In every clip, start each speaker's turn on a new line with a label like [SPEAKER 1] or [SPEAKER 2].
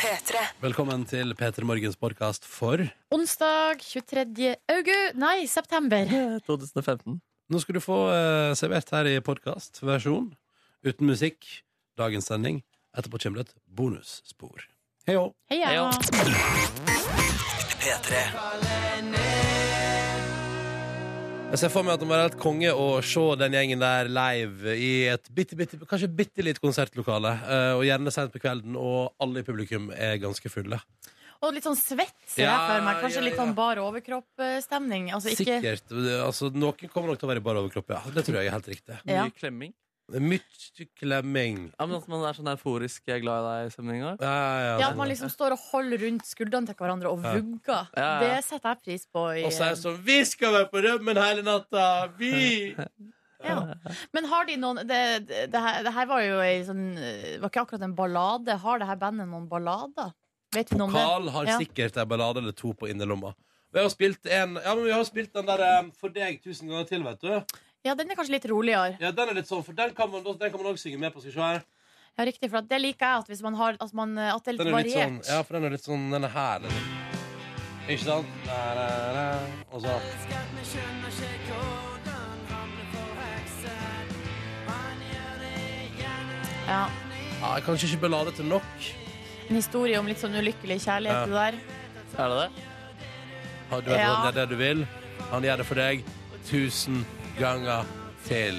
[SPEAKER 1] P3.
[SPEAKER 2] Velkommen til P3 Morgens podkast for
[SPEAKER 3] Onsdag 23. august Nei, september.
[SPEAKER 4] 2015.
[SPEAKER 2] Nå skal du få eh, servert her i podkastversjon, uten musikk, dagens sending. Etterpå kommer det et bonusspor. Hei òg.
[SPEAKER 3] Heia.
[SPEAKER 4] Heia.
[SPEAKER 2] Jeg ser for meg at det må være helt konge å se den gjengen der live i et bitte, bitte, kanskje bitte litt konsertlokale. eh, Og gjerne sent på kvelden, og alle i publikum er ganske fulle.
[SPEAKER 3] Og litt sånn svett, ser jeg
[SPEAKER 2] Ja,
[SPEAKER 3] for meg. Kanskje
[SPEAKER 2] ja,
[SPEAKER 3] litt
[SPEAKER 2] ja.
[SPEAKER 3] sånn bar overkropp-stemning. Altså ikke
[SPEAKER 2] Sikkert. Altså, noen kommer nok til å være i bar overkropp, ja. Det tror jeg er helt riktig.
[SPEAKER 4] Mye
[SPEAKER 3] Ja.
[SPEAKER 4] klemming.
[SPEAKER 2] Mye klemming.
[SPEAKER 4] Ja, men At man er sånn euforisk 'jeg er glad i deg'-stemninga.
[SPEAKER 2] Ja, ja,
[SPEAKER 3] ja, at man liksom står og holder rundt skuldrene til hverandre og
[SPEAKER 2] Ja.
[SPEAKER 3] vugger.
[SPEAKER 4] Ja, ja.
[SPEAKER 3] Det setter jeg pris på. I,
[SPEAKER 2] Og så er det sånn Vi skal være på rømmen hele natta! Vi!
[SPEAKER 3] ja. Men har de noen Det, det, det, her, det her var jo ei sånn Det var ikke akkurat en ballade. Har det her bandet noen ballader? Vet vi noe om det?
[SPEAKER 2] Carl har
[SPEAKER 3] Ja.
[SPEAKER 2] sikkert en ballade eller to på innerlomma. Vi har spilt en Ja, men vi har spilt den der eh, For deg tusen ganger til, vet du.
[SPEAKER 3] Ja, den er kanskje litt roligere.
[SPEAKER 2] Ja, den er litt sånn, for den kan man den kan man også synge med på. Skal vi se her.
[SPEAKER 3] Ja, riktig, for at det liker jeg. At, hvis man har, at, man, eh, at det er
[SPEAKER 2] Den
[SPEAKER 3] litt
[SPEAKER 2] er litt
[SPEAKER 3] variert.
[SPEAKER 2] sånn Ja, for den er litt sånn Den er her, liksom. Ikke sant? Na, na, na. Og så
[SPEAKER 3] ja.
[SPEAKER 2] ja, Kanskje ikke ballade til nok.
[SPEAKER 3] En historie om litt sånn ulykkelig
[SPEAKER 2] Ja.
[SPEAKER 3] kjærlighet. det der
[SPEAKER 4] Er det det?
[SPEAKER 2] Ha- Du vet
[SPEAKER 3] Ja.
[SPEAKER 2] hva, det er det du vil. Han gjør det for deg tusen ganger til.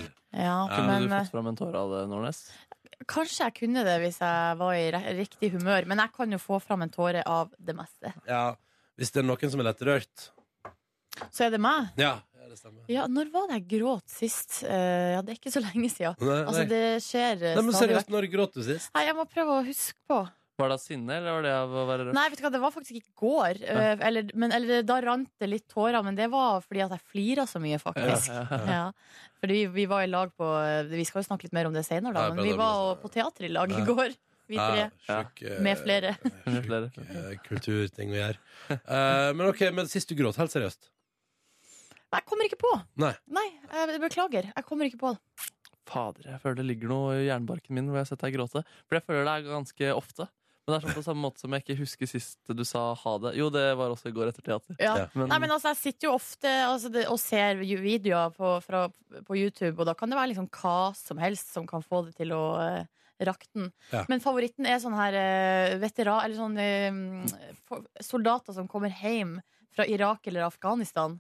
[SPEAKER 2] Ja,
[SPEAKER 3] Ja,
[SPEAKER 4] Kunne
[SPEAKER 3] men
[SPEAKER 4] du fått fram en tåre av det, Nordnes?
[SPEAKER 3] eh, Kanskje jeg kunne det hvis jeg var i re- riktig humør, men jeg kan jo få fram en tåre av det meste.
[SPEAKER 2] Ja. Hvis det er noen som er lettrørt.
[SPEAKER 3] Så er det meg.
[SPEAKER 2] Ja, ja det stemmer.
[SPEAKER 3] Ja, Når var det jeg gråt sist? Eh, ja, Det er ikke så lenge siden.
[SPEAKER 2] Nei,
[SPEAKER 3] Altså,
[SPEAKER 2] nei.
[SPEAKER 3] det skjer eh,
[SPEAKER 2] Nei, men
[SPEAKER 3] stadig vekk.
[SPEAKER 2] seriøst, når gråt du sist?
[SPEAKER 3] Nei, jeg må prøve å huske på.
[SPEAKER 4] Var det av sinne, eller var det av å være rød?
[SPEAKER 3] Nei, vet du hva, det var faktisk i går. eh, Eller, men, eller da rant det litt tårer, men det var fordi at jeg flira så mye, faktisk.
[SPEAKER 4] Ja, ja.
[SPEAKER 3] Ja, fordi vi var i lag på Vi skal jo snakke litt mer om det senere,
[SPEAKER 2] Ja,
[SPEAKER 3] da, men vi
[SPEAKER 2] bedre
[SPEAKER 3] var
[SPEAKER 2] om det
[SPEAKER 3] på teater i lag
[SPEAKER 2] Ja.
[SPEAKER 3] i går. Vi tre.
[SPEAKER 2] Ja,
[SPEAKER 4] Ja.
[SPEAKER 2] sjuk, eh,
[SPEAKER 3] Med flere.
[SPEAKER 4] Med flere.
[SPEAKER 2] sjuk, eh, kulturting å gjøre. Eh, men ok, men sist du gråt, helt seriøst?
[SPEAKER 3] Nei, jeg kommer ikke på!
[SPEAKER 2] Nei.
[SPEAKER 3] Nei, eh, jeg beklager. Jeg kommer ikke på det.
[SPEAKER 4] Fader, jeg føler det ligger noe i jernbarken min hvor jeg har sett deg gråte. For jeg føler det er ganske ofte. Men det er sånn på samme måte som jeg ikke husker sist du sa ha det. Jo, det var også i går etter teater.
[SPEAKER 3] Ja.
[SPEAKER 2] Ja.
[SPEAKER 4] Men,
[SPEAKER 3] Nei, men altså, Jeg sitter jo ofte altså, det, og ser jo videoer på, fra, på YouTube, og da kan det være liksom hva som helst som kan få det til å eh, rakke den.
[SPEAKER 2] Ja.
[SPEAKER 3] Men favoritten er sånn her eh, veteran... Eller sånn eh, for- soldater som kommer hjem fra Irak eller Afghanistan.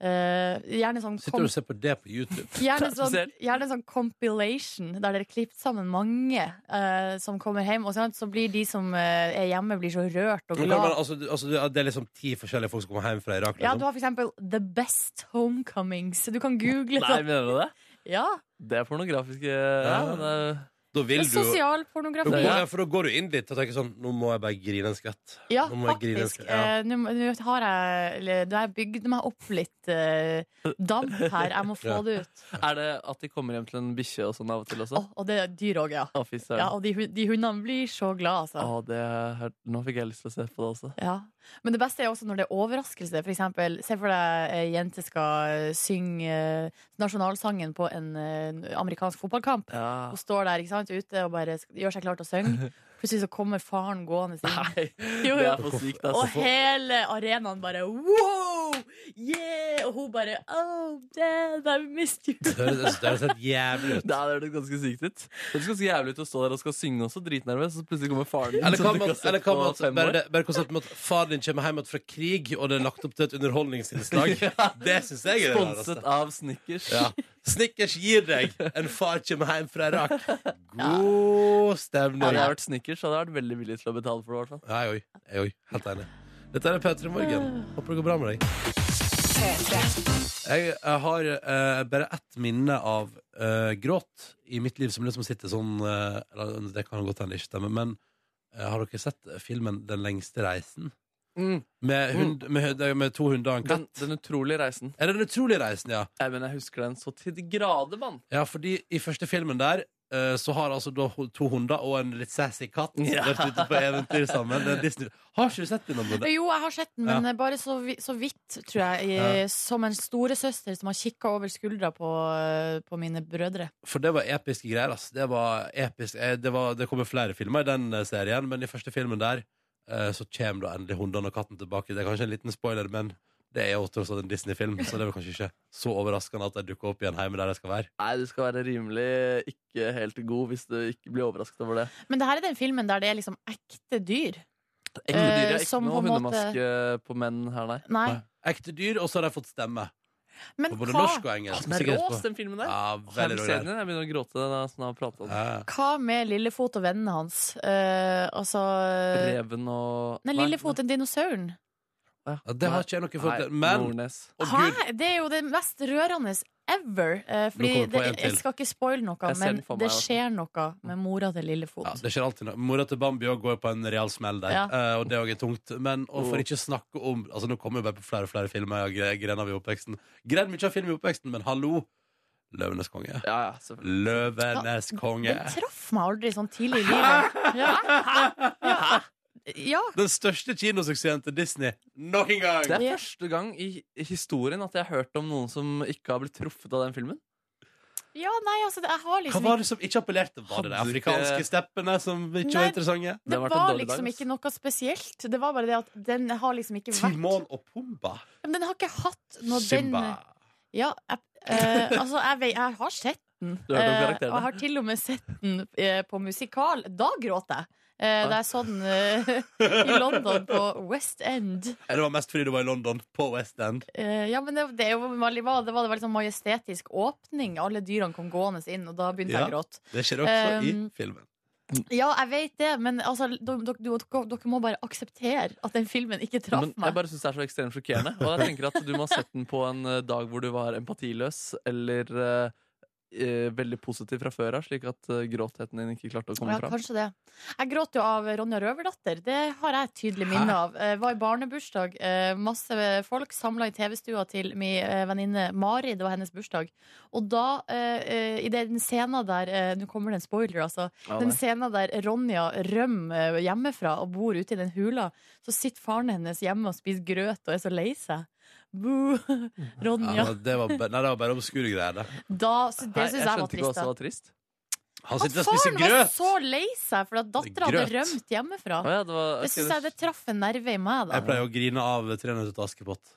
[SPEAKER 3] Eh, gjerne sånn
[SPEAKER 2] Sitter du og ser på det på YouTube?
[SPEAKER 3] Gjerne sånn,
[SPEAKER 4] Spesielt.
[SPEAKER 3] gjerne sånn compilation, der dere klipper sammen mange eh, som kommer hjem. Og sånn, så blir de som eh, er hjemme, blir så rørt og
[SPEAKER 2] Men kan man,
[SPEAKER 3] glad.
[SPEAKER 2] altså, du- altså, du- det er liksom ti forskjellige folk som kommer hjem fra Irak?
[SPEAKER 3] Ja,
[SPEAKER 2] Liksom.
[SPEAKER 3] du har for eksempel The Best Homecomings. Du kan google
[SPEAKER 4] Nei,
[SPEAKER 3] sånn.
[SPEAKER 4] mener du det?
[SPEAKER 3] Ja,
[SPEAKER 4] Det er pornografiske ja, men eh, det,
[SPEAKER 2] Da vil
[SPEAKER 3] det
[SPEAKER 2] du
[SPEAKER 3] er
[SPEAKER 2] jo Da går-
[SPEAKER 3] sosial pornografi.
[SPEAKER 2] ja, For da går du inn dit og tenker sånn Nå må jeg bare grine en skvett.
[SPEAKER 3] Ja,
[SPEAKER 2] Nå må jeg grine,
[SPEAKER 3] faktisk.
[SPEAKER 2] skal- ja.
[SPEAKER 3] Eh, Nå må- nå har jeg eller, Da har jeg bygd meg opp litt eh, damp her. Jeg må få
[SPEAKER 2] Ja.
[SPEAKER 3] det ut.
[SPEAKER 4] er det at de kommer hjem til en bikkje og sånn av og til også?
[SPEAKER 3] Å, og det er dyr òg, ja.
[SPEAKER 4] Å, fy søren.
[SPEAKER 3] ja. Og de, hu- de hundene blir så glad, altså.
[SPEAKER 4] Å, det er- Nå fikk jeg lyst til å se på det også.
[SPEAKER 3] Ja. Men det beste er også når det er overraskelse. For eksempel, se for deg ei jente skal eh, synge eh, nasjonalsangen på en eh, amerikansk fotballkamp.
[SPEAKER 4] Ja.
[SPEAKER 3] Hun står der ikke sant, ute og bare sk- gjør seg klar til å synge. Plutselig så kommer faren gående inn.
[SPEAKER 4] Nei,
[SPEAKER 3] Jo,
[SPEAKER 4] det
[SPEAKER 3] jo.
[SPEAKER 4] er for sykt.
[SPEAKER 3] Og
[SPEAKER 4] Altså.
[SPEAKER 3] hele arenaen bare wow! Yeah! Og hun bare oh, dad, I missed you.
[SPEAKER 2] Det høres det høres helt jævlig ut.
[SPEAKER 4] Det hadde hørtes ganske sykt ut. Det høres ganske jævlig ut å stå der og skal synge også, dritnervøs, og så plutselig kommer faren din.
[SPEAKER 2] Eller
[SPEAKER 4] som
[SPEAKER 2] hva
[SPEAKER 4] du
[SPEAKER 2] med
[SPEAKER 4] ikke har
[SPEAKER 2] at,
[SPEAKER 4] sett
[SPEAKER 2] eller hva med
[SPEAKER 4] på
[SPEAKER 2] at
[SPEAKER 4] fem
[SPEAKER 2] bare,
[SPEAKER 4] år.
[SPEAKER 2] det- bare konseptet med at faren din kommer hjem igjen fra krig, og det er lagt opp til et underholdningsinnslag? Det syns jeg er det rareste.
[SPEAKER 4] Sponset av Snickers.
[SPEAKER 2] Ja. Snickers gir deg en far kommer hjem fra Irak. God stemning.
[SPEAKER 4] Hadde jeg vært Snickers, hadde jeg vært veldig villig til å betale for det. i hvert fall.
[SPEAKER 2] Nei, oi. Jeg oi. Helt enig. Dette er P3 Morgen. Håper det går bra med deg. Jeg, jeg har eh, bare ett minne av eh, gråt i mitt liv som liksom sitter sånn eh, eller, Det kan godt hende det ikke stemmer, men eh, har dere sett filmen 'Den lengste reisen'? Med, hund, med, med to hunder og en
[SPEAKER 4] Mm. Den,
[SPEAKER 2] Mm, katt?
[SPEAKER 4] den utrolige reisen.
[SPEAKER 2] Er det den utrolige reisen, ja?
[SPEAKER 4] Jeg, mener, jeg husker den så til de grader, mann.
[SPEAKER 2] Ja, fordi i første filmen der eh, så har altså da ho- to hunder og en litt sassy katt
[SPEAKER 4] Ja.
[SPEAKER 2] vært ute på eventyr sammen. Det er Disney. Har ikke du sett den? Amanda?
[SPEAKER 3] Jo, jeg har sett den, men bare så, vi- så vidt, tror jeg. i-
[SPEAKER 2] Ja.
[SPEAKER 3] Som en storesøster som har kikka over skuldra på, eh, på mine brødre.
[SPEAKER 2] For det var episke greier, ass. Det var episk. eh, Det, var, det kommer flere filmer i den eh, serien, men i første filmen der eh, så kommer da endelig hundene og katten tilbake. Det er kanskje en liten spoiler, men det er jo tross alt en Disney-film, så det er vel kanskje ikke så overraskende at de dukker opp igjen hjemme der de skal være.
[SPEAKER 4] Nei, du skal være rimelig ikke helt god hvis du ikke blir overrasket over det.
[SPEAKER 3] Men det her er den filmen der det er liksom ekte dyr.
[SPEAKER 4] Ekte
[SPEAKER 3] Eh,
[SPEAKER 4] dyr, ja. Ikke
[SPEAKER 3] som
[SPEAKER 4] noe
[SPEAKER 3] på en måte-
[SPEAKER 4] hundemaske på menn her, nei.
[SPEAKER 3] Nei.
[SPEAKER 2] Ekte dyr, og så har de fått stemme.
[SPEAKER 3] Men
[SPEAKER 2] På både
[SPEAKER 3] hva,
[SPEAKER 2] norsk og engelsk.
[SPEAKER 4] Den er
[SPEAKER 2] sikkert
[SPEAKER 4] rås,
[SPEAKER 2] på-
[SPEAKER 4] den filmen der.
[SPEAKER 2] Ja,
[SPEAKER 4] Åh, Jeg
[SPEAKER 2] veldig
[SPEAKER 4] vil
[SPEAKER 2] rå
[SPEAKER 4] se den
[SPEAKER 2] greier.
[SPEAKER 4] igjen. Jeg begynner å gråte når han har pratet om den.
[SPEAKER 2] Ja.
[SPEAKER 3] hva med Lillefot og vennene hans? Eh, altså
[SPEAKER 4] Reven og
[SPEAKER 3] Nei, Lillefot, den dinosauren.
[SPEAKER 2] Ja, det har ikke jeg noe forhold til. Men
[SPEAKER 4] Nordnes.
[SPEAKER 2] Å, Gud.
[SPEAKER 3] Hæ? Det er jo det mest rørende ever. Eh, fordi
[SPEAKER 2] kommer vi på
[SPEAKER 3] det,
[SPEAKER 2] en til.
[SPEAKER 3] jeg skal ikke spoile noe,
[SPEAKER 4] Jeg ser
[SPEAKER 3] men
[SPEAKER 4] den for meg
[SPEAKER 3] det
[SPEAKER 4] også.
[SPEAKER 3] skjer noe med mora til Lillefot.
[SPEAKER 2] Ja, det skjer alltid noe. Mora til Bambi også går på en real smell der,
[SPEAKER 3] Ja.
[SPEAKER 2] eh, og det òg er tungt. Men og for
[SPEAKER 4] Oh.
[SPEAKER 2] ikke å snakke om Altså Nå kommer vi bare på flere og flere filmer og gre- grener vi i oppveksten. Gren mye av film i oppveksten, men hallo! Løvenes konge.
[SPEAKER 4] Ja, ja, selvfølgelig.
[SPEAKER 2] Løvenes konge.
[SPEAKER 3] Den traff meg aldri sånn tidlig i livet. Ja. Ja. ja.
[SPEAKER 2] Den største kinosuksessen til Disney nok en
[SPEAKER 4] Det
[SPEAKER 2] gang!
[SPEAKER 4] er første gang i i historien at jeg har hørt om noen som ikke har blitt truffet av den filmen.
[SPEAKER 3] ja, nei, altså, jeg har
[SPEAKER 2] Hva
[SPEAKER 3] liksom
[SPEAKER 2] var det som ikke appellerte? Var det de
[SPEAKER 4] Hadde ikke-
[SPEAKER 2] afrikanske steppene som ikke
[SPEAKER 3] Nei.
[SPEAKER 2] var interessante?
[SPEAKER 3] ikke Det
[SPEAKER 4] har vært en
[SPEAKER 3] var
[SPEAKER 4] dårlig dag,
[SPEAKER 3] liksom
[SPEAKER 4] ass.
[SPEAKER 3] ikke noe spesielt. Det var bare det at den har liksom ikke vært
[SPEAKER 2] Timon og Pumba.
[SPEAKER 3] Men den har ikke hatt når
[SPEAKER 2] Simba.
[SPEAKER 3] den Ja, jeg, eh, altså, jeg, vet, jeg har sett den.
[SPEAKER 4] Du
[SPEAKER 3] Eh,
[SPEAKER 4] hørte om
[SPEAKER 3] og
[SPEAKER 4] karakterene.
[SPEAKER 3] jeg har til og med sett den eh, på musikal. Da gråt jeg. Eh, da jeg så den eh, i London, på West End.
[SPEAKER 2] Ja, Det var mest fordi du var i London, på West End.
[SPEAKER 3] Eh, ja, men det, det, er jo veldig, bra. det var det var liksom majestetisk åpning. Alle dyrene kom gående inn, og da begynte jeg
[SPEAKER 2] Ja.
[SPEAKER 3] å gråte.
[SPEAKER 2] Det skjer også i
[SPEAKER 3] Um,
[SPEAKER 2] filmen.
[SPEAKER 3] Ja, jeg vet det, men altså, dere, dere, dere, dere må bare akseptere at den filmen ikke traff
[SPEAKER 4] Men jeg
[SPEAKER 3] meg.
[SPEAKER 4] bare syns det er så ekstremt sjokkerende. Og jeg tenker at du må ha sett den på en eh, dag hvor du var empatiløs eller eh, eh, veldig positiv fra før av, slik at eh, gråtheten din ikke klarte å komme
[SPEAKER 3] Ja,
[SPEAKER 4] fram.
[SPEAKER 3] kanskje det. Jeg gråt jo av Ronja Røverdatter. Det har jeg et tydelig
[SPEAKER 2] Hæ?
[SPEAKER 3] minne av. Jeg var i barnebursdag. eh, Masse folk samla i TV-stua til min eh, venninne Mari. Det var hennes bursdag. Og da, eh, eh, i den scenen der eh, Nå kommer det en spoiler, altså.
[SPEAKER 4] Ja,
[SPEAKER 3] Den
[SPEAKER 4] nei.
[SPEAKER 3] scenen der Ronja rømmer hjemmefra og bor ute i den hula, så sitter faren hennes hjemme og spiser grøt og er så lei seg. Boo! Ronja.
[SPEAKER 2] Ja, det, var, ba- nei, det var bare obskure greier. Det.
[SPEAKER 3] Da, så det
[SPEAKER 4] Nei,
[SPEAKER 3] syns jeg, var
[SPEAKER 4] skjønte
[SPEAKER 3] trist.
[SPEAKER 4] ikke hva som
[SPEAKER 3] da.
[SPEAKER 4] var trist.
[SPEAKER 2] Han
[SPEAKER 3] At
[SPEAKER 2] sitter og spiser
[SPEAKER 3] faren var
[SPEAKER 2] grøt!
[SPEAKER 3] så lei seg for at dattera hadde
[SPEAKER 2] Grøt.
[SPEAKER 3] rømt hjemmefra.
[SPEAKER 4] Å ja, det var,
[SPEAKER 3] Det syns jeg det traff en nerve i meg.
[SPEAKER 2] Jeg
[SPEAKER 3] da
[SPEAKER 2] pleier å grine av 'Tre nøtter til Askepott'.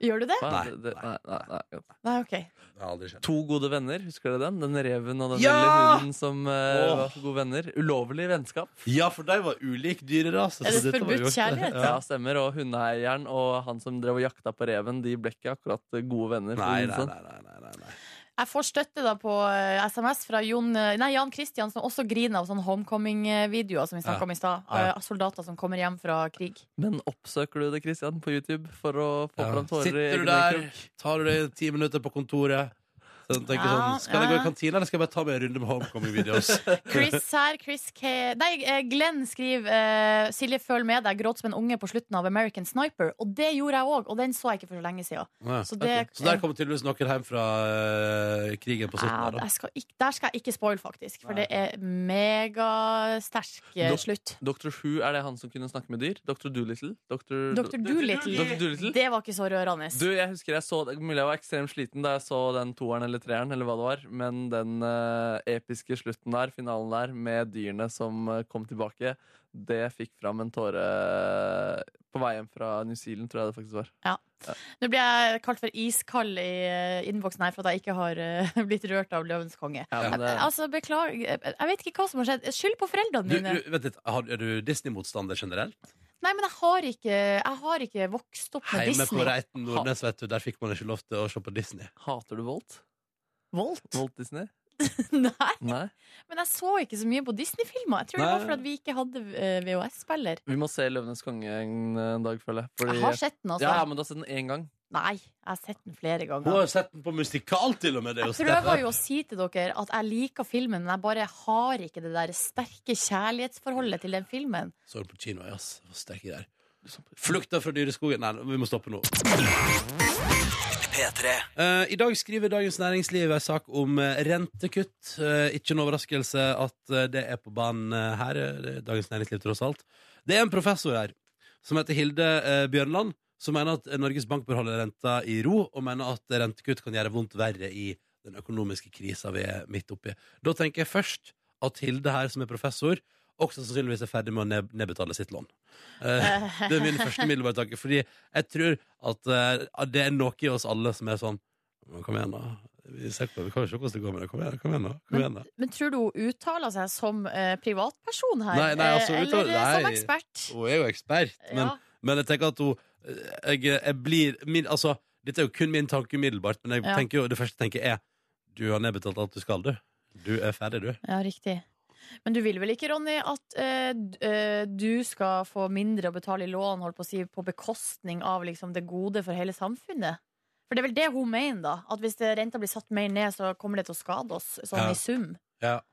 [SPEAKER 3] Gjør du det?
[SPEAKER 4] Hva?
[SPEAKER 2] Nei,
[SPEAKER 4] Det- det- nei, nei, nei, ja.
[SPEAKER 3] Nei, ok.
[SPEAKER 2] Det har aldri skjedd.
[SPEAKER 4] To gode venner, husker dere den? Den reven og den
[SPEAKER 2] Ja!
[SPEAKER 4] lille hunden som eh,
[SPEAKER 2] Åh.
[SPEAKER 4] var så gode venner. Ulovlig vennskap.
[SPEAKER 2] Ja, for de var ulik dyrerase.
[SPEAKER 3] Er det
[SPEAKER 2] så dette var
[SPEAKER 3] forbudt
[SPEAKER 2] gjort-
[SPEAKER 3] kjærlighet?
[SPEAKER 4] Ja, stemmer. Og hundeeieren og han som drev og jakta på reven, de ble ikke akkurat eh, gode venner. for å
[SPEAKER 2] Nei,
[SPEAKER 4] si
[SPEAKER 2] nei,
[SPEAKER 4] det sånn.
[SPEAKER 2] nei. nei, nei, nei.
[SPEAKER 3] Jeg får støtte da på eh, SMS fra Jon, eh, nei, Jan Kristian, som også griner av sånne homecoming-videoer som vi snakka
[SPEAKER 2] Ja.
[SPEAKER 3] om i stad.
[SPEAKER 2] Ja.
[SPEAKER 3] Av soldater som kommer hjem fra krig.
[SPEAKER 4] Men oppsøker du det, Christian, på YouTube for å få
[SPEAKER 2] Ja.
[SPEAKER 4] fram tårer i
[SPEAKER 2] Sitter du
[SPEAKER 4] egen
[SPEAKER 2] der,
[SPEAKER 4] krok?
[SPEAKER 2] tar du deg ti minutter på kontoret så tenker jeg
[SPEAKER 3] Ja,
[SPEAKER 2] sånn, Skal jeg gå i
[SPEAKER 3] ja.
[SPEAKER 2] kantina, eller skal jeg bare ta meg en runde med Homecoming-videos?
[SPEAKER 3] Chris her, Chris K Nei, eh, Glenn skriver eh, Silje, føl med deg, gråt som en unge på slutten av American Sniper. Og det gjorde jeg òg, og den så jeg ikke for så lenge siden.
[SPEAKER 2] Ja.
[SPEAKER 3] Så det-
[SPEAKER 2] Ok. så der kommer tydeligvis noen hjem fra eh, krigen på
[SPEAKER 3] Ja,
[SPEAKER 2] 17.
[SPEAKER 3] der, skal ikke, der skal jeg ikke spoil, faktisk. For det er megasterk eh,
[SPEAKER 4] Nå-
[SPEAKER 3] slutt.
[SPEAKER 4] Dr. Who, er det han som kunne snakke med dyr? Dr. Doolittle?
[SPEAKER 3] Dr.
[SPEAKER 4] Dr. Dr.
[SPEAKER 3] Doolittle,
[SPEAKER 4] Doolittle?
[SPEAKER 3] det var ikke så rørende.
[SPEAKER 4] Du, jeg husker jeg så det er Mulig jeg var ekstremt sliten da jeg så den toeren eller treeren, eller hva det var, men den eh, episke slutten der, finalen der, med dyrene som eh, kom tilbake, det fikk fram en tåre eh, på vei hjem fra New Zealand, tror jeg det faktisk var.
[SPEAKER 3] Nå blir jeg kalt for iskald i eh, innboksen her for at jeg ikke har eh, blitt rørt av Løvens konge.
[SPEAKER 4] Ja, men eh, det,
[SPEAKER 3] Altså, beklager. Jeg jeg vet ikke hva som har skjedd. Skyld på foreldrene
[SPEAKER 2] Du,
[SPEAKER 3] dine.
[SPEAKER 2] du, vent litt, har- Er du Disney-motstander generelt?
[SPEAKER 3] Nei, men jeg har ikke, jeg har ikke vokst opp med
[SPEAKER 2] Hjemme på
[SPEAKER 3] Disney.
[SPEAKER 2] Reiten Nordnes, vet du, der fikk man ikke lov til å se på Disney.
[SPEAKER 4] hater du Volt?
[SPEAKER 3] Volt?
[SPEAKER 4] Volt Disney?
[SPEAKER 3] Nei,
[SPEAKER 4] Nei?
[SPEAKER 3] men jeg så ikke så mye på Disney-filmer. Jeg tror det
[SPEAKER 2] Nei.
[SPEAKER 3] var fordi vi ikke hadde eh, VHS-spiller.
[SPEAKER 4] Vi må se Løvenes konge en, eh, en dag, føler jeg.
[SPEAKER 3] Jeg har sett den, altså.
[SPEAKER 4] ja, men du har sett den én gang.
[SPEAKER 3] Nei, jeg har sett den flere
[SPEAKER 2] Hun
[SPEAKER 3] ganger.
[SPEAKER 2] har sett den på musikal, til og med! Det er
[SPEAKER 3] Jeg
[SPEAKER 2] jo sterkt.
[SPEAKER 3] prøver jo å si til dere at jeg liker filmen, men jeg bare har ikke det der sterke kjærlighetsforholdet til den filmen.
[SPEAKER 2] Så den på kino, ja, ass. Det var Sterke greier. Flukta fra dyreskogen Nei, vi må stoppe nå. Eh, I dag skriver Dagens Næringsliv en sak om eh, rentekutt. Eh, ikke en overraskelse at eh, det er på banen eh, her. eh, det er Dagens Næringsliv, tross alt. Det er en professor her som heter Hilde eh, Bjørnland, som mener at eh, Norges Bank bør holde renta i ro, og mener at rentekutt kan gjøre vondt verre i den økonomiske krisa vi er midt oppi. Da tenker jeg først at Hilde her, som er professor, også sannsynligvis er ferdig med å ned nedbetale sitt lån. Eh, det er min første middelbare tanke. Fordi jeg tror at eh, det er noe i oss alle som er sånn «Men Kom igjen, da. Vi, ser på, vi kan jo se hvordan det går med det. Kom igjen, kom igjen da. Kom igjen, da.
[SPEAKER 3] Men tror du hun uttaler seg som eh, privatperson her?
[SPEAKER 2] Nei, nei, altså,
[SPEAKER 3] Eh,
[SPEAKER 2] uttaler-
[SPEAKER 3] Eller eh, som
[SPEAKER 2] nei.
[SPEAKER 3] ekspert?
[SPEAKER 2] Hun er jo ekspert, men,
[SPEAKER 3] Ja.
[SPEAKER 2] men jeg tenker at hun eh, jeg, jeg blir min, altså, Dette er jo kun min tanke umiddelbart, men jeg
[SPEAKER 3] Ja.
[SPEAKER 2] tenker jo, det første jeg tenker er Du har nedbetalt alt du skal, du. Du er ferdig, du.
[SPEAKER 3] Ja, riktig. Men du vil vel ikke, Ronny, at eh, d- eh, du skal få mindre å betale i lån holdt på, å si, på bekostning av liksom, det gode for hele samfunnet? For det er vel det hun mener, da? At hvis det- renta blir satt mer ned, så kommer det til å skade oss, sånn
[SPEAKER 2] Ja.
[SPEAKER 3] i sum?
[SPEAKER 2] Ja.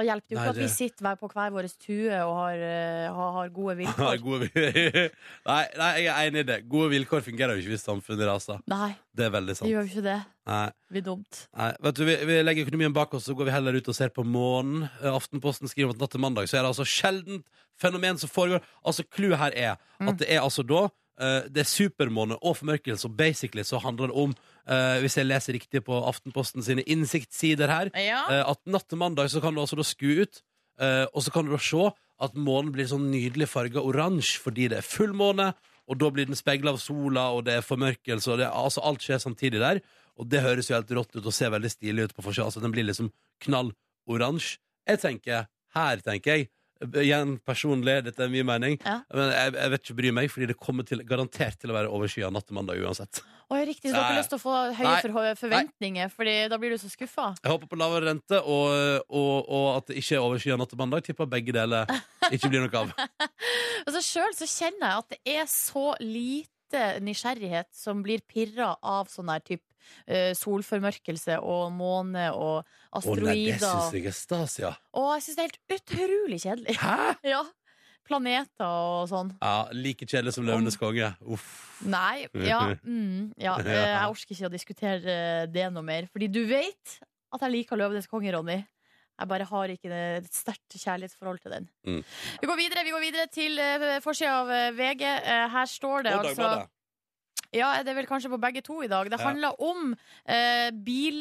[SPEAKER 3] Da hjelper det jo
[SPEAKER 2] Nei,
[SPEAKER 3] ikke at vi
[SPEAKER 2] det-
[SPEAKER 3] sitter hver på hver vår tue og har, eh, har, har gode
[SPEAKER 2] Nei,
[SPEAKER 3] vilkår.
[SPEAKER 2] gode, vi- nei, nei, jeg er enig i det. Gode vilkår fungerer jo ikke hvis samfunnet raser.
[SPEAKER 3] Nei,
[SPEAKER 2] Det er veldig
[SPEAKER 3] det
[SPEAKER 2] sant.
[SPEAKER 3] gjør jo ikke det.
[SPEAKER 2] Nei.
[SPEAKER 3] Det blir dumt.
[SPEAKER 2] Nei, vet du, vi, vi legger økonomien bak oss, så går vi heller ut og ser på månen. Eh, Aftenposten skriver om at natt til mandag så er det altså sjeldent fenomen som foregår. Altså, Clouet her er
[SPEAKER 3] Mm.
[SPEAKER 2] at det er altså da eh, det er supermåne og formørkelse, og basically så handler det om, eh, hvis jeg leser riktig på Aftenposten sine innsiktssider her,
[SPEAKER 3] Ja.
[SPEAKER 2] eh, at natt til mandag så kan du altså da skue ut, eh, og så kan du da se at månen blir sånn nydelig farga oransje fordi det er fullmåne, og da blir den speila av sola, og det er formørkelse, og det, altså alt skjer samtidig der. Og det høres jo helt rått ut og ser veldig stilig ut på forskjell. Altså, den blir liksom knall oransje. Jeg tenker, her tenker jeg, igjen personlig, dette er mye mening,
[SPEAKER 3] Ja.
[SPEAKER 2] men jeg, jeg vet ikke bry meg, fordi det kommer til, garantert til å være overskyet natt til mandag uansett.
[SPEAKER 3] Å, ja, riktig, så dere har
[SPEAKER 2] Nei.
[SPEAKER 3] lyst til å få høye
[SPEAKER 2] Nei.
[SPEAKER 3] forho- forventninger, Fordi da blir du så skuffa.
[SPEAKER 2] Jeg håper på lavere rente, og, og, og at det ikke er overskyet natt til mandag. Tipper begge deler ikke blir noe av.
[SPEAKER 3] Altså Sjøl så kjenner jeg at det er så lite nysgjerrighet som blir pirra av sånn her type solformørkelse og måne og
[SPEAKER 2] Å nei, det
[SPEAKER 3] asteroider.
[SPEAKER 2] synes jeg er stas, ja.
[SPEAKER 3] og jeg syns det er helt utrolig kjedelig.
[SPEAKER 2] Hæ?
[SPEAKER 3] ja. Planeter og sånn.
[SPEAKER 2] Ja, like kjedelig som Løvenes konge. Uff.
[SPEAKER 3] Nei, ja, mm, ja. eh, Jeg orker ikke å diskutere eh, det noe mer. Fordi du vet at jeg liker 'Løvenes konge', Ronny. Jeg bare har ikke det- et sterkt kjærlighetsforhold til den.
[SPEAKER 2] Mm.
[SPEAKER 3] Vi går videre vi går videre til uh, forsida av eh, VG. Eh, her står det
[SPEAKER 2] Og
[SPEAKER 3] altså
[SPEAKER 2] Dagbladet.
[SPEAKER 3] Ja, det er vel kanskje på begge to i dag. Det
[SPEAKER 2] Ja.
[SPEAKER 3] handler om eh,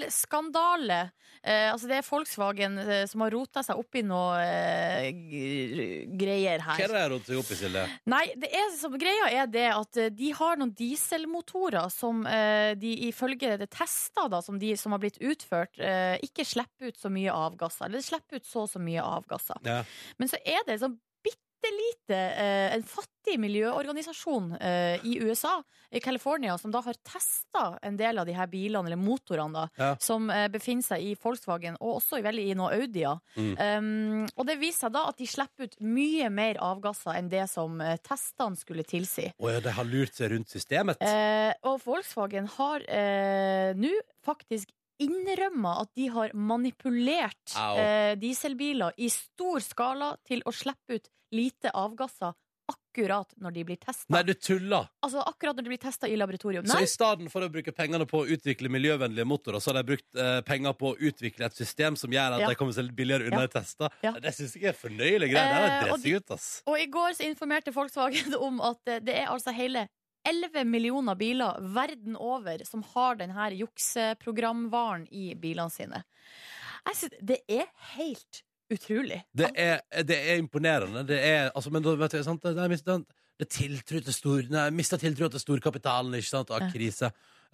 [SPEAKER 3] bilskandale. Eh, altså det er Volkswagen eh, som har rota seg opp i noe eh, g- greier
[SPEAKER 2] Hva
[SPEAKER 3] her.
[SPEAKER 2] er det jeg roter opp i, Silje?
[SPEAKER 3] Nei, det er, som, greia er det at eh, de har noen dieselmotorer som eh, de ifølge det tester da, som, de, som har blitt utført, eh, ikke slipper ut så mye avgasser. Eller slipper ut så og så mye avgasser.
[SPEAKER 2] Ja.
[SPEAKER 3] Men så er det en sånn bitte lite eh, en fattig miljøorganisasjon eh, i USA, i California, som da har testa en del av de her bilene, eller motorene, da,
[SPEAKER 2] Ja.
[SPEAKER 3] som eh, befinner seg i Volkswagen, og også i, vel i noen Audier.
[SPEAKER 2] Mm.
[SPEAKER 3] Um, og det viser seg da at de slipper ut mye mer avgasser enn det som eh, testene skulle tilsi.
[SPEAKER 2] Å ja, de har lurt seg rundt systemet.
[SPEAKER 3] Eh, og Volkswagen har eh, nå faktisk innrømma at de har manipulert
[SPEAKER 2] Au.
[SPEAKER 3] eh, dieselbiler i stor skala til å slippe ut lite avgasser akkurat når de blir testa.
[SPEAKER 2] Nei, du tuller!
[SPEAKER 3] Altså akkurat når de blir testet i laboratorium.
[SPEAKER 2] Så
[SPEAKER 3] Nei,
[SPEAKER 2] i stedet for å bruke pengene på å utvikle miljøvennlige motorer, så har de brukt eh, penger på å utvikle et system som gjør at
[SPEAKER 3] Ja.
[SPEAKER 2] de kommer seg litt billigere unna
[SPEAKER 3] Ja.
[SPEAKER 2] i tester.
[SPEAKER 3] Ja.
[SPEAKER 2] Det syns jeg er fornøyelige greier. Det
[SPEAKER 3] Eh,
[SPEAKER 2] er
[SPEAKER 3] og
[SPEAKER 2] dressig ut, ass.
[SPEAKER 3] Og i går så informerte Volkswagen om at eh, det er altså hele 11 millioner biler verden over som har denne jukseprogramvaren i bilene sine. Jeg synes det er helt utrolig.
[SPEAKER 2] Det er, det er imponerende. Det er, altså, men da, vet du, sant? Det, det, er mist- den- det tiltro til stor, nei, mista tiltro til storkapitalen, ikke sant? Av
[SPEAKER 3] Ja.
[SPEAKER 2] krise.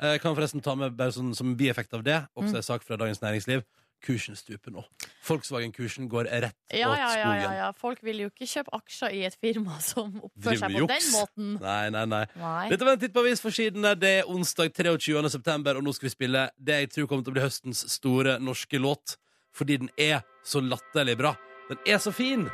[SPEAKER 2] Jeg kan forresten ta med bare sånn, som bieffekt av det, også
[SPEAKER 3] Mm.
[SPEAKER 2] en sak fra Dagens Næringsliv. Kursen stuper nå. Volkswagen-kursen går rett
[SPEAKER 3] Ja,
[SPEAKER 2] åt
[SPEAKER 3] ja, ja,
[SPEAKER 2] skogen.
[SPEAKER 3] ja, ja. Folk vil jo ikke kjøpe aksjer i et firma som oppfører
[SPEAKER 2] Driver
[SPEAKER 3] seg
[SPEAKER 2] med
[SPEAKER 3] på den
[SPEAKER 2] juks.
[SPEAKER 3] måten.
[SPEAKER 2] Nei, nei, nei.
[SPEAKER 3] Nei.
[SPEAKER 2] Dette var en titt på avisforsidene. Det er onsdag 23. september, og nå skal vi spille det jeg tror kommer til å bli høstens store norske låt. Fordi den er så latterlig bra. Den er så fin!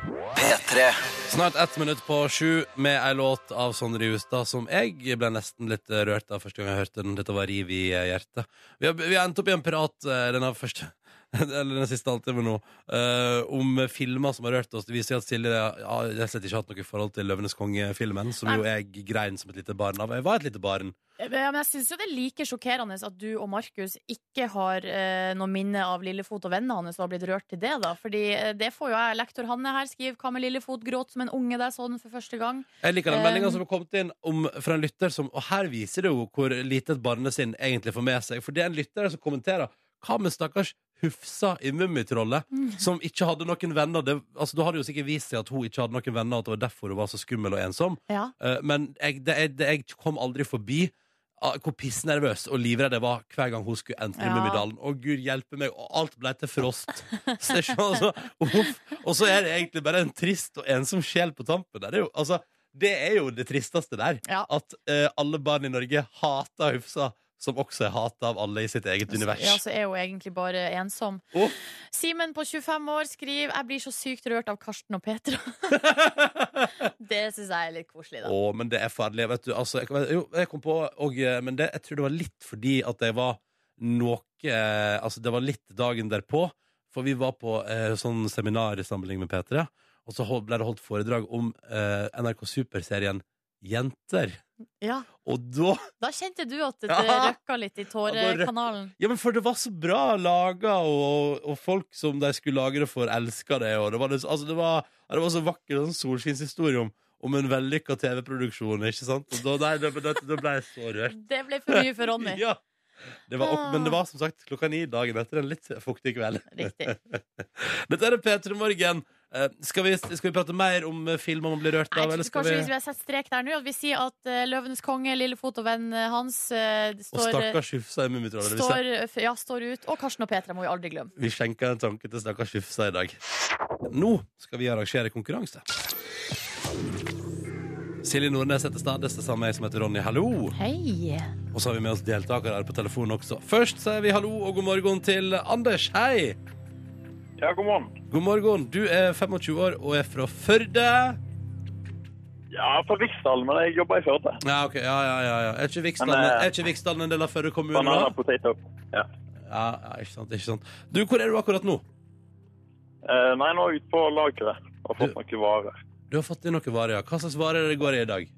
[SPEAKER 2] Snart ett minutt på sju med ei låt av Sondre Justad som jeg ble nesten litt rørt av første gang jeg hørte den. Dette var riv i hjertet. Vi har, vi har endt opp i en prat eh, denne første eller den siste halvtimen nå, eh, om filmer som har rørt oss. Det viser seg at Silje ja, har rett og slett ikke hatt noe forhold til 'Løvenes konge'-filmen, som jo jeg grein som et lite barn av. Jeg var et lite barn.
[SPEAKER 3] Ja, Eh, men jeg syns jo det er like sjokkerende at du og Markus ikke har eh, noe minne av Lillefot og vennene hans og har blitt rørt til det, da. Fordi eh, det får jo jeg. Lektor Hanne her skriver 'Hva med Lillefot gråt som en unge der sånn for første gang'?
[SPEAKER 2] Jeg liker den
[SPEAKER 3] Eh,
[SPEAKER 2] meldinga som har kommet inn om, fra en lytter som Og her viser det jo hvor lite et barnesinn egentlig får med seg. For det er en lytter som kommenterer Hva med stakkars Hufsa i Mummitrollet, som ikke hadde noen venner? Det, altså, da hadde jo sikkert vist seg at hun ikke hadde noen venner, at det var derfor hun var så skummel og ensom.
[SPEAKER 3] Ja.
[SPEAKER 2] Eh, Men jeg, det, jeg, det, jeg kom aldri forbi ah, hvor pissnervøs og livredd jeg var hver gang hun skulle entre
[SPEAKER 3] Ja.
[SPEAKER 2] Mummidalen. Å, gud hjelpe meg! Og alt ble til frost. Så jeg skjønner, altså, uff. Og så er det egentlig bare en trist og ensom sjel på tampen. der. Det er jo, altså, det, er jo det tristeste der.
[SPEAKER 3] Ja.
[SPEAKER 2] At eh, alle barn i Norge hater Hufsa. Som også er hata av alle i sitt eget univers.
[SPEAKER 3] Ja, så er hun egentlig bare ensom.
[SPEAKER 2] Uff.
[SPEAKER 3] Simen på 25 år skriver 'Jeg blir så sykt rørt av Karsten og Petra'. det syns jeg er litt koselig, da.
[SPEAKER 2] Å, men det er farlig. Vet du, altså, jeg, kan- jo, jeg kom på og, eh, Men det, jeg tror det var litt fordi at jeg var noe eh, Altså, det var litt dagen derpå. For vi var på eh, sånn seminar i sammenligning med P3, og så hold, ble det holdt foredrag om eh, NRK Superserien Jenter.
[SPEAKER 3] Ja,
[SPEAKER 2] Og da
[SPEAKER 3] da kjente du at det
[SPEAKER 2] Ja.
[SPEAKER 3] røkka litt i
[SPEAKER 2] Ja, da røk-
[SPEAKER 3] tårekanalen.
[SPEAKER 2] Ja, men for det var så bra laga, og, og folk som de skulle lage det for, elska det. Og det var, det- altså, det var, ja, det var så vakker sånn solskinnshistorie om, om en vellykka TV-produksjon, ikke sant? Og da, nei, da, da, da ble jeg så rørt.
[SPEAKER 3] Det ble for mye for Ronny.
[SPEAKER 2] Ja. Det var, opp- men det var som sagt klokka ni dagen etter en litt fuktig kveld.
[SPEAKER 3] Riktig.
[SPEAKER 2] Dette er P3 Morgen. Eh, skal, vi, skal vi prate mer om eh, filmer man blir rørt
[SPEAKER 3] Nei,
[SPEAKER 2] av?
[SPEAKER 3] jeg
[SPEAKER 2] Eller
[SPEAKER 3] synes
[SPEAKER 2] skal
[SPEAKER 3] kanskje
[SPEAKER 2] vi...
[SPEAKER 3] hvis vi har sett strek der nå, at vi sier at eh, Løvenes konge, Lillefot og vennen hans eh,
[SPEAKER 2] Og
[SPEAKER 3] står,
[SPEAKER 2] stakkars Hufsa i Mummitrollet. Vi,
[SPEAKER 3] står, eh, ja, står ut. Og Karsten og Petra må vi aldri glemme.
[SPEAKER 2] sen- vi skjenker en tanke til stakkars Hufsa i dag. Nå skal vi arrangere konkurranse. Silje Nordnes heter Stades, det samme jeg som heter Ronny. Hallo!
[SPEAKER 3] Hei.
[SPEAKER 2] Og så har vi med oss deltakere her på telefonen også. Først sier vi hallo og god morgen til Anders. Hei!
[SPEAKER 1] Ja, god morgen.
[SPEAKER 2] God morgen. Du er 25 år og er fra Førde.
[SPEAKER 1] Ja, fra Viksdal, men jeg jobber i Førde.
[SPEAKER 2] Ja, ok. Ja, ja, ja, ja. Er ikke Viksdalen,
[SPEAKER 1] Men, eh,
[SPEAKER 2] er ikke Viksdalen en del av Førde kommune? da?
[SPEAKER 1] Banana potato. Ja.
[SPEAKER 2] Ja, ja, ikke sant, ikke sant. Du, hvor er du akkurat nå?
[SPEAKER 1] Eh, nei, nå er jeg ute på lageret og fått
[SPEAKER 2] Du-
[SPEAKER 1] noen varer.
[SPEAKER 2] Du har fått inn noen varer, ja. Hva slags varer er det går i i dag?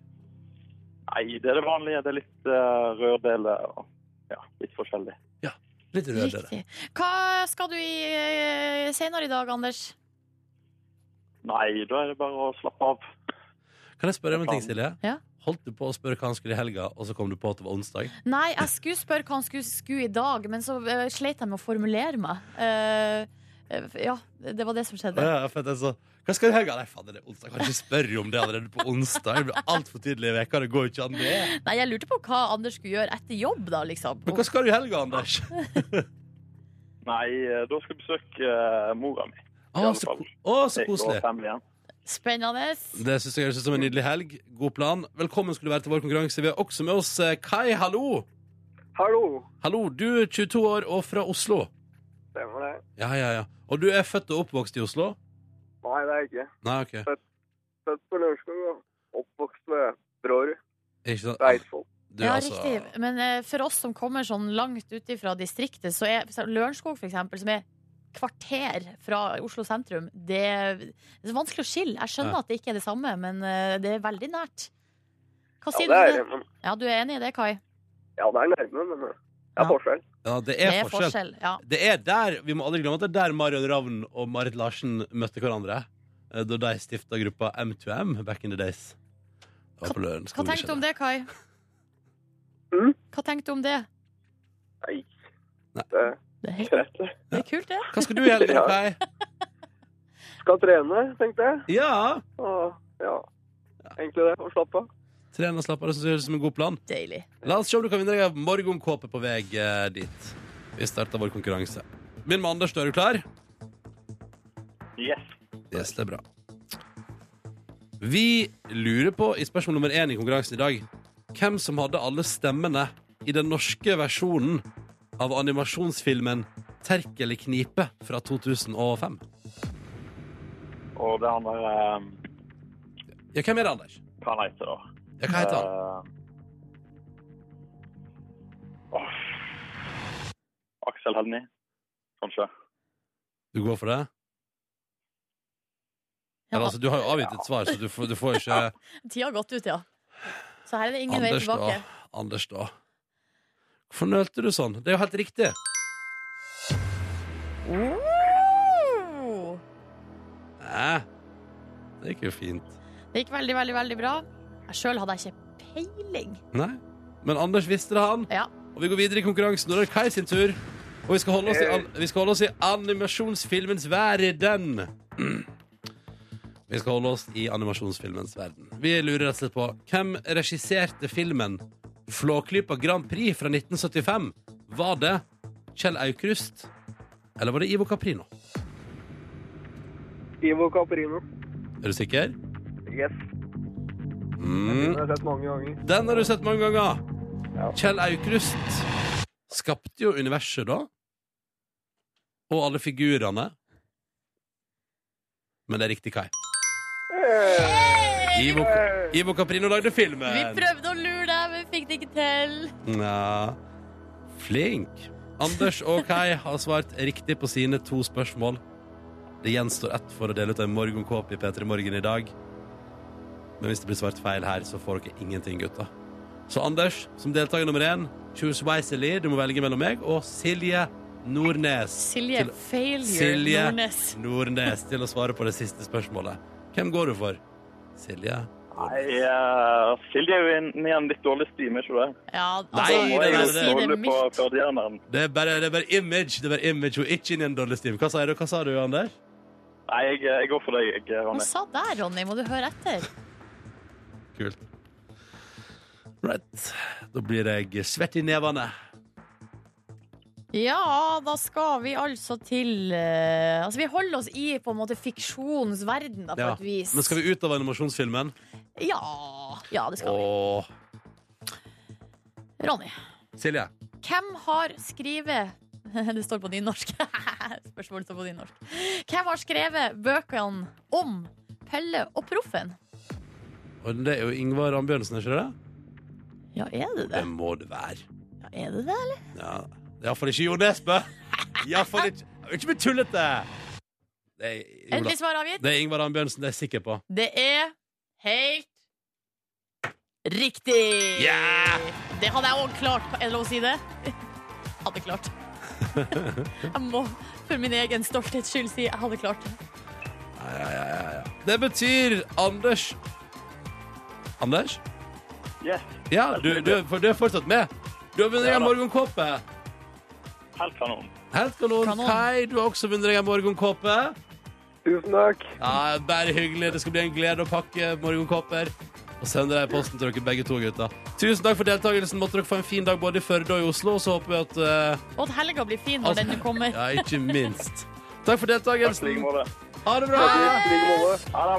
[SPEAKER 1] Nei, det er det vanlige. Det er litt uh, rørdele og ja, litt forskjellig.
[SPEAKER 2] Litt rødere.
[SPEAKER 3] Riktig. Hva skal du i eh, senere i dag, Anders?
[SPEAKER 1] Nei, da er det bare å slappe av.
[SPEAKER 2] Kan jeg spørre om en ting, Silje?
[SPEAKER 3] Ja.
[SPEAKER 2] Holdt du på å spørre hva han skulle i helga, og så kom du på at det var onsdag?
[SPEAKER 3] Nei, jeg skulle spørre hva han skulle skue i dag, men så eh, sleit jeg med å formulere meg. Eh, eh, ja, det var det som skjedde.
[SPEAKER 2] Ja, ja, for at jeg så, hva skal du i helga? Nei, faen, det er onsdag. Kan ikke spørre om det allerede på onsdag. Det blir altfor tidlig i veka, det går jo ikke an det.
[SPEAKER 3] Nei, jeg lurte på hva Anders skulle gjøre etter jobb, da, liksom.
[SPEAKER 2] Men hva skal du i helga, Anders?
[SPEAKER 1] Nei, eh, da skal jeg besøke eh, mora mi.
[SPEAKER 2] Å, så, ko- å, så koselig.
[SPEAKER 3] Spennende.
[SPEAKER 2] Det synes jeg høres ut som en nydelig helg. God plan. Velkommen skulle du være til vår konkurranse. Vi har også med oss eh, Kai. Hallo!
[SPEAKER 1] Hallo.
[SPEAKER 2] Hallo, du er 22 år og fra Oslo.
[SPEAKER 1] Stemmer det?
[SPEAKER 2] Ja, ja, ja. Og du er født og oppvokst i Oslo?
[SPEAKER 1] Nei, det er jeg ikke.
[SPEAKER 2] Nei, ok.
[SPEAKER 1] Født på Lørenskog og oppvokst ved Brårud.
[SPEAKER 2] Ikke sant?
[SPEAKER 1] Eidsvoll.
[SPEAKER 2] Du,
[SPEAKER 3] ja,
[SPEAKER 2] altså-
[SPEAKER 3] riktig. Men eh, for oss som kommer sånn langt ut ifra distriktet, så er så Lørenskog, for eksempel, som er kvarter fra Oslo sentrum, det er, det er vanskelig å skille. Jeg skjønner
[SPEAKER 2] Ja.
[SPEAKER 3] at det ikke er det samme, men eh, det er veldig nært. Hva
[SPEAKER 5] Ja,
[SPEAKER 3] sier
[SPEAKER 5] det
[SPEAKER 3] du
[SPEAKER 5] er,
[SPEAKER 3] til det?
[SPEAKER 5] men,
[SPEAKER 3] Ja, du er enig i det, Kai?
[SPEAKER 5] ja, det er nærme, men eh, det
[SPEAKER 3] Ja.
[SPEAKER 5] er forskjell.
[SPEAKER 2] Ja, det er, forskjell.
[SPEAKER 3] Ja.
[SPEAKER 2] Det er der, Vi må aldri glemme at det er der Marion Ravn og Marit Larsen møtte hverandre. eh, Da de stifta gruppa M2M back in the days. Det var på
[SPEAKER 3] Hva tenkte du om det, Kai?
[SPEAKER 5] Mm?
[SPEAKER 3] Hva tenkte du om det?
[SPEAKER 5] Nei, eh,
[SPEAKER 3] Det er, helt,
[SPEAKER 5] greit.
[SPEAKER 3] det er kult, det.
[SPEAKER 2] Hva skal du i helga,
[SPEAKER 5] Ja.
[SPEAKER 2] Kai?
[SPEAKER 5] Skal trene, tenkte jeg.
[SPEAKER 2] Ja!
[SPEAKER 5] Og ja, egentlig det. Og slappe av.
[SPEAKER 2] Tren og slapp av. Det synes jeg høres ut som en god plan.
[SPEAKER 3] Deilig.
[SPEAKER 2] La oss se om du kan vinne deg en morgenkåpe på vei eh, dit. Vi starter vår konkurranse. Min med Anders, er du klar?
[SPEAKER 1] Yes.
[SPEAKER 2] Yes, det er bra. Vi lurer på i spørsmål nummer én i konkurransen i dag hvem som hadde alle stemmene i den norske versjonen av animasjonsfilmen 'Terk eller knipe' fra 2005.
[SPEAKER 1] Og det han der um,
[SPEAKER 2] Ja, hvem er det, Anders?
[SPEAKER 1] Hva han heter da?
[SPEAKER 2] Ja, hva heter han?
[SPEAKER 1] Eh, åh. Aksel Hennie, kanskje.
[SPEAKER 2] Du går for det?
[SPEAKER 3] Ja,
[SPEAKER 2] Eller, altså, du har jo avgitt et svar, så du får, du får ikke
[SPEAKER 3] Tida har gått ut, ja. Så her er det ingen vei
[SPEAKER 2] Anders,
[SPEAKER 3] tilbake.
[SPEAKER 2] da. Anders, da. Hvorfor nølte du sånn? Det er jo helt riktig.
[SPEAKER 3] Oh!
[SPEAKER 2] Nei. Det gikk jo fint.
[SPEAKER 3] Det gikk veldig, veldig, veldig bra. Jeg Sjøl hadde jeg ikke peiling.
[SPEAKER 2] Nei. Men Anders visste det, han.
[SPEAKER 3] Ja.
[SPEAKER 2] Og vi går videre i konkurransen. Nå er det Kai sin tur. Og vi skal holde oss i, an vi skal holde oss i animasjonsfilmens verden. Vi skal holde oss i animasjonsfilmens verden. Vi lurer rett og slett på hvem regisserte filmen Flåklypa Grand Prix fra 1975? Var det Kjell Aukrust, eller var det Ivo Caprino?
[SPEAKER 5] Ivo Caprino.
[SPEAKER 2] Er du sikker?
[SPEAKER 5] Yes. Den
[SPEAKER 2] Mm.
[SPEAKER 5] har jeg sett mange ganger.
[SPEAKER 2] Den har du sett mange ganger.
[SPEAKER 5] Ja.
[SPEAKER 2] Kjell Aukrust skapte jo universet da. Og alle figurene. Men det er riktig, Kai.
[SPEAKER 5] Eh,
[SPEAKER 2] Ivo, Ivo Caprino lagde
[SPEAKER 3] Vi
[SPEAKER 2] filmen.
[SPEAKER 3] prøvde å lure deg, men fikk det ikke til.
[SPEAKER 2] Nja, flink. Anders og Kai har svart riktig på sine to spørsmål. Det gjenstår ett for å dele ut en morgenkåpe i P3 Morgen i dag. Men hvis det blir svart feil her, så får dere ingenting, gutta. Så Anders, som deltaker nummer én, choose wisely. Du må velge mellom meg og Silje Nordnes.
[SPEAKER 3] Silje
[SPEAKER 2] Til-
[SPEAKER 3] Failure
[SPEAKER 2] Silje.
[SPEAKER 3] Nordnes.
[SPEAKER 2] Nordnes til å svare på det siste spørsmålet. Hvem går du for? Silje?
[SPEAKER 1] Nei, eh, Silje er jo inn i en litt dårlig stime, ikke det?
[SPEAKER 3] Ja, altså,
[SPEAKER 2] Nei,
[SPEAKER 1] Så må
[SPEAKER 2] det
[SPEAKER 1] jeg
[SPEAKER 2] er
[SPEAKER 1] jo
[SPEAKER 2] det.
[SPEAKER 3] Si det
[SPEAKER 1] stole på
[SPEAKER 3] mildt.
[SPEAKER 1] førdianeren.
[SPEAKER 2] Det er bare, det er bare image. Det er bare image, og ikke inn i en dårlig stim. Hva sa du, Hva sa du Anders?
[SPEAKER 1] Nei, jeg, eh, jeg går for deg, jeg,
[SPEAKER 3] Hva
[SPEAKER 1] Ronny.
[SPEAKER 3] sa der, Ronny? Må du høre etter?
[SPEAKER 2] Kult. Right. Da blir jeg svett i nevene.
[SPEAKER 3] Ja, da skal vi altså til eh, Altså, vi holder oss i på en måte fiksjonens verden, da, på
[SPEAKER 2] Ja.
[SPEAKER 3] et vis.
[SPEAKER 2] Men skal vi ut av animasjonsfilmen?
[SPEAKER 3] Ja, ja, det skal
[SPEAKER 2] Åh.
[SPEAKER 3] vi. Ronny,
[SPEAKER 2] Silje.
[SPEAKER 3] hvem har skrevet Det står på nynorsk. Spørsmålet står på nynorsk. Hvem har skrevet bøkene om Pelle og Proffen?
[SPEAKER 2] Og det er jo Ingvar Ambjørnsen, er ikke det?
[SPEAKER 3] Ja, er det det?
[SPEAKER 2] Det må det være.
[SPEAKER 3] Ja, er det det?
[SPEAKER 2] Ja. Iallfall ikke Jo Nesbø. Iallfall ikke Ikke bli tullete! Det er, jo da.
[SPEAKER 3] Endelig svar avgitt.
[SPEAKER 2] det er Ingvar Ambjørnsen, det er jeg sikker på.
[SPEAKER 3] Det er helt riktig!
[SPEAKER 2] Yeah!
[SPEAKER 3] Det hadde jeg òg klart. Er det lov å si det? Hadde klart. Jeg må for min egen stolthets skyld si jeg hadde klart det.
[SPEAKER 2] Det betyr Anders Anders?
[SPEAKER 1] Yes,
[SPEAKER 2] Ja, du, du, for du er fortsatt med. Du har vunnet
[SPEAKER 1] Ja
[SPEAKER 2] en
[SPEAKER 1] da.
[SPEAKER 2] morgenkåpe.
[SPEAKER 1] helt kanon.
[SPEAKER 2] Helt kanon.
[SPEAKER 3] Kanon.
[SPEAKER 2] Kai, du har også vunnet deg en morgenkåpe.
[SPEAKER 5] Tusen takk.
[SPEAKER 2] Ja, bare hyggelig. Det skal bli en glede å pakke morgenkåper og sende deg i posten til dere begge to, gutter. Tusen takk for deltakelsen. Måtte dere få en fin dag både i Førde og i Oslo. Og så håper vi at eh,
[SPEAKER 3] Og at helga blir fin når
[SPEAKER 2] alt-
[SPEAKER 3] den kommer.
[SPEAKER 2] Altså, Ja, ikke minst. Takk for
[SPEAKER 1] Takk i like
[SPEAKER 2] deltakelsen.
[SPEAKER 1] måte.
[SPEAKER 2] Ha det bra.
[SPEAKER 6] Ah!
[SPEAKER 5] I like måte.
[SPEAKER 1] Ha det.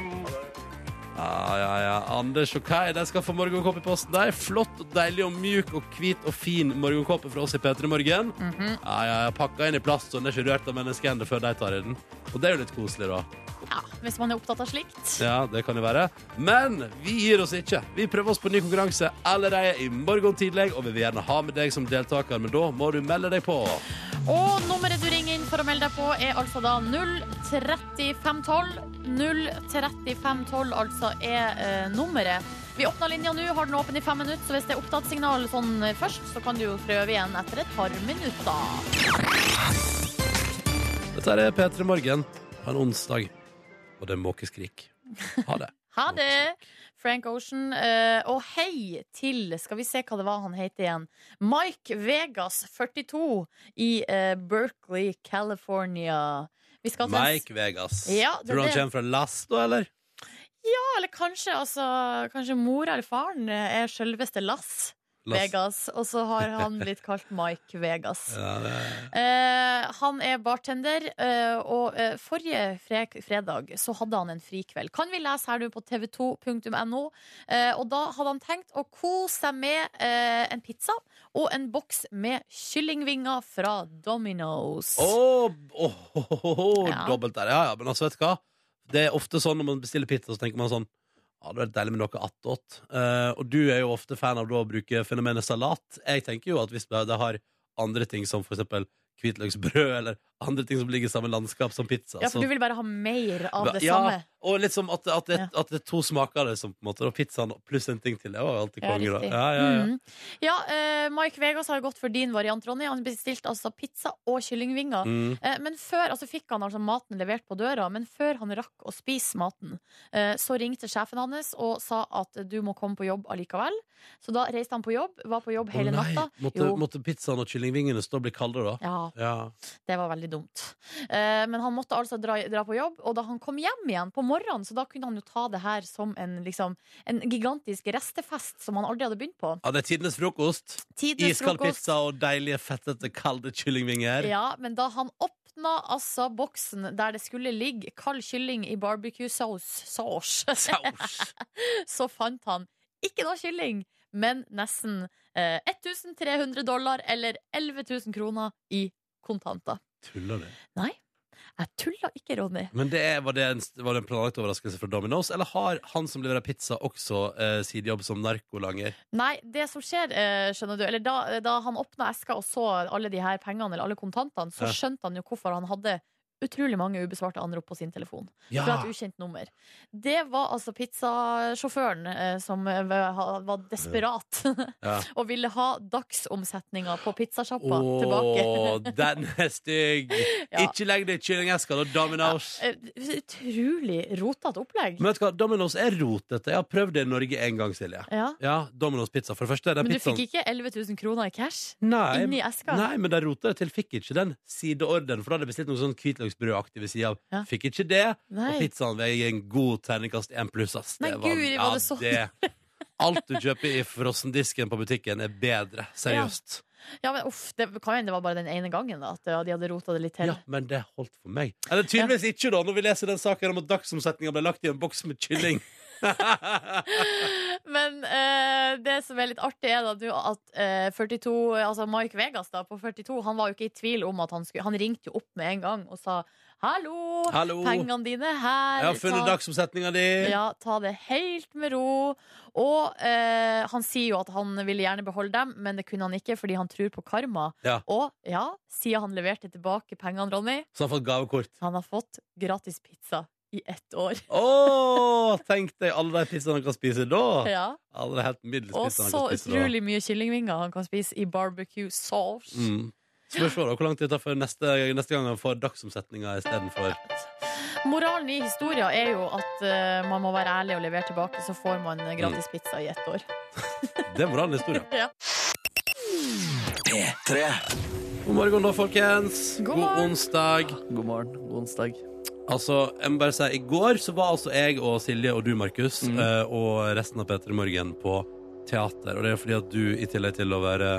[SPEAKER 2] Ja, ja, ja. Anders og Kai de skal få morgenkåpe i posten. De er flott og deilig og mjuk og hvit og fin morgenkåpe fra oss i P3 Morgen. Ja, ja, ja. Pakka inn i plast, så den er ikke rørt av mennesker ennå før de tar i den. Og det er jo litt koselig, da.
[SPEAKER 3] Ja, hvis man er opptatt av slikt.
[SPEAKER 2] Ja, det kan det være. Men vi gir oss ikke. Vi prøver oss på ny konkurranse allerede i morgen tidlig, og vi vil gjerne ha med deg som deltaker, men da må du melde deg på.
[SPEAKER 3] Og nummeret du ringer inn for å melde deg på, er altså da 03512. 03512 altså er eh, nummeret. Vi åpner linja nå, har den åpen i fem minutter, så hvis det er opptattsignal sånn først, så kan du jo prøve igjen etter et par minutter.
[SPEAKER 2] Dette er P3 Morgen på en onsdag, og det er måkeskrik. Ha det.
[SPEAKER 3] Ha det! Frank Ocean. eh, og hei til Skal vi se hva det var han het igjen. Mike Vegas, 42, i eh, Berkeley, California. Vi skal til en-
[SPEAKER 2] Mike Vegas.
[SPEAKER 3] Ja, det er
[SPEAKER 2] Tror du han
[SPEAKER 3] det.
[SPEAKER 2] kommer fra Last, da, eller?
[SPEAKER 3] Ja, eller kanskje, altså, kanskje mora eller faren eh, er sjølveste Lass
[SPEAKER 2] Last.
[SPEAKER 3] Vegas, og så har han blitt kalt Mike Vegas.
[SPEAKER 2] Ja, det er-
[SPEAKER 3] Eh, han er bartender, eh, og eh, forrige fre- fredag så hadde han en frikveld. Kan vi lese her nå på tv2.no? Eh, og da hadde han tenkt å kose seg med eh, en pizza og en boks med kyllingvinger fra Domino's.
[SPEAKER 2] Åh, åh, åh, åh, åh,
[SPEAKER 3] Ja.
[SPEAKER 2] dobbelt der. Ja, ja, men altså, vet du hva? Det er ofte sånn når man bestiller pizza, så tenker man sånn Ja, det er deilig med noe attåt. Eh, og du er jo ofte fan av da å bruke fenomenet salat. Jeg tenker jo at hvis de har andre ting som for eksempel hvitløksbrød eller andre ting som ligger i samme landskap som pizza.
[SPEAKER 3] Ja, for
[SPEAKER 2] Så-
[SPEAKER 3] du vil bare ha mer av det
[SPEAKER 2] altså- ja,
[SPEAKER 3] samme.
[SPEAKER 2] Og litt som at, at, det,
[SPEAKER 3] Ja.
[SPEAKER 2] at det er to smaker liksom, på en måte, og pizzaen pluss en ting til. Det var jo alltid
[SPEAKER 3] Ja,
[SPEAKER 2] konge, da.
[SPEAKER 3] riktig.
[SPEAKER 2] Ja, ja, ja.
[SPEAKER 3] Mhm. ja eh, Mike Vegas har gått for din variant, Ronny. Han bestilte altså pizza og kyllingvinger.
[SPEAKER 2] Mm.
[SPEAKER 3] Eh, Men før, altså fikk han altså maten levert på døra, men før han rakk å spise maten, eh, så ringte sjefen hans og sa at du må komme på jobb allikevel. Så da reiste han på jobb, var på jobb hele
[SPEAKER 2] Å nei,
[SPEAKER 3] natta.
[SPEAKER 2] Måtte,
[SPEAKER 3] Jo.
[SPEAKER 2] måtte pizzaen og kyllingvingene stå og bli kaldere, da?
[SPEAKER 3] Ja,
[SPEAKER 2] Ja.
[SPEAKER 3] det var veldig dumt. Eh, Men han måtte altså dra, dra på jobb, og da han kom hjem igjen på morgenen, så da kunne han jo ta det her som en, liksom, en gigantisk restefest som han aldri hadde begynt på.
[SPEAKER 2] ja, det er tidenes frokost.
[SPEAKER 3] Tidenes
[SPEAKER 2] Iskald
[SPEAKER 3] frokost.
[SPEAKER 2] pizza og deilige, fettete, kalde kyllingvinger.
[SPEAKER 3] Ja, men da han åpna altså boksen der det skulle ligge kald kylling i barbecue sauce, sauce
[SPEAKER 2] Saus!
[SPEAKER 3] så fant han ikke noe kylling, men nesten eh, 1300 dollar eller 11 000 kroner i kontanter.
[SPEAKER 2] Tuller du?
[SPEAKER 3] Jeg tuller ikke, Ronny.
[SPEAKER 2] Men det er, var, det en, var det en planlagt overraskelse fra Domino's, eller har han som leverer pizza, også eh, sidejobb som narkolanger?
[SPEAKER 3] Nei, det som skjer, eh, skjønner du Eller da, da han åpna eska og så alle de her pengene eller alle kontantene, så
[SPEAKER 2] Ja.
[SPEAKER 3] skjønte han jo hvorfor han hadde utrolig mange ubesvarte anrop på sin telefon.
[SPEAKER 2] Ja!
[SPEAKER 3] fra et ukjent nummer. Det var altså pizzasjåføren eh, som eh, var var desperat
[SPEAKER 2] Ja.
[SPEAKER 3] og ville ha dagsomsetninga på pizzasjappa tilbake.
[SPEAKER 2] Åh, den er stygg!
[SPEAKER 3] Ja.
[SPEAKER 2] Ikke legg det i kyllingeska, da, Domino's.
[SPEAKER 3] Eh, Utrolig rotete opplegg.
[SPEAKER 2] Men vet du hva, Domino's er rotete. Jeg har prøvd det i Norge en gang, Silje.
[SPEAKER 3] Ja.
[SPEAKER 2] Ja, Domino's pizza. For det første, den
[SPEAKER 3] Men du
[SPEAKER 2] pizzaen
[SPEAKER 3] fikk ikke 11 000 kroner i cash
[SPEAKER 2] Nei,
[SPEAKER 3] inni eska?
[SPEAKER 2] nei, men de rota det til. Fikk ikke den sideordenen, for da hadde jeg bestilt noe sånn hvitløksbrødaktig ved sida av.
[SPEAKER 3] Ja.
[SPEAKER 2] Fikk ikke det. Og
[SPEAKER 3] Nei.
[SPEAKER 2] pizzaen veier en god terningkast én pluss, ass.
[SPEAKER 3] Nei, guri, var det sånn?
[SPEAKER 2] det- Alt du kjøper i frossendisken på butikken, er bedre. Seriøst.
[SPEAKER 3] Ja, men uff, det kan hende det var bare den ene gangen da, at eh, de hadde rota det litt
[SPEAKER 2] Ja.
[SPEAKER 3] til.
[SPEAKER 2] men det holdt for meg. Eller tydeligvis ikke, da, når vi leser den saken om at dagsomsetninga ble lagt i en boks med kylling.
[SPEAKER 3] Men eh, det som er litt artig, er da du, at eh, 42, altså Mike Vegas da, på 42 Han var jo ikke i tvil om at han skulle Han ringte jo opp med en gang og sa 'hallo,
[SPEAKER 2] Hallo, jeg
[SPEAKER 3] pengene dine er her'.
[SPEAKER 2] har funnet
[SPEAKER 3] ta,
[SPEAKER 2] dagsomsetninga di.
[SPEAKER 3] ja, ta det helt med ro. Og eh, han sier jo at han ville gjerne beholde dem, men det kunne han ikke fordi han tror på karma.
[SPEAKER 2] Ja.
[SPEAKER 3] Og ja, siden han leverte tilbake pengene, Ronny,
[SPEAKER 2] Så han har fått gavekort.
[SPEAKER 3] han har fått gratis pizza i ett år.
[SPEAKER 2] Å, tenk deg alle de pizzaene han kan spise da!
[SPEAKER 3] Ja.
[SPEAKER 2] Alle de helt middels
[SPEAKER 3] Og
[SPEAKER 2] pizzaene han
[SPEAKER 3] så
[SPEAKER 2] kan spise da.
[SPEAKER 3] utrolig mye kyllingvinger han kan spise i barbecue sauce.
[SPEAKER 2] Mm. Spørs hva da, hvor langt det tar for neste, neste gang han får dagsomsetninga istedenfor.
[SPEAKER 3] Moralen i historien er jo at eh, man må være ærlig og levere tilbake, så får man eh,
[SPEAKER 4] Mm.
[SPEAKER 3] gratis pizza i ett år.
[SPEAKER 2] Det er moralen i historien.
[SPEAKER 3] Ja.
[SPEAKER 2] God morgen, da, folkens.
[SPEAKER 3] God
[SPEAKER 2] God,
[SPEAKER 3] morgen.
[SPEAKER 2] onsdag.
[SPEAKER 4] God morgen. God onsdag.
[SPEAKER 2] Altså, jeg må bare si, I går så var altså jeg og Silje og du, Markus,
[SPEAKER 4] Mm.
[SPEAKER 2] eh, og resten av Peter i Morgen på teater. Og det er fordi at du, i tillegg til å være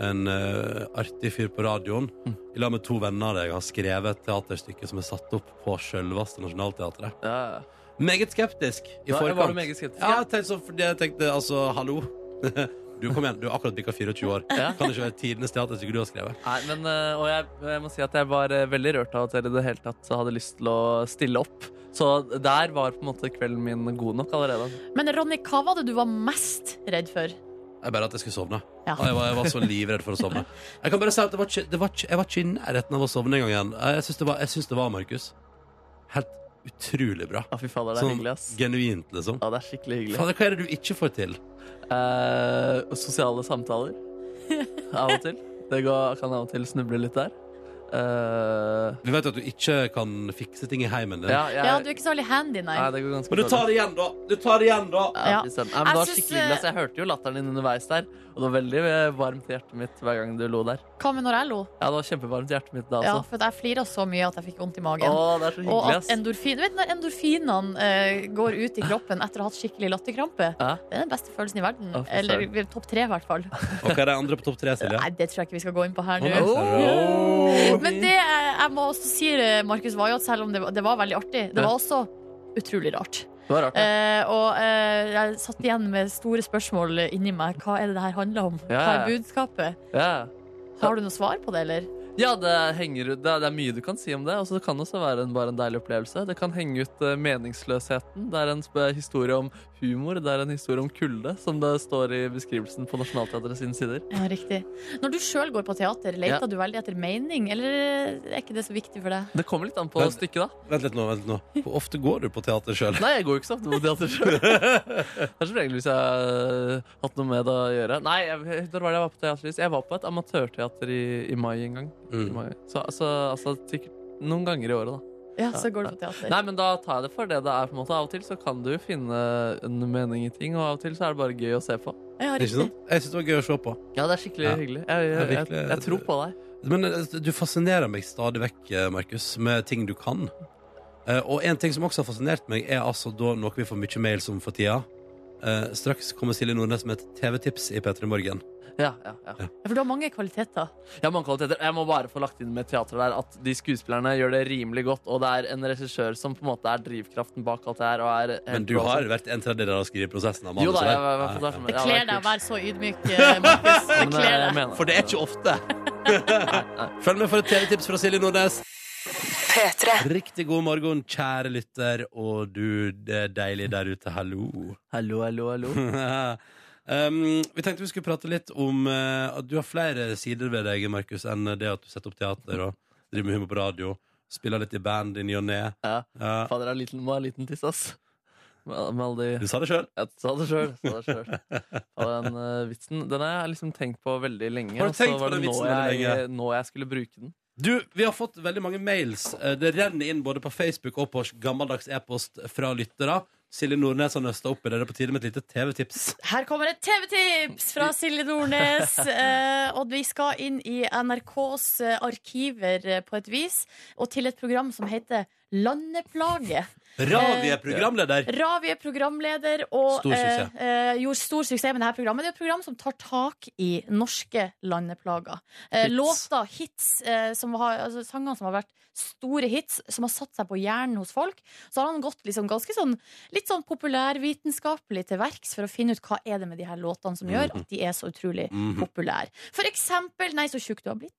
[SPEAKER 2] en eh, artig fyr på radioen,
[SPEAKER 4] Mm.
[SPEAKER 2] i lag med to venner av deg har skrevet et teaterstykke som er satt opp på sjølveste Nationaltheatret.
[SPEAKER 4] Ja, ja.
[SPEAKER 2] Meget skeptisk i
[SPEAKER 4] Da
[SPEAKER 2] forkant.
[SPEAKER 4] var du meget skeptisk.
[SPEAKER 2] Ja, jeg tenkte, sånn, fordi jeg tenkte altså, hallo. Du kom igjen, du har akkurat bikka 24 år.
[SPEAKER 4] Ja.
[SPEAKER 2] Kan det ikke være tidenes teaterstykke du har skrevet?
[SPEAKER 4] Nei, men, eh, og jeg, jeg må si at jeg var eh, veldig rørt av at dere i det hele tatt hadde lyst til å stille opp. Så der var på en måte kvelden min god nok allerede.
[SPEAKER 3] Men Ronny, hva var det du var mest redd for?
[SPEAKER 2] Jeg bare at jeg skulle sovne.
[SPEAKER 3] Ja.
[SPEAKER 4] Ah.
[SPEAKER 2] Og Jeg, var, jeg var så livredd for å sovne. Jeg kan bare si at det var ikke, det var ikke, jeg var ikke i nærheten av å sovne engang igjen. Jeg syns det var, jeg synes det var Markus. Helt utrolig bra.
[SPEAKER 4] Ja, fy fader, det er
[SPEAKER 2] Sånn
[SPEAKER 4] hyggelig, ass.
[SPEAKER 2] genuint, liksom.
[SPEAKER 4] Ja, det er skikkelig hyggelig.
[SPEAKER 2] Fader, hva er det du ikke får til?
[SPEAKER 4] Eh, sosiale samtaler. Av og til. Det går, kan av og til snuble litt der. Eh,
[SPEAKER 2] Vi vet jo at du ikke kan fikse ting i heimen din.
[SPEAKER 4] ja, jeg,
[SPEAKER 3] Ja, du er ikke så veldig handy, nei.
[SPEAKER 4] Nei, det går ganske
[SPEAKER 2] Men du
[SPEAKER 4] dårlig.
[SPEAKER 2] tar det igjen, da! Du tar det igjen, da!
[SPEAKER 4] Ja,
[SPEAKER 3] Ja.
[SPEAKER 4] fy søren. Nei, men det
[SPEAKER 3] Jeg
[SPEAKER 4] var
[SPEAKER 3] syns,
[SPEAKER 4] skikkelig hyggelig. ass. Jeg hørte jo latteren din underveis der, og det var veldig eh, varmt i hjertet mitt hver gang du lo der.
[SPEAKER 3] Hva med når jeg lo?
[SPEAKER 4] Ja, det var kjempevarmt i hjertet mitt da
[SPEAKER 3] Ja,
[SPEAKER 4] også.
[SPEAKER 3] for at jeg flira så mye at jeg fikk vondt i
[SPEAKER 4] Altså. Å,
[SPEAKER 3] magen.
[SPEAKER 4] det er så
[SPEAKER 3] Og
[SPEAKER 4] hyggelig,
[SPEAKER 3] at
[SPEAKER 4] ass.
[SPEAKER 3] endorfin, du vet når endorfinene eh, går ut i kroppen etter å ha hatt skikkelig latterkrampe,
[SPEAKER 4] Ja.
[SPEAKER 3] det er den beste følelsen i verden.
[SPEAKER 4] Å, fy
[SPEAKER 3] Eller topp tre, i hvert fall.
[SPEAKER 2] Og hva er de andre på topp tre, Silje?
[SPEAKER 3] Nei, det tror jeg ikke vi skal gå inn på her
[SPEAKER 2] Å,
[SPEAKER 3] nå.
[SPEAKER 2] nei, ser du.
[SPEAKER 3] Men det eh, jeg må også si, eh, Markus, var jo at selv om det var, det var veldig artig, det
[SPEAKER 4] Ja.
[SPEAKER 3] var også utrolig rart.
[SPEAKER 4] Det var rart, ja.
[SPEAKER 3] Eh, og eh, jeg satt igjen med store spørsmål inni meg. Hva er det det her handler om?
[SPEAKER 4] Ja,
[SPEAKER 3] Hva
[SPEAKER 4] ja.
[SPEAKER 3] er budskapet?
[SPEAKER 4] ja.
[SPEAKER 3] Har du noe svar på det, eller?
[SPEAKER 4] Ja, det henger ut det er, det er mye du kan si om det. Og så kan det også være en, bare en deilig opplevelse. Det kan henge ut eh, meningsløsheten. Det er en sp- historie om humor. Det er en historie om kulde, som det står i beskrivelsen på Nationaltheatret sine sider.
[SPEAKER 3] Ja, riktig. Når du sjøl går på teater, leter
[SPEAKER 4] Ja.
[SPEAKER 3] du veldig etter mening, eller er ikke det så viktig for deg?
[SPEAKER 4] Det kommer litt an på
[SPEAKER 2] Men-
[SPEAKER 4] stykket, da.
[SPEAKER 2] Vent litt nå, vent litt nå. Hvor ofte går du på teater sjøl?
[SPEAKER 4] Nei, jeg går jo ikke så ofte på teater sjøl. Det er som regel hvis jeg har hatt noe med det å gjøre. Nei, jeg, når var det jeg var på teater sist? Jeg var på et amatørteater i, i mai en gang. I
[SPEAKER 2] Mm.
[SPEAKER 4] mai. Så altså, altså sikkert noen ganger i året, da.
[SPEAKER 3] Ja, så går du på teater.
[SPEAKER 4] Nei, men da tar jeg det for det det er. på en måte Av og til så kan du jo finne en mening i ting, og av og til så er det bare gøy å se på.
[SPEAKER 3] Ja,
[SPEAKER 2] Ikke
[SPEAKER 3] riktig.
[SPEAKER 4] sånn.
[SPEAKER 2] sant? Jeg syns det var gøy å se på.
[SPEAKER 4] Ja, det er skikkelig
[SPEAKER 2] Ja.
[SPEAKER 4] hyggelig. Jeg, jeg,
[SPEAKER 2] Det er
[SPEAKER 4] jeg, jeg,
[SPEAKER 2] virkelig-
[SPEAKER 4] tror på deg.
[SPEAKER 2] Men eh, du fascinerer meg stadig vekk, eh, Markus, med ting du kan. Eh, Og en ting som også har fascinert meg, er altså da noe vi får mye mails om for tida. Eh, Straks kommer Silje Nordnes med et TV-tips i P3 Morgen.
[SPEAKER 4] Ja, ja, ja.
[SPEAKER 3] Ja, For du har mange kvaliteter.
[SPEAKER 4] Jeg, har mange kvaliteter. jeg må bare få lagt inn med teatret der at de skuespillerne gjør det rimelig godt, og det er en regissør som på en måte er drivkraften bak alt det her. Og er helt
[SPEAKER 2] Men du
[SPEAKER 4] rå.
[SPEAKER 2] har vært en tredjedel av skriveprosessen. av
[SPEAKER 4] Eh, Jo da,
[SPEAKER 2] manuset
[SPEAKER 4] jeg
[SPEAKER 2] der.
[SPEAKER 4] var i hvert fall
[SPEAKER 2] Ja, ja.
[SPEAKER 4] der. som-
[SPEAKER 3] Det
[SPEAKER 4] ja,
[SPEAKER 3] kler
[SPEAKER 4] det
[SPEAKER 3] deg å
[SPEAKER 4] er kult.
[SPEAKER 3] være så ydmyk, eh, Markus. Det
[SPEAKER 4] Men, eh,
[SPEAKER 3] kler
[SPEAKER 4] jeg
[SPEAKER 3] deg.
[SPEAKER 4] mener
[SPEAKER 2] For det er ikke ofte. Følg med for et TV-tips fra Silje Nordnes. Riktig god morgen, kjære lytter, og du det er deilig der ute. Hallo.
[SPEAKER 4] Hallo, hallo, hallo.
[SPEAKER 2] um, vi tenkte vi skulle prate litt om eh, at du har flere sider ved deg, Markus, enn det at du setter opp teater og driver med humor på radio. Spiller litt i band i ny og ne.
[SPEAKER 4] Ja.
[SPEAKER 2] Ja,
[SPEAKER 4] Fader, jeg er liten, må ha liten tiss, ass. Med, med alle de
[SPEAKER 2] du sa det sjøl.
[SPEAKER 4] Jeg sa det sjøl. Og den eh, vitsen Den har jeg liksom tenkt på veldig lenge.
[SPEAKER 2] Har du
[SPEAKER 4] og så
[SPEAKER 2] tenkt
[SPEAKER 4] var
[SPEAKER 2] på
[SPEAKER 4] det
[SPEAKER 2] den
[SPEAKER 4] nå
[SPEAKER 2] vitsen veldig
[SPEAKER 4] jeg, Nå jeg skulle bruke den.
[SPEAKER 2] Du, vi har fått veldig mange mails. Eh, Det renner inn både på Facebook og på gammeldags e-post fra lyttere. Silje Nordnes har nøsta opp i det. Det er på tide med et lite TV-tips.
[SPEAKER 3] Her kommer et TV-tips fra Silje Nordnes. Eh, og vi skal inn i NRKs eh, arkiver eh, på et vis, og til et program som heter Landeplage.
[SPEAKER 2] Ravi er programleder.
[SPEAKER 3] Ravi er programleder og
[SPEAKER 2] Stor suksess.
[SPEAKER 3] eh, eh, gjorde stor suksess med dette programmet. Det er et program som tar tak i norske landeplager. Eh,
[SPEAKER 4] Hits.
[SPEAKER 3] låter, hits, eh, som har, altså, sanger som har vært store hits, som har satt seg på hjernen hos folk. Så har han gått liksom ganske sånn, litt sånn populærvitenskapelig til verks for å finne ut hva er det med de her låtene som gjør at de er så utrolig
[SPEAKER 2] Mhm.
[SPEAKER 3] populær. For eksempel Nei, så tjukk du har blitt.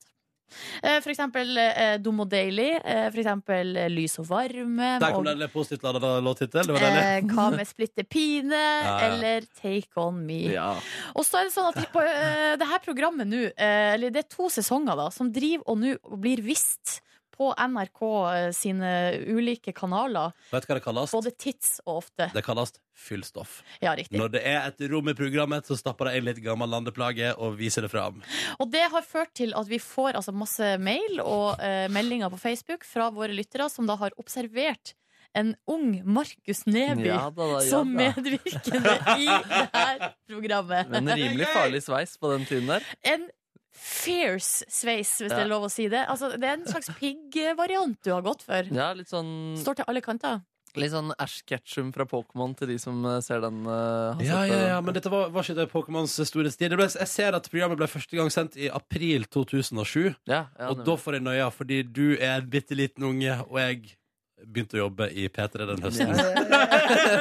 [SPEAKER 3] Eh, For eksempel eh, Dum og deilig. eh, For eksempel eh, Lys og varme.
[SPEAKER 2] Der kom
[SPEAKER 3] og-
[SPEAKER 2] det en positivt lada låttittel. Det var deilig.
[SPEAKER 3] Eh, hva med splitte pine?
[SPEAKER 2] ja.
[SPEAKER 3] Eller Take On Me?
[SPEAKER 4] Ja.
[SPEAKER 3] Og så er det sånn at de på, eh, det her programmet nå, eh, eller det er to sesonger da, som driver og nå blir vist på NRK eh, sine ulike kanaler,
[SPEAKER 2] Vet du hva det kalles?
[SPEAKER 3] både tids og ofte.
[SPEAKER 2] Det kalles fyllstoff.
[SPEAKER 3] Ja, riktig.
[SPEAKER 2] Når det er et rom i programmet, så stapper de inn litt gammel landeplage og viser det fram.
[SPEAKER 3] Og det har ført til at vi får altså, masse mail og eh, meldinger på Facebook fra våre lyttere som da har observert en ung Markus Neby
[SPEAKER 4] Ja, da, da, ja,
[SPEAKER 3] som
[SPEAKER 4] da.
[SPEAKER 3] medvirkende i det her programmet.
[SPEAKER 4] Men en rimelig farlig sveis på den tiden der.
[SPEAKER 3] en fierce sveis, hvis
[SPEAKER 4] Ja.
[SPEAKER 3] det er lov å si det. Altså, det er en slags piggvariant du har gått for.
[SPEAKER 4] Ja, Litt sånn,
[SPEAKER 3] Står til alle kanter.
[SPEAKER 4] litt sånn Ash Ketchum fra Pokémon til de som eh, ser den. eh, har
[SPEAKER 2] Ja,
[SPEAKER 4] sett
[SPEAKER 2] ja,
[SPEAKER 4] den.
[SPEAKER 2] ja, men dette var, var ikke det Pokémons store stil. Det ble, jeg ser at programmet ble første gang sendt i april 2007,
[SPEAKER 4] ja, ja,
[SPEAKER 2] og da får jeg nøya, fordi du er en bitte liten unge, og jeg begynte å jobbe i P3 den høsten.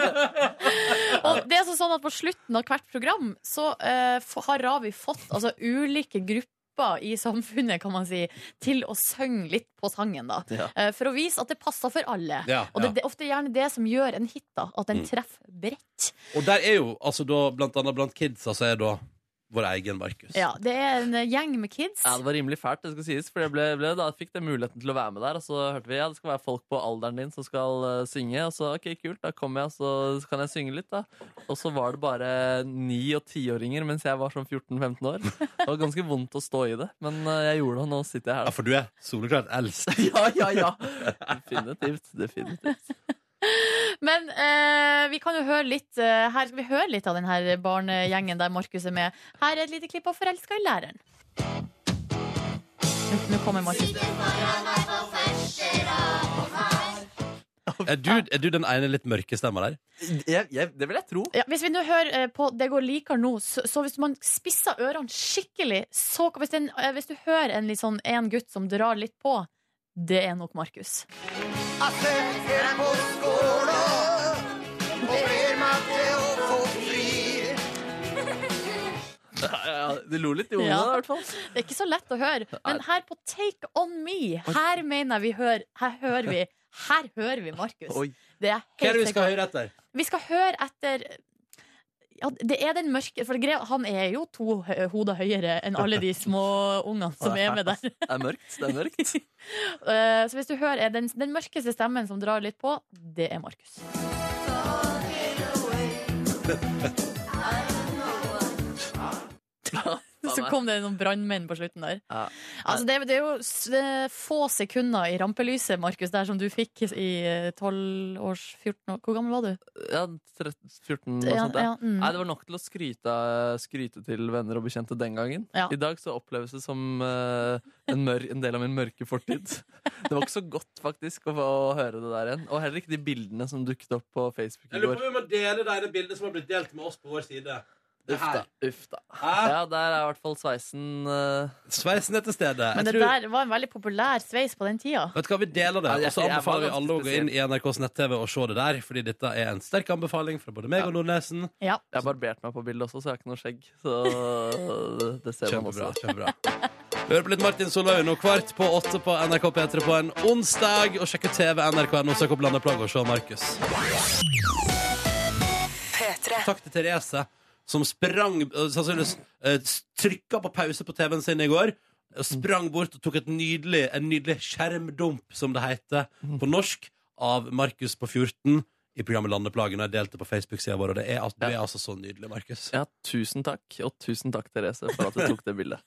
[SPEAKER 3] Og det er altså sånn at På slutten av hvert program så eh, f- har Ravi fått altså, ulike grupper i samfunnet kan man si, til å synge litt på sangen. da
[SPEAKER 4] Ja.
[SPEAKER 3] Eh, For å vise at det passer for alle.
[SPEAKER 2] Ja,
[SPEAKER 3] Og
[SPEAKER 2] ja.
[SPEAKER 3] det, det er ofte gjerne det som gjør en hit. da At den
[SPEAKER 2] Mm.
[SPEAKER 3] treffer bredt.
[SPEAKER 2] Og der er jo, altså da, blant annet blant kidsa, så er da vår egen Markus.
[SPEAKER 3] Ja, Det er en eh, gjeng med kids.
[SPEAKER 4] Ja, det var rimelig fælt, det skal sies. For jeg ble, ble, da fikk jeg muligheten til å være med der. Og så hørte vi ja, det skal være folk på alderen din som skal eh, synge. Og så ok, kult, da kommer jeg, og så kan jeg synge litt, da. Og så var det bare ni- og tiåringer mens jeg var sånn 14-15 år. Det var ganske vondt å stå i det, men eh, jeg gjorde det, og nå sitter jeg
[SPEAKER 2] Ja,
[SPEAKER 4] her. da.
[SPEAKER 2] for du er soleklart eldst.
[SPEAKER 4] Ja, ja, ja. Definitivt. definitivt.
[SPEAKER 3] Men eh, vi kan jo høre litt eh, Her skal vi høre litt av den her barnegjengen der Markus er med. Her er et lite klipp av 'Forelska i læreren'. Nå- Nå kommer Markus.
[SPEAKER 2] Er du, er du den ene litt mørke stemma der?
[SPEAKER 4] Jeg, jeg, det vil jeg tro.
[SPEAKER 3] Ja, hvis vi nå hører eh, på 'Det går likar nå', så, så hvis man spisser ørene skikkelig så, kan- hvis, den, eh, hvis du hører en, litt sånn, en gutt som drar litt på, det er nok Markus.
[SPEAKER 4] Ja, ja, du lo litt i ungene,
[SPEAKER 3] Ja.
[SPEAKER 4] da, i hvert fall.
[SPEAKER 3] Det er ikke så lett å høre. Men her på Take On Me, her mener jeg vi hører Her hører vi Her hører vi Markus.
[SPEAKER 4] Oi.
[SPEAKER 3] Det er
[SPEAKER 2] Hva
[SPEAKER 3] jeg
[SPEAKER 2] er
[SPEAKER 3] helt
[SPEAKER 2] det vi skal
[SPEAKER 3] sikker på.
[SPEAKER 2] høre etter?
[SPEAKER 3] Vi skal høre etter ja, Det er den mørke For greia, han er jo to hø- hoder høyere enn alle de små ungene som er med der.
[SPEAKER 4] Det er mørkt. Det er mørkt.
[SPEAKER 3] Eh, Så hvis du hører er den, den mørkeste stemmen som drar litt på, det er Markus. Så kom det noen brannmenn på slutten der.
[SPEAKER 4] Ja.
[SPEAKER 3] Altså, det, det er jo s- det er få sekunder i rampelyset, Markus, der som du fikk i tolv års 14 år. Hvor gammel var du?
[SPEAKER 4] Ja, 13, 14 og sånt. Ja.
[SPEAKER 3] mm.
[SPEAKER 4] Nei, det var nok til å skryte, skryte til venner og bekjente den gangen.
[SPEAKER 3] Ja.
[SPEAKER 4] I dag så oppleves det som eh, en, mør en del av min mørke fortid. Det var ikke så godt faktisk å få høre det der igjen. Og heller ikke de bildene som dukket opp på Facebook
[SPEAKER 2] Jeg
[SPEAKER 4] i
[SPEAKER 2] lurer på
[SPEAKER 4] går.
[SPEAKER 2] om vi må dele de der bildene som har blitt delt med oss på vår side. Det
[SPEAKER 4] Uff da.
[SPEAKER 2] her.
[SPEAKER 4] Uff da. Ja, der er i hvert fall sveisen eh,
[SPEAKER 2] Sveisen er til stede.
[SPEAKER 3] Men
[SPEAKER 2] Jeg
[SPEAKER 3] det
[SPEAKER 2] tror,
[SPEAKER 3] der var en veldig populær sveis på den tida.
[SPEAKER 2] vet du hva, Vi deler det,
[SPEAKER 4] Ja, jeg-
[SPEAKER 2] og så
[SPEAKER 4] jeg var
[SPEAKER 2] anbefaler vi
[SPEAKER 4] ganske
[SPEAKER 2] alle å gå inn i NRKs nett-TV og se det der. Fordi dette er en sterk anbefaling fra både meg og Nordnesen.
[SPEAKER 3] Ja.
[SPEAKER 4] Jeg har barbert meg på bildet også, så jeg har ikke noe skjegg. Så eh, det ser man
[SPEAKER 2] Kjempebra.
[SPEAKER 4] også.
[SPEAKER 2] kjempebra Vi hører på litt Martin Soløy nå kvart på åtte på NRK P3 på en onsdag. Og sjekk ut TV, NRK, NO, søk opp Blanda Plagg og se Markus. Takk til Therese, som sprang øh, Sannsynligvis øh, trykka på pause på TV-en sin i går. og Sprang bort og tok et nydelig, en nydelig skjermdump, som det heter på norsk, av Markus på 14 i programmet Landeplagen. Og jeg delte på Facebook-sida vår, og det er, al- du er altså så nydelig, Markus.
[SPEAKER 4] Ja, tusen takk, og tusen takk, Therese, for at du tok det bildet.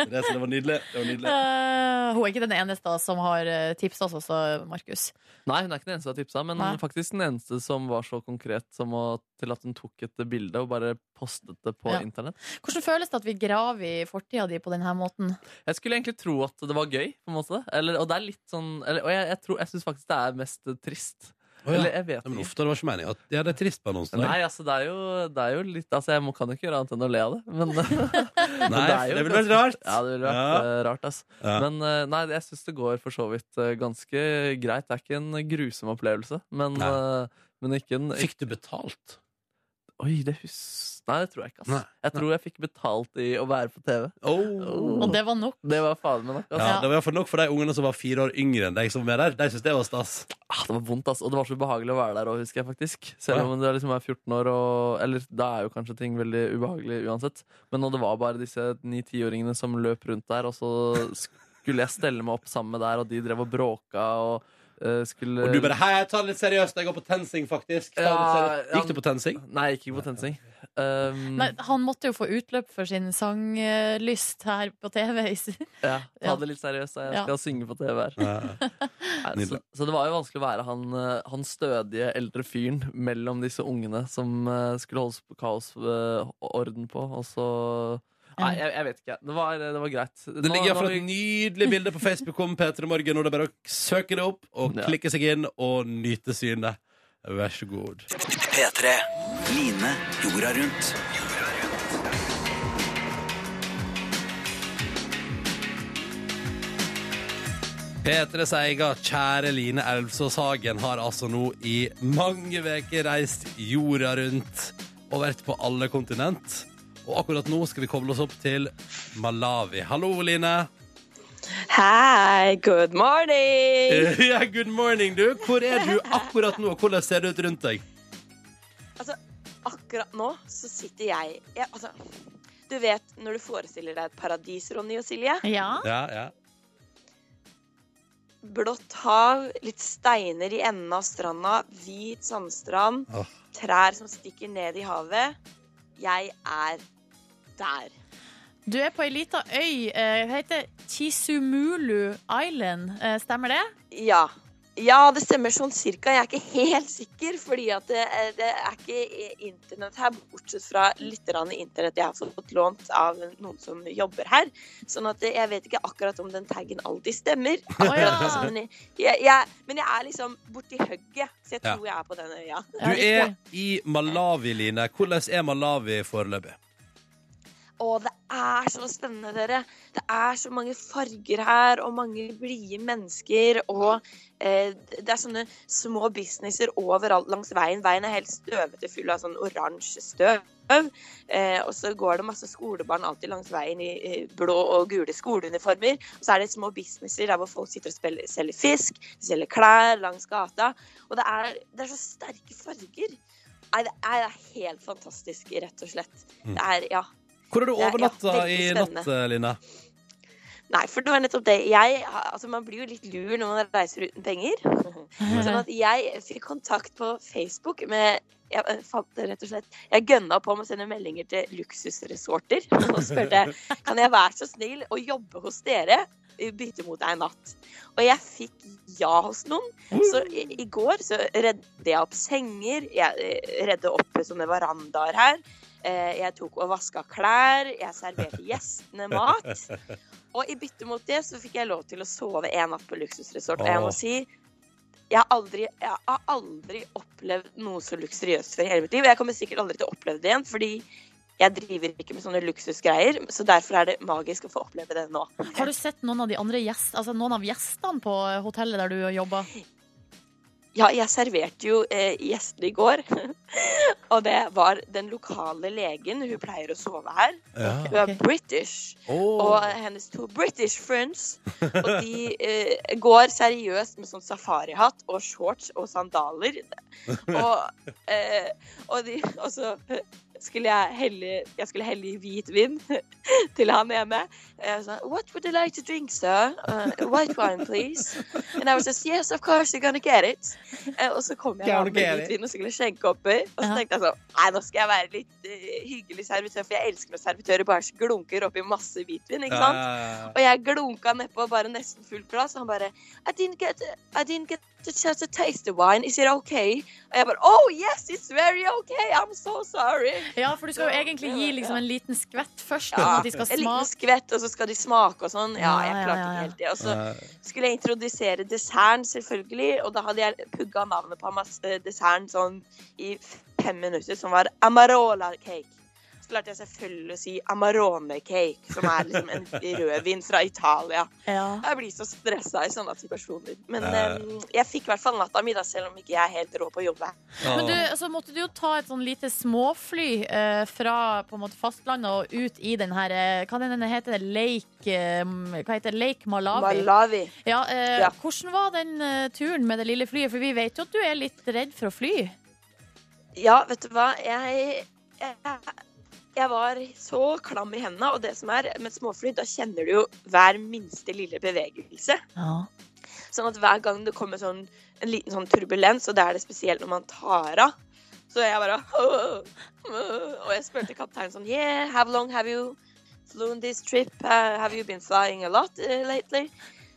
[SPEAKER 2] Therese, det var nydelig. Det var nydelig.
[SPEAKER 3] Eh, hun er ikke den eneste da, som har eh, tipset oss også, Markus.
[SPEAKER 4] Nei, hun er ikke den eneste som har tipsa, men
[SPEAKER 3] Nei.
[SPEAKER 4] faktisk den eneste som var så konkret som å, til at hun tok et bilde og bare postet det på
[SPEAKER 3] Ja.
[SPEAKER 4] internett.
[SPEAKER 3] Hvordan føles det at vi graver i fortida di på denne måten?
[SPEAKER 4] Jeg skulle egentlig tro at det var gøy, på en måte. Eller, og det er litt sånn eller, Og jeg, jeg, tror- jeg syns faktisk det er mest trist.
[SPEAKER 2] Å, ja.
[SPEAKER 4] Eller jeg vet
[SPEAKER 2] Nei, men
[SPEAKER 4] ikke.
[SPEAKER 2] uff, da, det var ikke meningen at Ja, det er trist på annonsen.
[SPEAKER 4] Nei, altså, det er jo, det er jo litt Altså, jeg må, kan jo ikke gjøre annet enn å le av det, men
[SPEAKER 2] Nei,
[SPEAKER 4] Men er jo
[SPEAKER 2] det ville vært
[SPEAKER 4] ganske-
[SPEAKER 2] rart.
[SPEAKER 4] Ja, det ville vært
[SPEAKER 2] Ja.
[SPEAKER 4] eh, rart, ass.
[SPEAKER 2] Ja.
[SPEAKER 4] Men eh, nei, jeg syns det går for så vidt eh, ganske greit. Det er ikke en grusom opplevelse, men,
[SPEAKER 2] Nei.
[SPEAKER 4] eh, men ikke en
[SPEAKER 2] Fikk du betalt?
[SPEAKER 4] Oi, det hus... Nei, det tror jeg ikke, ass.
[SPEAKER 2] Nei,
[SPEAKER 4] Jeg tror jeg fikk betalt i å være på TV.
[SPEAKER 3] Og det var nok.
[SPEAKER 4] Det var fader meg nok. ass.
[SPEAKER 2] Oh. Ja, det var iallfall nok for de ungene som var fire år yngre enn deg som var med der. De syntes det var stas.
[SPEAKER 4] Ah, det var vondt, ass. Og det var så behagelig å være der òg, husker jeg faktisk. Selv om du er liksom er 14 år og Eller da er jo kanskje ting veldig ubehagelig uansett. Men når det var bare disse 9-10-åringene som løp rundt der, og så skulle jeg stelle meg opp sammen med der, og de drev og bråka og eh, skulle
[SPEAKER 2] Og du bare 'Hei, jeg tar det litt seriøst. Jeg går på TenSing, faktisk'. Ta det litt
[SPEAKER 4] Ja,
[SPEAKER 2] seriøst.
[SPEAKER 4] ja.
[SPEAKER 2] Gikk du på TenSing?
[SPEAKER 4] Nei, jeg gikk ikke på TenSing. Um,
[SPEAKER 3] Nei, han måtte jo få utløp for sin sanglyst her på TV.
[SPEAKER 4] ja, ta
[SPEAKER 3] ja.
[SPEAKER 4] det litt seriøst, jeg
[SPEAKER 3] Ja.
[SPEAKER 4] skal synge på TV her. Nei, så,
[SPEAKER 2] Nydelig.
[SPEAKER 4] så det var jo vanskelig å være han, eh, han stødige eldre fyren mellom disse ungene som eh, skulle holdes på kaosorden på, og så Nei, jeg, jeg vet ikke. Det var, det var greit.
[SPEAKER 2] Det ligger
[SPEAKER 4] Nå- nå
[SPEAKER 2] iallfall
[SPEAKER 4] har
[SPEAKER 2] et
[SPEAKER 4] vi-
[SPEAKER 2] nydelig bilde på Facebook om P3 Morgen, og det er bare å søke det opp og
[SPEAKER 4] Ja.
[SPEAKER 2] klikke seg inn og nyte synet. Vær så god.
[SPEAKER 7] P3. Line jorda rundt.
[SPEAKER 2] P3s egen kjære Line Elvsås Hagen har altså nå i mange uker reist jorda rundt og vært på alle kontinent. Og akkurat nå skal vi koble oss opp til Malawi. Hallo, Line.
[SPEAKER 8] Hei, good morning!
[SPEAKER 2] Ja, good morning, du. Hvor er du akkurat nå, og hvordan ser det ut rundt deg?
[SPEAKER 8] Altså, akkurat nå så sitter jeg, jeg altså, Du vet når du forestiller deg et paradis, Ronny og Silje?
[SPEAKER 3] Ja.
[SPEAKER 2] Ja, ja.
[SPEAKER 8] Blått hav, litt steiner i enden av stranda, hvit sandstrand,
[SPEAKER 2] Åh.
[SPEAKER 8] trær som stikker ned i havet. Jeg er der.
[SPEAKER 3] Du er på ei lita øy. eh, Det heter Chisumulu Island. eh, Stemmer det?
[SPEAKER 8] Ja. Ja, det stemmer sånn cirka. Jeg er ikke helt sikker, fordi at det, det er ikke internett her, bortsett fra litt grann internett jeg har fått lånt av noen som jobber her. Sånn at jeg vet ikke akkurat om den taggen alltid stemmer.
[SPEAKER 3] Å ja.
[SPEAKER 8] Altså, men, jeg, jeg, men jeg er liksom borti hugget, så jeg
[SPEAKER 2] Ja.
[SPEAKER 8] tror jeg er på den øya.
[SPEAKER 2] Du
[SPEAKER 3] Ja,
[SPEAKER 2] er
[SPEAKER 3] riktig.
[SPEAKER 2] i Malawi, Line. Hvordan er Malawi foreløpig?
[SPEAKER 8] Å, det er så spennende, dere. Det er så mange farger her, og mange blide mennesker. Og eh, det er sånne små businesser overalt langs veien. Veien er helt støvete, full av sånn oransje støv. Eh, og så går det masse skolebarn alltid langs veien i eh, blå og gule skoleuniformer. Og så er det små businesser der hvor folk sitter og spiller, selger fisk, de selger klær langs gata. Og det er, det er så sterke farger. Nei, det er helt fantastisk, rett og slett.
[SPEAKER 2] Mm.
[SPEAKER 8] Det er, ja.
[SPEAKER 2] Hvor har du
[SPEAKER 8] Det er- ja,
[SPEAKER 2] overnatta i
[SPEAKER 8] veldig
[SPEAKER 2] natt, eh, Line?
[SPEAKER 8] Nei, for det var nettopp det. Jeg, altså man blir jo litt lur når man reiser uten penger. Sånn at jeg fikk kontakt på Facebook med jeg eh, fant det rett og slett Jeg gønna på med å sende meldinger til luksusresorter og spurte kan jeg være så snill å jobbe hos dere i bytte mot ei natt. Og jeg fikk ja hos noen. Så i, i går så redde jeg opp senger, jeg eh, redde opp sånne verandaer her. Eh, Jeg tok og vaska klær, jeg serverte gjestene mat. Og i bytte mot det så fikk jeg lov til å sove en natt på luksusresort. Og jeg må
[SPEAKER 2] Åh.
[SPEAKER 8] si jeg har, aldri, jeg har aldri opplevd noe så luksuriøst før i hele mitt liv. Og jeg kommer sikkert aldri til å oppleve det igjen, fordi jeg driver ikke med sånne luksusgreier. Så derfor er det magisk å få oppleve det nå.
[SPEAKER 3] Har du sett noen av de andre gjest, altså noen av gjestene på hotellet der du jobba?
[SPEAKER 8] Ja, jeg serverte jo eh, gjestene i går. og det var den lokale legen. Hun pleier å sove her.
[SPEAKER 2] Ja.
[SPEAKER 8] Hun er
[SPEAKER 3] Ok.
[SPEAKER 8] british.
[SPEAKER 2] Åh.
[SPEAKER 8] Og hennes to British friends. Og de eh, går seriøst med sånn safarihatt og shorts og sandaler. Og, eh, og, de, og så skulle jeg helle Jeg skulle helle i hvit vin til han ene. Jeg sa, What would you like to drink, sir? Uh, white wine, please. And I was just, yes, of course, you're gonna get it. Eh, og så kom jeg
[SPEAKER 2] Gonna
[SPEAKER 8] da med
[SPEAKER 2] get
[SPEAKER 8] hvit vin og skulle skjenke oppi. Og så
[SPEAKER 3] Ja.
[SPEAKER 8] tenkte jeg sånn, nei, nå skal jeg være litt eh, hyggelig servitør, for jeg elsker når servitører bare glunker oppi masse hvitvin, ikke sant?
[SPEAKER 2] Ja,
[SPEAKER 8] Og jeg glunka nedpå bare nesten fullt glass, og han bare I didn't get, I didn't get the chance to taste the wine. Is it okay? Og jeg bare Oh yes, it's very okay. I'm so sorry.
[SPEAKER 3] Ja, for du skal jo egentlig gi liksom en liten skvett først,
[SPEAKER 8] Ja,
[SPEAKER 3] sånn at de skal
[SPEAKER 8] En liten
[SPEAKER 3] smake.
[SPEAKER 8] skvett, og så skal de smake og sånn.
[SPEAKER 3] Ja,
[SPEAKER 8] Ja,
[SPEAKER 3] ja,
[SPEAKER 8] jeg klarte
[SPEAKER 3] ja, ja.
[SPEAKER 8] ikke helt det. Og så
[SPEAKER 2] ja.
[SPEAKER 8] skulle jeg introdusere desserten, selvfølgelig, og da hadde jeg pugga navnet på masse desserten sånn i fem minutter, som var Amarola cake. Så klarte jeg selvfølgelig å si Amarone cake, som er liksom en rødvin fra Italia.
[SPEAKER 3] Ja.
[SPEAKER 8] Jeg blir så stressa i sånne situasjoner. Men
[SPEAKER 2] Ja.
[SPEAKER 8] em, jeg fikk i hvert fall natta mi, da, selv om ikke jeg er helt rå på å jobbe.
[SPEAKER 3] Men du, altså, måtte du jo ta et sånn lite småfly eh, fra på en måte fastlandet og ut i den her eh, Hva den heter den? Lake, eh, hva heter det? Lake Malawi?
[SPEAKER 8] Malawi.
[SPEAKER 3] ja, eh,
[SPEAKER 8] Ja.
[SPEAKER 3] Hvordan var den eh, turen med det lille flyet? For vi vet jo at du er litt redd for å fly.
[SPEAKER 8] Ja, vet du hva. Jeg, jeg, jeg var så klam i hendene, og det som er med småfly, da kjenner du jo hver minste lille bevegelse.
[SPEAKER 3] Ja.
[SPEAKER 8] Sånn at hver gang det kommer sånn, en liten sånn turbulens, og det er det spesielt når man tar av, så jeg bare Og jeg spurte kapteinen sånn Yeah, how long have you flown this trip? Uh, have you been flying a lot uh, lately?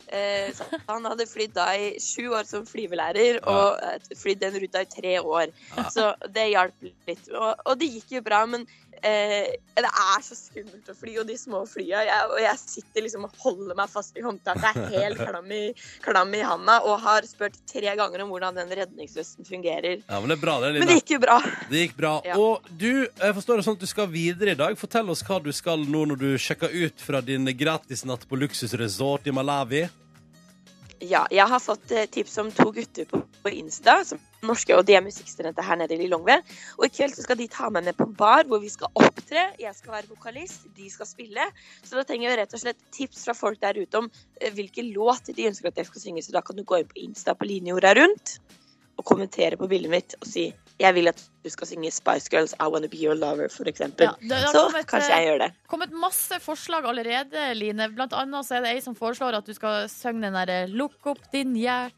[SPEAKER 8] Eh, så han hadde flydd da i sju år som flyvelærer, og eh, flydd den ruta i tre år. Så det hjalp litt. Og, og det gikk jo bra, men eh, det er så skummelt å fly, og de små flya. Jeg, og jeg sitter liksom og holder meg fast i håndtaket, er helt klam i, klam i handa, og har spurt tre ganger om hvordan den redningsvesten fungerer.
[SPEAKER 2] ja, men det er bra, det,
[SPEAKER 8] Men det
[SPEAKER 2] Line.
[SPEAKER 8] gikk jo bra.
[SPEAKER 2] Det gikk bra.
[SPEAKER 8] Ja.
[SPEAKER 2] Og du, jeg forstår det sånn at du skal videre i dag. Fortell oss hva du skal nå når du sjekker ut fra din gratisnatt på luksusresort i Malawi.
[SPEAKER 8] Ja, jeg har fått eh, tips om to gutter på, på Insta, som er norske, og de er musikkstudenter her nede i Lilongve. Og i kveld så skal de ta meg med på en bar hvor vi skal opptre. Jeg skal være vokalist, de skal spille. Så da trenger jeg rett og slett tips fra folk der ute om eh, hvilken låt de ønsker at jeg skal synge. Så da kan du gå inn på Insta på linjorda rundt og kommentere på bildet mitt og si jeg vil at du skal synge Spice Girls I Wanna Be Your Lover, for eksempel.
[SPEAKER 3] Ja, det har
[SPEAKER 8] så
[SPEAKER 3] kommet,
[SPEAKER 8] kanskje
[SPEAKER 3] eh,
[SPEAKER 8] jeg gjør det.
[SPEAKER 3] kommet masse forslag allerede, Line. Blant annet så er det ei som foreslår at du skal synge den derre 'Lukk opp din hjerte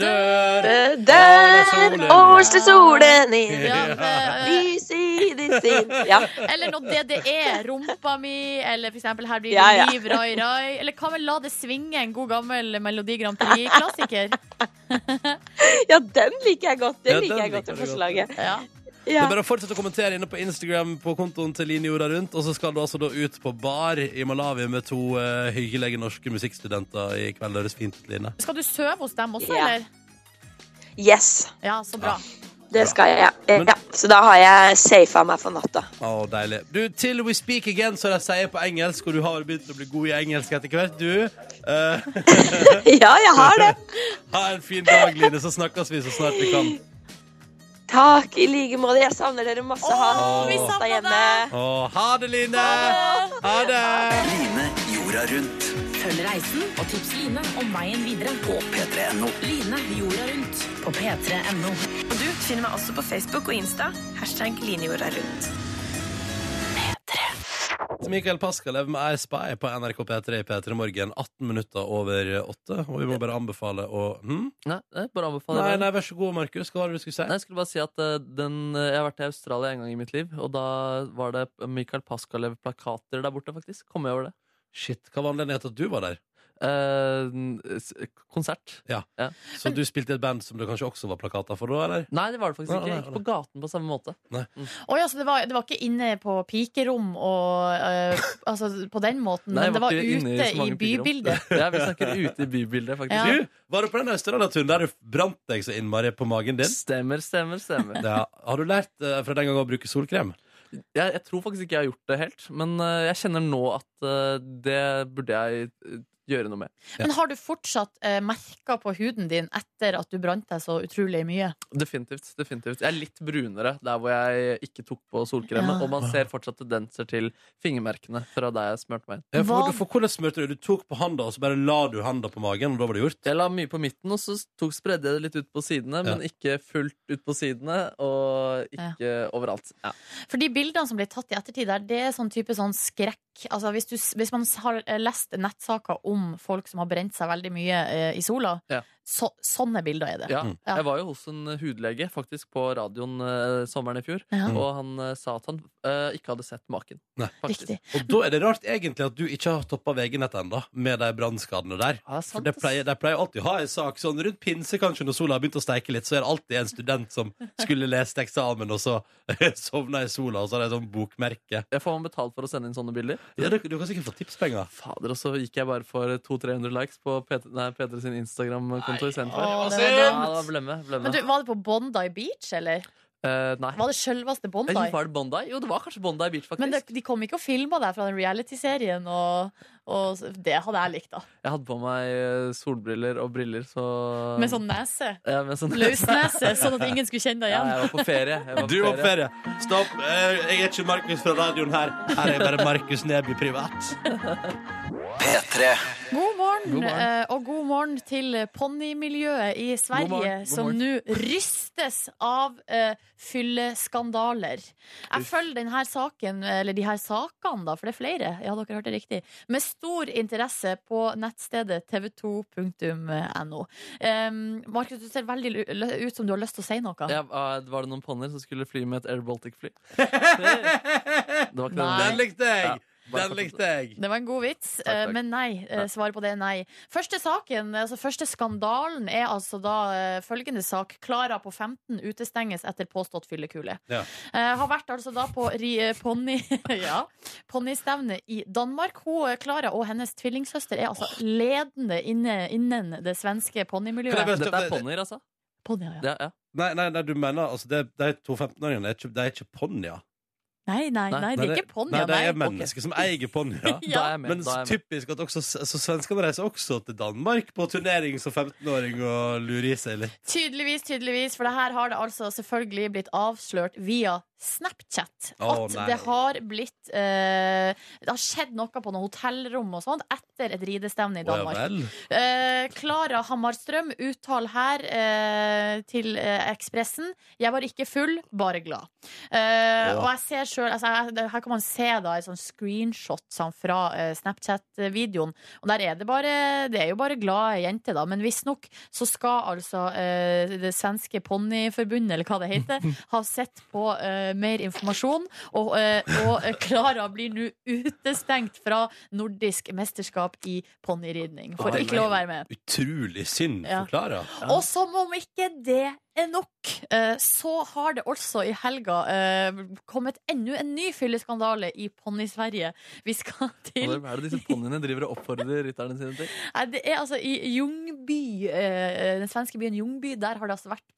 [SPEAKER 2] Dør!
[SPEAKER 8] Der åsler solen inn,
[SPEAKER 3] Ja, det,
[SPEAKER 8] lys i ditt sinn. Ja.
[SPEAKER 3] Eller når det det er, rumpa mi, eller for eksempel her blir det
[SPEAKER 8] Ja, ja.
[SPEAKER 3] liv, rai, rai. Eller hva med la det svinge, en god gammel Melodi Grand Prix-klassiker?
[SPEAKER 8] Ja, den liker jeg godt. Den
[SPEAKER 2] Ja, den
[SPEAKER 8] liker jeg godt,
[SPEAKER 2] liker
[SPEAKER 8] det
[SPEAKER 2] du godt.
[SPEAKER 8] forslaget.
[SPEAKER 3] Ja.
[SPEAKER 2] Det
[SPEAKER 8] Ja.
[SPEAKER 2] er bare å fortsette å kommentere inne på Instagram på kontoen til Line Jorda Rundt, og så skal du altså da ut på bar i Malawi med to eh, hyggelige norske musikkstudenter i kveld. Det høres fint ut, Line.
[SPEAKER 3] Skal du sove hos dem også,
[SPEAKER 8] Ja.
[SPEAKER 3] eller?
[SPEAKER 8] Yes.
[SPEAKER 3] Ja, så bra.
[SPEAKER 8] Det skal jeg. Eh,
[SPEAKER 2] Men-
[SPEAKER 8] Ja, så da har jeg safa meg for natta.
[SPEAKER 2] Å, deilig. Du, til We Speak Again, som de sier på engelsk, og du har begynt å bli god i engelsk etter hvert, du. Eh,
[SPEAKER 8] Ja, jeg har det.
[SPEAKER 2] ha en fin dag, Line, så snakkes vi så snart vi kan.
[SPEAKER 8] Takk i like måte. Jeg savner dere masse. Ha
[SPEAKER 2] Åh, vi
[SPEAKER 8] en fin natt
[SPEAKER 3] savner
[SPEAKER 8] der
[SPEAKER 3] deg.
[SPEAKER 8] hjemme.
[SPEAKER 2] Å, ha det, Line! Ha det!
[SPEAKER 7] Line jorda rundt
[SPEAKER 9] Følg reisen og tips Line om veien videre.
[SPEAKER 7] på p3.no.
[SPEAKER 9] Line jorda rundt på p3.no.
[SPEAKER 10] Og du finner meg også på Facebook og Insta. Hashtag linjorda rundt.
[SPEAKER 2] Mikael Pascal lever med I Spy på NRK P3 i P3 Morgen 18 minutter over 8. Og vi må bare anbefale å hm?
[SPEAKER 4] Nei, nei, bare anbefaler
[SPEAKER 2] Nei,
[SPEAKER 4] det.
[SPEAKER 2] nei, vær så god, Markus. Hva var det du skulle si?
[SPEAKER 4] Nei, jeg skulle bare si at eh, den, eh, Jeg har vært i Australia en gang i mitt liv, og da var det Michael Paskalev-plakater der borte, faktisk. Kom jeg over det?
[SPEAKER 2] Shit, hva var anledningen til at du var der?
[SPEAKER 4] Eh, s- konsert.
[SPEAKER 2] Så du spilte i et band som det kanskje også var plakater for da, eller?
[SPEAKER 4] Nei, det var det faktisk
[SPEAKER 2] Nei,
[SPEAKER 4] ikke.
[SPEAKER 2] nei,
[SPEAKER 4] Jeg gikk på gaten på samme måte.
[SPEAKER 3] Å ja, så altså, det var, det var ikke inne på pikerom og eh, Altså på den måten,
[SPEAKER 4] Nei, jeg
[SPEAKER 3] men det var
[SPEAKER 4] ikke inne
[SPEAKER 3] ute
[SPEAKER 4] så
[SPEAKER 3] i
[SPEAKER 4] mange piker om.
[SPEAKER 3] bybildet.
[SPEAKER 4] Ja, vi snakker ute i bybildet, faktisk.
[SPEAKER 3] Ja.
[SPEAKER 2] Du, var du på den Australia-turen der du brant deg så innmari på magen din?
[SPEAKER 4] Stemmer, stemmer, stemmer.
[SPEAKER 2] Ja. Har du lært eh, fra den gangen å bruke solkrem?
[SPEAKER 4] Jeg, jeg tror faktisk ikke jeg har gjort det helt, men eh, jeg kjenner nå at eh, det burde jeg eh, gjøre noe med.
[SPEAKER 2] Ja.
[SPEAKER 3] Men har du fortsatt uh, merker på huden din etter at du brant deg så utrolig mye?
[SPEAKER 4] Definitivt. definitivt Jeg er litt brunere der hvor jeg ikke tok på solkrem,
[SPEAKER 3] Ja.
[SPEAKER 4] og man ser fortsatt tendenser til fingermerkene fra der jeg smurte meg inn.
[SPEAKER 2] Eh, For,
[SPEAKER 3] Hva-
[SPEAKER 2] for hvordan smurte du? Du tok på handa, og så bare la du handa på magen, og da var det gjort?
[SPEAKER 4] Jeg la mye på midten, og så tok, spredde jeg det litt ut på sidene,
[SPEAKER 2] Ja.
[SPEAKER 4] men ikke fullt ut på sidene, og ikke overalt. Ja.
[SPEAKER 3] For de bildene som ble tatt i ettertid der, det er sånn type sånn skrekk. Altså hvis, du, hvis man har eh, lest nettsaker om folk som har brent seg veldig mye eh, i sola,
[SPEAKER 4] Ja.
[SPEAKER 3] så, sånne bilder er det.
[SPEAKER 4] Ja.
[SPEAKER 3] Ja.
[SPEAKER 4] Jeg var jo hos en hudlege faktisk på radioen eh, sommeren i fjor,
[SPEAKER 3] Ja.
[SPEAKER 4] og han eh, sa at han eh, ikke hadde sett maken.
[SPEAKER 2] Nei.
[SPEAKER 4] Faktisk.
[SPEAKER 3] Riktig.
[SPEAKER 2] Og da er det rart egentlig at du ikke har toppa VG-nettet ennå, med de brannskadene der.
[SPEAKER 4] Ja,
[SPEAKER 2] For
[SPEAKER 4] sant,
[SPEAKER 2] de
[SPEAKER 4] ass.
[SPEAKER 2] pleier, de pleier alltid å ha en sak sånn rundt pinse, kanskje, når sola har begynt å steike litt, så er det alltid en student som skulle lese til eksamen, og så sovna i sola, og så har de sånn bokmerke.
[SPEAKER 4] Jeg får man betalt for å sende inn sånne bilder?
[SPEAKER 2] Ja, du, du kan sikkert få tipspenger.
[SPEAKER 4] Fader, og så gikk jeg bare for 200-300 likes på Peter, nei, Peter sin Instagram-konto istedenfor.
[SPEAKER 3] Å, det var
[SPEAKER 4] Ja,
[SPEAKER 3] dumt.
[SPEAKER 4] da blemme, blemme.
[SPEAKER 3] Men du, var det på Bondi Beach, eller?
[SPEAKER 4] Eh, nei.
[SPEAKER 3] Var det selveste Bondi?
[SPEAKER 4] Eller var det Bondi? Jo, det var kanskje Bondi Beach, faktisk.
[SPEAKER 3] Men det, de kom ikke og filma deg fra den reality-serien, og, og det hadde jeg likt, da.
[SPEAKER 4] Jeg hadde på meg eh, solbriller og briller, så
[SPEAKER 3] Med sånn nese.
[SPEAKER 4] ja, med sånn...
[SPEAKER 3] Løsnese, sånn at ingen skulle kjenne deg
[SPEAKER 4] Ja,
[SPEAKER 3] igjen.
[SPEAKER 4] jeg var på ferie. Jeg var
[SPEAKER 2] Du er på ferie. Stopp. eh, Jeg er ikke Markus fra radioen her. Her er jeg bare Markus Neby privat.
[SPEAKER 7] P3.
[SPEAKER 3] God morgen,
[SPEAKER 4] God morgen.
[SPEAKER 3] eh, og god morgen til ponnimiljøet i Sverige,
[SPEAKER 4] God morgen, god
[SPEAKER 3] som nå rystes av eh, fylleskandaler. Jeg følger denne saken, eller de her sakene, da, for det er flere, ja, dere hørte riktig, med stor interesse på nettstedet tv2.no. Em, Ehm, Markus, du ser veldig lu- lø- ut som du har lyst til å si noe.
[SPEAKER 4] Ja, eh, var det noen ponnier som skulle fly med et Air Baltic-fly? Det var ikke
[SPEAKER 3] Nei.
[SPEAKER 4] det.
[SPEAKER 2] Den likte
[SPEAKER 4] Ja,
[SPEAKER 2] jeg!
[SPEAKER 4] bare
[SPEAKER 2] Den likte jeg.
[SPEAKER 3] Det var en god vits,
[SPEAKER 4] Takk, takk.
[SPEAKER 3] eh, men nei. eh,
[SPEAKER 4] Ja.
[SPEAKER 3] Svaret på det er nei. Første saken, altså første skandalen er altså da eh, følgende sak. Klara på 15 utestenges etter påstått fyllekule.
[SPEAKER 2] Ja.
[SPEAKER 3] Eh, har vært altså da på ri- eh, ponni ja, ponnistevne i Danmark. Hun, eh, Klara og hennes tvillingsøster er altså ledende inne, innen det svenske
[SPEAKER 2] Kan jeg
[SPEAKER 3] ponnimiljøet.
[SPEAKER 2] bare-
[SPEAKER 4] Dette er ponnier, altså?
[SPEAKER 3] Ponnier, ja.
[SPEAKER 4] Ja, ja.
[SPEAKER 2] Nei, nei, nei, du mener altså det, De to 15-åringene er ikke, de er ikke ponnier.
[SPEAKER 3] Nei, nei,
[SPEAKER 4] Nei,
[SPEAKER 3] nei, det er ikke
[SPEAKER 2] nei,
[SPEAKER 3] ponnier,
[SPEAKER 2] de er
[SPEAKER 3] nei.
[SPEAKER 2] mennesker som eier ponnier.
[SPEAKER 3] Ja.
[SPEAKER 4] Da er jeg med.
[SPEAKER 2] Men
[SPEAKER 4] da er jeg med.
[SPEAKER 2] typisk at også, så svenskene reiser også til Danmark på turnering som 15-åring og lurer i seg litt.
[SPEAKER 3] Tydeligvis, tydeligvis, for det her har det altså selvfølgelig blitt avslørt via Snapchat.
[SPEAKER 2] Å,
[SPEAKER 3] at
[SPEAKER 2] nei.
[SPEAKER 3] det har blitt eh, Det har skjedd noe på noen hotellrom og sånt etter et ridestevne i
[SPEAKER 2] Å, ja
[SPEAKER 3] Danmark.
[SPEAKER 2] vel.
[SPEAKER 3] Eh, Klara Hammarstrøm uttaler her eh, til eh, Ekspressen Jeg var ikke full, bare glad. Eh,
[SPEAKER 2] Ja.
[SPEAKER 3] Og jeg ser sjøl altså, jeg- det- Her kan man se da et sånn screenshot sånn, fra eh, Snapchat-videoen. Og der er det bare Det er jo bare glade jenter, da. Men visstnok så skal altså eh, det svenske ponniforbundet, eller hva det heter, ha sett på eh, mer informasjon. Og, eh, og eh, Klara blir nå utestengt fra nordisk mesterskap i ponniridning. Får
[SPEAKER 2] det er
[SPEAKER 3] ikke lov å være med.
[SPEAKER 2] Utrolig synd
[SPEAKER 3] Ja.
[SPEAKER 2] for Klara.
[SPEAKER 3] Og som om ikke det er nok, eh, så har det også i helga eh, kommet enda en ny fylleskandale i Ponni-Sverige. Vi skal til
[SPEAKER 4] Hva er det disse ponniene driver og oppfordrer rytterne sine til?
[SPEAKER 3] Nei, det er altså i Ljungby, eh, den svenske byen Ljungby, der har det altså vært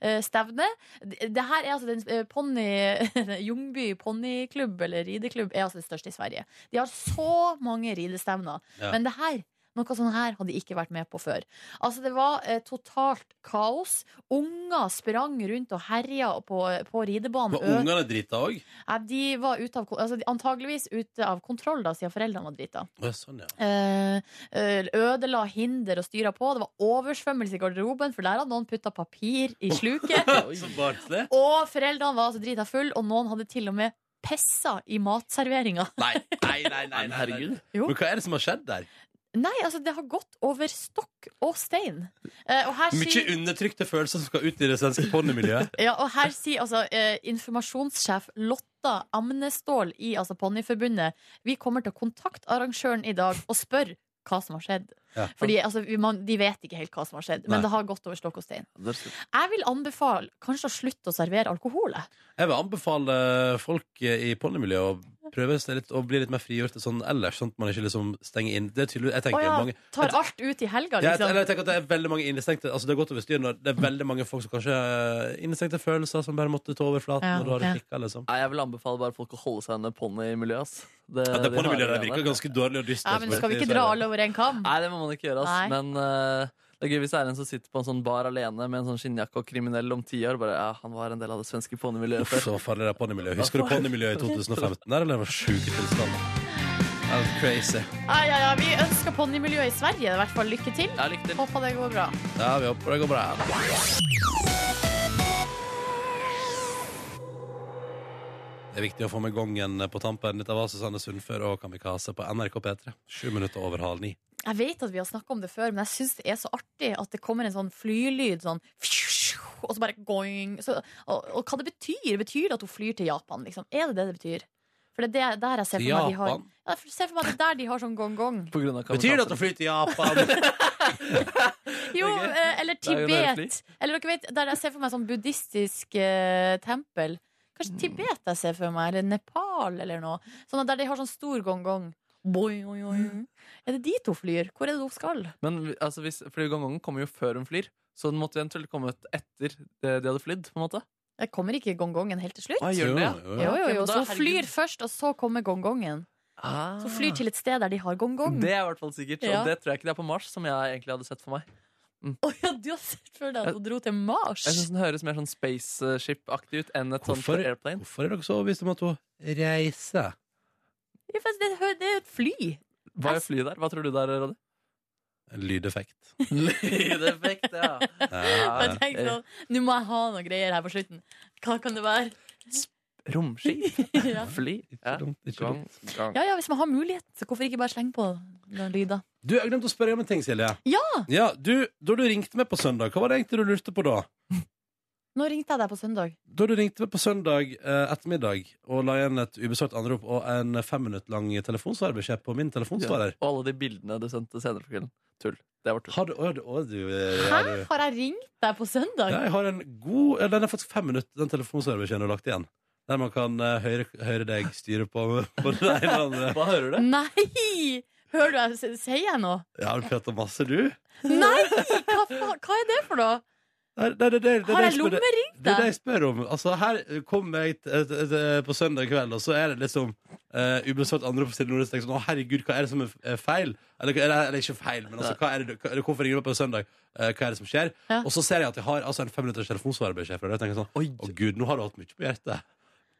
[SPEAKER 3] ponnistevne. Det det her er altså den eh, ponni Ljungby ponniklubb, eller rideklubb, er altså det største i Sverige. De har så mange ridestevner.
[SPEAKER 2] Ja.
[SPEAKER 3] Men det her noe sånn her hadde de ikke vært med på før. Altså Det var eh, totalt kaos. Unger sprang rundt og herja på, på ridebanen.
[SPEAKER 2] Men ungene drita òg?
[SPEAKER 3] Nei, de var ute av, kon- altså, de- antageligvis ute av kontroll, da, siden foreldrene var drita.
[SPEAKER 2] Å, ja, sånn, ja.
[SPEAKER 3] Eh, eh, ødela hinder og styra på. Det var oversvømmelse i garderoben, for der hadde noen putta papir i sluket.
[SPEAKER 2] Så barnslig.
[SPEAKER 3] og foreldrene var altså drita full, og noen hadde til og med pissa i matserveringa.
[SPEAKER 2] Nei, nei, nei. nei, nei, nei.
[SPEAKER 4] Herregud.
[SPEAKER 3] Jo.
[SPEAKER 2] Men hva er det som har skjedd der?
[SPEAKER 3] Nei, altså, det har gått over stokk og stein. Eh, og her
[SPEAKER 2] Mye
[SPEAKER 3] sier,
[SPEAKER 2] undertrykte følelser som skal ut i det svenske ponnimiljøet.
[SPEAKER 3] ja, og her sier altså eh, informasjonssjef Lotta Amnestål i altså Ponniforbundet Vi kommer til å kontakte arrangøren i dag og spørre hva som har skjedd.
[SPEAKER 2] Ja.
[SPEAKER 3] Fordi altså, vi, man, De vet ikke helt hva som har skjedd, men
[SPEAKER 2] Nei.
[SPEAKER 3] det har gått over stokk og stein.
[SPEAKER 4] Det er-
[SPEAKER 3] Jeg vil anbefale kanskje å slutte å servere alkohol. jeg.
[SPEAKER 2] Jeg vil anbefale folk eh, i ponnimiljøet å prøve seg litt, og bli litt mer frigjorte sånn ellers, sånn at man ikke liksom stenger inn. Det er tydelig, jeg
[SPEAKER 3] Å
[SPEAKER 2] tenker
[SPEAKER 3] ja,
[SPEAKER 2] mange
[SPEAKER 3] tar alt ut i
[SPEAKER 2] Ja,
[SPEAKER 3] helga,
[SPEAKER 2] jeg,
[SPEAKER 3] liksom.
[SPEAKER 2] eller jeg tenker at Det er veldig mange innestengte Altså det har gått over styr når det er veldig mange folk som kanskje innestengte følelser som bare måtte ta overflaten.
[SPEAKER 3] Ja,
[SPEAKER 2] og da har det
[SPEAKER 3] ja.
[SPEAKER 2] klikket, liksom.
[SPEAKER 4] Nei, jeg vil anbefale bare folk å holde seg under ponnimiljøet. ass. Det,
[SPEAKER 2] Ja, det
[SPEAKER 4] de
[SPEAKER 2] ponnimiljøet der
[SPEAKER 4] harde
[SPEAKER 2] virker
[SPEAKER 4] greiene.
[SPEAKER 2] ganske dårlig og dystert.
[SPEAKER 3] Ja, men skal vi
[SPEAKER 2] i
[SPEAKER 3] ikke
[SPEAKER 2] Sverige.
[SPEAKER 3] dra alle over en kam?
[SPEAKER 4] Nei, det må man ikke gjøre. ass.
[SPEAKER 3] Nei.
[SPEAKER 4] Men eh, det er gøy hvis det er en som sitter på en sånn bar alene med en sånn skinnjakke og kriminell om ti år. Bare, ja, han var en del av det svenske ponnimiljøet
[SPEAKER 2] Uff,
[SPEAKER 4] før.
[SPEAKER 2] så farlig det er ponnimiljøet. Husker du ponnimiljøet i 2015? Der, eller det var sjuke tilstander. Det er Crazy.
[SPEAKER 3] Ai, ai, ai, vi ønsker ponnimiljøet i Sverige i hvert fall lykke til.
[SPEAKER 4] Ja, lykke til.
[SPEAKER 3] Håper det går bra.
[SPEAKER 2] Ja, vi håper det går bra. Det er viktig å få med gongen på tampen. Dette var Susanne Sundfør og Kamikaze på NRK P3. Sju minutter over halv ni.
[SPEAKER 3] Jeg vet at vi har snakka om det før, men jeg syns det er så artig at det kommer en sånn flylyd sånn og så bare going. Så, og, og hva det betyr? Betyr det at hun flyr til Japan, liksom? Er det det det betyr? For det er det- der jeg ser for meg de har
[SPEAKER 2] Japan?
[SPEAKER 3] Ja, jeg ser for meg det er der de har sånn gong-gong.
[SPEAKER 4] På grunn
[SPEAKER 2] Betyr
[SPEAKER 4] av
[SPEAKER 2] det at
[SPEAKER 4] kamikaze.
[SPEAKER 2] hun flyr til Japan?
[SPEAKER 3] Jo,
[SPEAKER 4] Det er gøy.
[SPEAKER 3] eh, eller
[SPEAKER 4] Det er jo nerdfly.
[SPEAKER 3] Tibet. Eller dere vet, der jeg ser for meg sånn buddhistisk eh, tempel.
[SPEAKER 4] Mm.
[SPEAKER 3] Kanskje Tibet jeg ser for meg, eller Nepal eller noe. Sånn at Der de har sånn stor gong-gong. Boing, boing, boing. Er det dit hun flyr? Hvor er det hun skal?
[SPEAKER 4] Men vi- altså, hvis, fordi gongongen kommer jo før hun flyr, så den måtte eventuelt kommet etter det de hadde flydd. på en måte.
[SPEAKER 3] Der kommer ikke gongongen helt til slutt.
[SPEAKER 4] Hva gjør den det?
[SPEAKER 2] Jo, jo, jo.
[SPEAKER 3] Jo, jo,
[SPEAKER 4] Ok,
[SPEAKER 3] jo.
[SPEAKER 4] men da-
[SPEAKER 3] Så hun flyr
[SPEAKER 4] herregud.
[SPEAKER 3] først, og så kommer gongongen.
[SPEAKER 4] Ah.
[SPEAKER 3] Så hun flyr til et sted der de har gongong.
[SPEAKER 4] Det er i hvert fall sikkert. Og
[SPEAKER 3] Ja.
[SPEAKER 4] det tror jeg ikke det er på Mars, som jeg egentlig hadde sett for meg.
[SPEAKER 3] Å ja, du har sett for deg at hun dro til Mars!
[SPEAKER 4] Jeg synes Den høres mer sånn spaceship-aktig ut enn et sånt
[SPEAKER 2] Hvorfor?
[SPEAKER 4] airplane.
[SPEAKER 2] Hvorfor er dere så overbevist om at hun reiser?
[SPEAKER 3] Ja, for Det hø- det er jo et fly!
[SPEAKER 4] Hva er flyet der? Hva tror du der, Roddy?
[SPEAKER 2] En lydeffekt.
[SPEAKER 4] Lydeffekt, ja.
[SPEAKER 3] Og jeg
[SPEAKER 2] Ja.
[SPEAKER 3] tenkte sånn, nå må jeg ha noe greier her på slutten. Hva kan det være?
[SPEAKER 4] Romskip.
[SPEAKER 3] ja.
[SPEAKER 4] Fly. Ja.
[SPEAKER 2] Dumt, ikke dumt.
[SPEAKER 4] Gang, gang.
[SPEAKER 3] Ja, ja, hvis man har muligheten, så hvorfor ikke bare slenge på noen lyder?
[SPEAKER 2] Du, jeg glemte å spørre om en ting, Silje.
[SPEAKER 3] Ja!
[SPEAKER 2] ja du, da du ringte meg på søndag, hva var det egentlig du lurte på da?
[SPEAKER 3] Nå ringte jeg deg på søndag.
[SPEAKER 2] Da du ringte meg på søndag eh, ettermiddag og la igjen et ubesvart anrop og en fem minutter lang telefonsvarbeskjed på min telefonsvarer
[SPEAKER 4] Og alle de bildene du sendte senere på kvelden. Tull. Det var tull.
[SPEAKER 2] Har du, å, du, å, du, eh,
[SPEAKER 3] Hæ?
[SPEAKER 2] har du
[SPEAKER 3] Har jeg ringt deg på søndag?
[SPEAKER 2] ja, jeg har en god eh, Den er faktisk fem minutter, den telefonsvarbeskjeden du har lagt igjen. Der man kan eh, høre, høre deg styre på på det ene og det andre.
[SPEAKER 4] Hva hører du?
[SPEAKER 3] Nei! Hører du jeg s- sier jeg noe?
[SPEAKER 2] Ja, du prater masse, du.
[SPEAKER 3] Nei! Hva, fa- hva er det for noe?
[SPEAKER 2] Nei, nei, det, det, det,
[SPEAKER 3] Har
[SPEAKER 2] det
[SPEAKER 3] jeg
[SPEAKER 2] spør-
[SPEAKER 3] lommeringt
[SPEAKER 2] Det er det
[SPEAKER 3] deg?
[SPEAKER 2] jeg spør om. Altså, her kom jeg t- t- t- på søndag kveld, og så er det liksom uh, ubesvart anrop til Nordnes. tenker Sånn, å, herregud, hva er det som er f- er feil? Eller, eller, eller ikke feil, men altså, hva er det, du- hva, eller, hvorfor ringer du meg på søndag? Eh, hva er det som skjer?
[SPEAKER 3] Ja.
[SPEAKER 2] Og så ser jeg at jeg har altså, en femminutters telefonsvarebeskjed fra deg. og tenker Sånn,
[SPEAKER 4] Oi.
[SPEAKER 2] å gud, nå har du hatt mye på hjertet.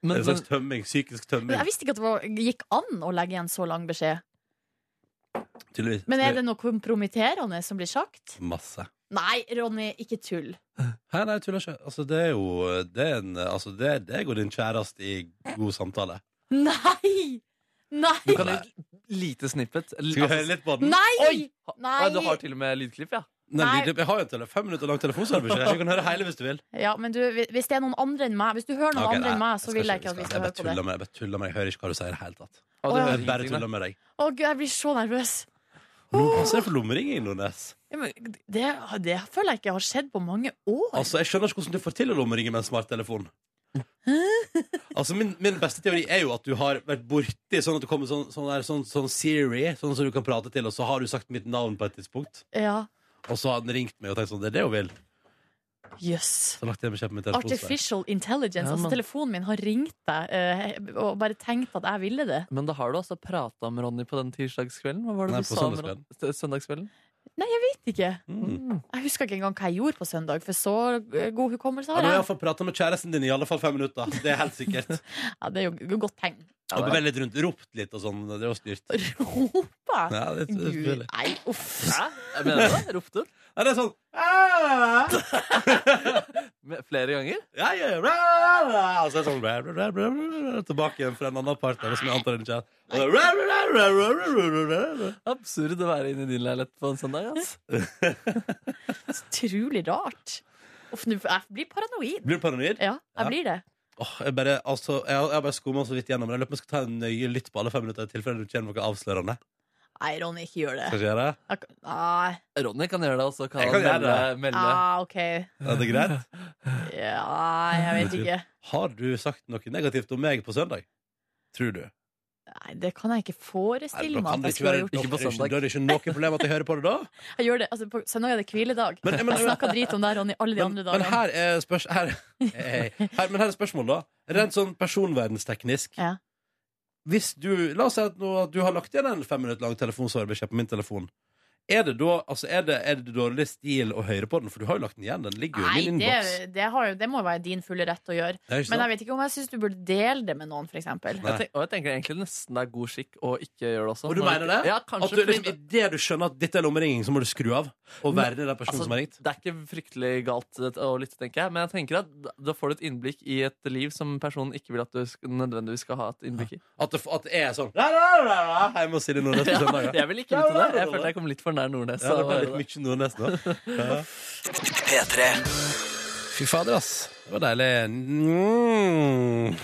[SPEAKER 4] Men,
[SPEAKER 2] en
[SPEAKER 4] men,
[SPEAKER 2] slags tømming, psykisk tømming.
[SPEAKER 3] Men Jeg visste ikke at det var, gikk an å legge igjen så lang beskjed.
[SPEAKER 2] Tydeligvis.
[SPEAKER 3] Men er det noe kompromitterende som blir sagt?
[SPEAKER 2] Masse.
[SPEAKER 3] Nei, Ronny, ikke tull.
[SPEAKER 2] Hæ, nei, jeg tuller ikke. Altså, det er jo Det, er en, altså, det, det går din kjæreste i god samtale.
[SPEAKER 3] Nei!
[SPEAKER 4] du
[SPEAKER 3] Nei!
[SPEAKER 4] kan gi et lite snippet.
[SPEAKER 2] Skal vi høre litt på den?
[SPEAKER 3] Nei!
[SPEAKER 4] Oi!
[SPEAKER 3] Nei!
[SPEAKER 4] Nei. Du har til og med lydklipp, ja.
[SPEAKER 2] Nei,
[SPEAKER 3] Nei.
[SPEAKER 2] lydklipp. Jeg har jo en tele- fem minutter lang telefonsvarebeskjed. så Du kan høre hele hvis du vil.
[SPEAKER 3] Ja, men du, hvis det er noen andre enn meg Hvis du hører noen
[SPEAKER 2] Ok,
[SPEAKER 3] andre enn
[SPEAKER 2] nei,
[SPEAKER 3] meg, så
[SPEAKER 2] skal
[SPEAKER 3] vil jeg ikke at vi
[SPEAKER 2] jeg
[SPEAKER 3] skal høre
[SPEAKER 2] bare
[SPEAKER 3] på det.
[SPEAKER 2] tuller med- Jeg bare tuller med deg. Jeg hører ikke hva du sier i det hele tatt.
[SPEAKER 4] Å, du
[SPEAKER 3] Å, ja.
[SPEAKER 4] hører
[SPEAKER 2] Jeg bare
[SPEAKER 4] ingenting, da.
[SPEAKER 2] tuller med deg.
[SPEAKER 3] Å gud, jeg blir så nervøs.
[SPEAKER 2] Nå passer jeg for lommeringen, Nordnes.
[SPEAKER 3] Ja, men det, det føler jeg ikke har skjedd på mange år.
[SPEAKER 2] Altså, Jeg skjønner ikke hvordan du får til å lommeringe med en smarttelefon. altså, min, min beste teori er jo at du har vært borti sånn at det kommer sånn, sånn, der, sånn, sånn Siri, sånn som du kan prate til, og så har du sagt mitt navn på et tidspunkt,
[SPEAKER 3] Ja,
[SPEAKER 2] og så har den ringt meg og tenkt sånn Det er det hun vil.
[SPEAKER 3] jøss.
[SPEAKER 2] Så lagt jeg en beskjed på min telefon. så jeg-
[SPEAKER 3] Artificial intelligence.
[SPEAKER 4] Ja,
[SPEAKER 3] altså
[SPEAKER 4] men-
[SPEAKER 3] Telefonen min har ringt deg eh, og bare tenkt at jeg ville det.
[SPEAKER 4] Men da har du altså prata med Ronny på den tirsdagskvelden? Hva var det
[SPEAKER 2] Nei,
[SPEAKER 4] du
[SPEAKER 2] på
[SPEAKER 4] sa om
[SPEAKER 2] søndagskvelden.
[SPEAKER 4] Ron- s- søndagskvelden?
[SPEAKER 3] Vet ikke.
[SPEAKER 2] Mm.
[SPEAKER 3] Jeg husker ikke engang hva jeg gjorde på søndag, for så eh, god hukommelse
[SPEAKER 2] Ja,
[SPEAKER 3] har
[SPEAKER 2] du har
[SPEAKER 3] jeg.
[SPEAKER 2] iallfall prata med kjæresten din i alle fall fem minutter. Det er helt sikkert.
[SPEAKER 3] Ja, det er jo godt tegn.
[SPEAKER 2] Og beveget litt rundt, ropt litt og sånn. Det var styrt.
[SPEAKER 3] Ropa!
[SPEAKER 2] Ja, det, det,
[SPEAKER 3] Gud,
[SPEAKER 2] det,
[SPEAKER 3] nei, uff.
[SPEAKER 4] Hæ? Jeg mener det? Jeg Ropte du?
[SPEAKER 2] ja, det er sånn «Ah,
[SPEAKER 4] Me- Flere ganger?
[SPEAKER 2] ja, ja, ja, bla, bla, bla. Og så er det sånn bla, bla, bla, bla, bla, bla, Tilbake igjen fra en annen partner som jeg antar er en kjære. Og da, bla, bla, bla, bla, bla, bla, bla, bla.
[SPEAKER 4] Absurd å være inne i din leilighet på en søndag. ass.
[SPEAKER 3] Utrolig rart. Uff, nå- jeg blir paranoid.
[SPEAKER 2] Blir du paranoid?
[SPEAKER 3] Ja,
[SPEAKER 2] Ja.
[SPEAKER 3] jeg blir det.
[SPEAKER 2] Åh, jeg bare, altså, jeg, har- jeg har bare skumma så vidt gjennom. men Jeg lurer på om jeg skal ta en nøye lytt på alle fem minutter i tilfelle du kjenner noe avslørende.
[SPEAKER 3] Nei, Ronny, ikke gjør det.
[SPEAKER 2] Skal jeg gjøre det?
[SPEAKER 3] Jeg kan- Nei.
[SPEAKER 4] Ronny kan gjøre det, og så kan
[SPEAKER 2] Jeg
[SPEAKER 4] han
[SPEAKER 2] kan
[SPEAKER 4] melde.
[SPEAKER 2] gjøre
[SPEAKER 4] melde.
[SPEAKER 3] Ah, OK.
[SPEAKER 2] Er det greit?
[SPEAKER 3] Ja, jeg vet ikke.
[SPEAKER 2] Har du sagt noe negativt om meg på søndag? Tror du?
[SPEAKER 3] Nei, det kan jeg ikke forestille meg.
[SPEAKER 2] da kan
[SPEAKER 3] at
[SPEAKER 2] det ikke
[SPEAKER 3] jeg skulle ha
[SPEAKER 2] være
[SPEAKER 3] gjort.
[SPEAKER 2] noe,
[SPEAKER 4] Ikke på
[SPEAKER 2] det er
[SPEAKER 4] søndag.
[SPEAKER 2] ikke- da er det ikke noe problem at jeg hører på det da?
[SPEAKER 3] Jeg gjør det, altså, på søndag er det hviledag.
[SPEAKER 2] Men- men-
[SPEAKER 3] jeg snakka drit om det, Ronny, alle de
[SPEAKER 2] Men,
[SPEAKER 3] andre
[SPEAKER 2] men
[SPEAKER 3] dagene.
[SPEAKER 2] her er spørs... Her, Hei, hei. her, men her er spørsmålet, da. Rent sånn personverdensteknisk.
[SPEAKER 3] Ja.
[SPEAKER 2] Hvis du La oss si at, nå, at du har lagt igjen en fem minutter lang telefonsvarebeskjed på min telefon. Er det da altså er det, er det dårlig stil å høre på den? For du har jo lagt den igjen. Den ligger jo i
[SPEAKER 3] Nei,
[SPEAKER 2] min innboks.
[SPEAKER 3] det, det, har jo, det må jo være din fulle rett å gjøre.
[SPEAKER 2] Det er ikke
[SPEAKER 3] Men
[SPEAKER 2] sant?
[SPEAKER 3] jeg vet ikke om jeg syns du burde dele det med noen, f.eks.
[SPEAKER 2] Nei.
[SPEAKER 4] Jeg tenk, og jeg tenker egentlig nesten det er god skikk å ikke gjøre det også.
[SPEAKER 2] Og du
[SPEAKER 4] Når
[SPEAKER 2] mener det?
[SPEAKER 4] Ja, kanskje
[SPEAKER 2] At du,
[SPEAKER 4] fordi
[SPEAKER 2] liksom, Idet du skjønner at dette er lommeringing, så må du skru av og
[SPEAKER 4] Men,
[SPEAKER 2] være den personen
[SPEAKER 4] altså,
[SPEAKER 2] som har ringt.
[SPEAKER 4] Det er ikke fryktelig galt eh, å lytte, tenker jeg. Men jeg tenker at da får du et innblikk i et liv som personen ikke vil at du sk- nødvendigvis skal ha et innblikk i.
[SPEAKER 2] At det, at det er sånn la, la, la, la, Hjemme hos Silje Nordnes på søndag. ja.
[SPEAKER 4] Jeg vil ikke lytte til det. Jeg følte jeg kom litt for nær Nordnes.
[SPEAKER 2] Ja, det
[SPEAKER 4] av å
[SPEAKER 2] ble
[SPEAKER 4] gjøre
[SPEAKER 2] litt
[SPEAKER 4] det.
[SPEAKER 2] mye Nordnes nå. Ja.
[SPEAKER 7] P3.
[SPEAKER 2] Fy fader, ass. Det var deilig. Mm.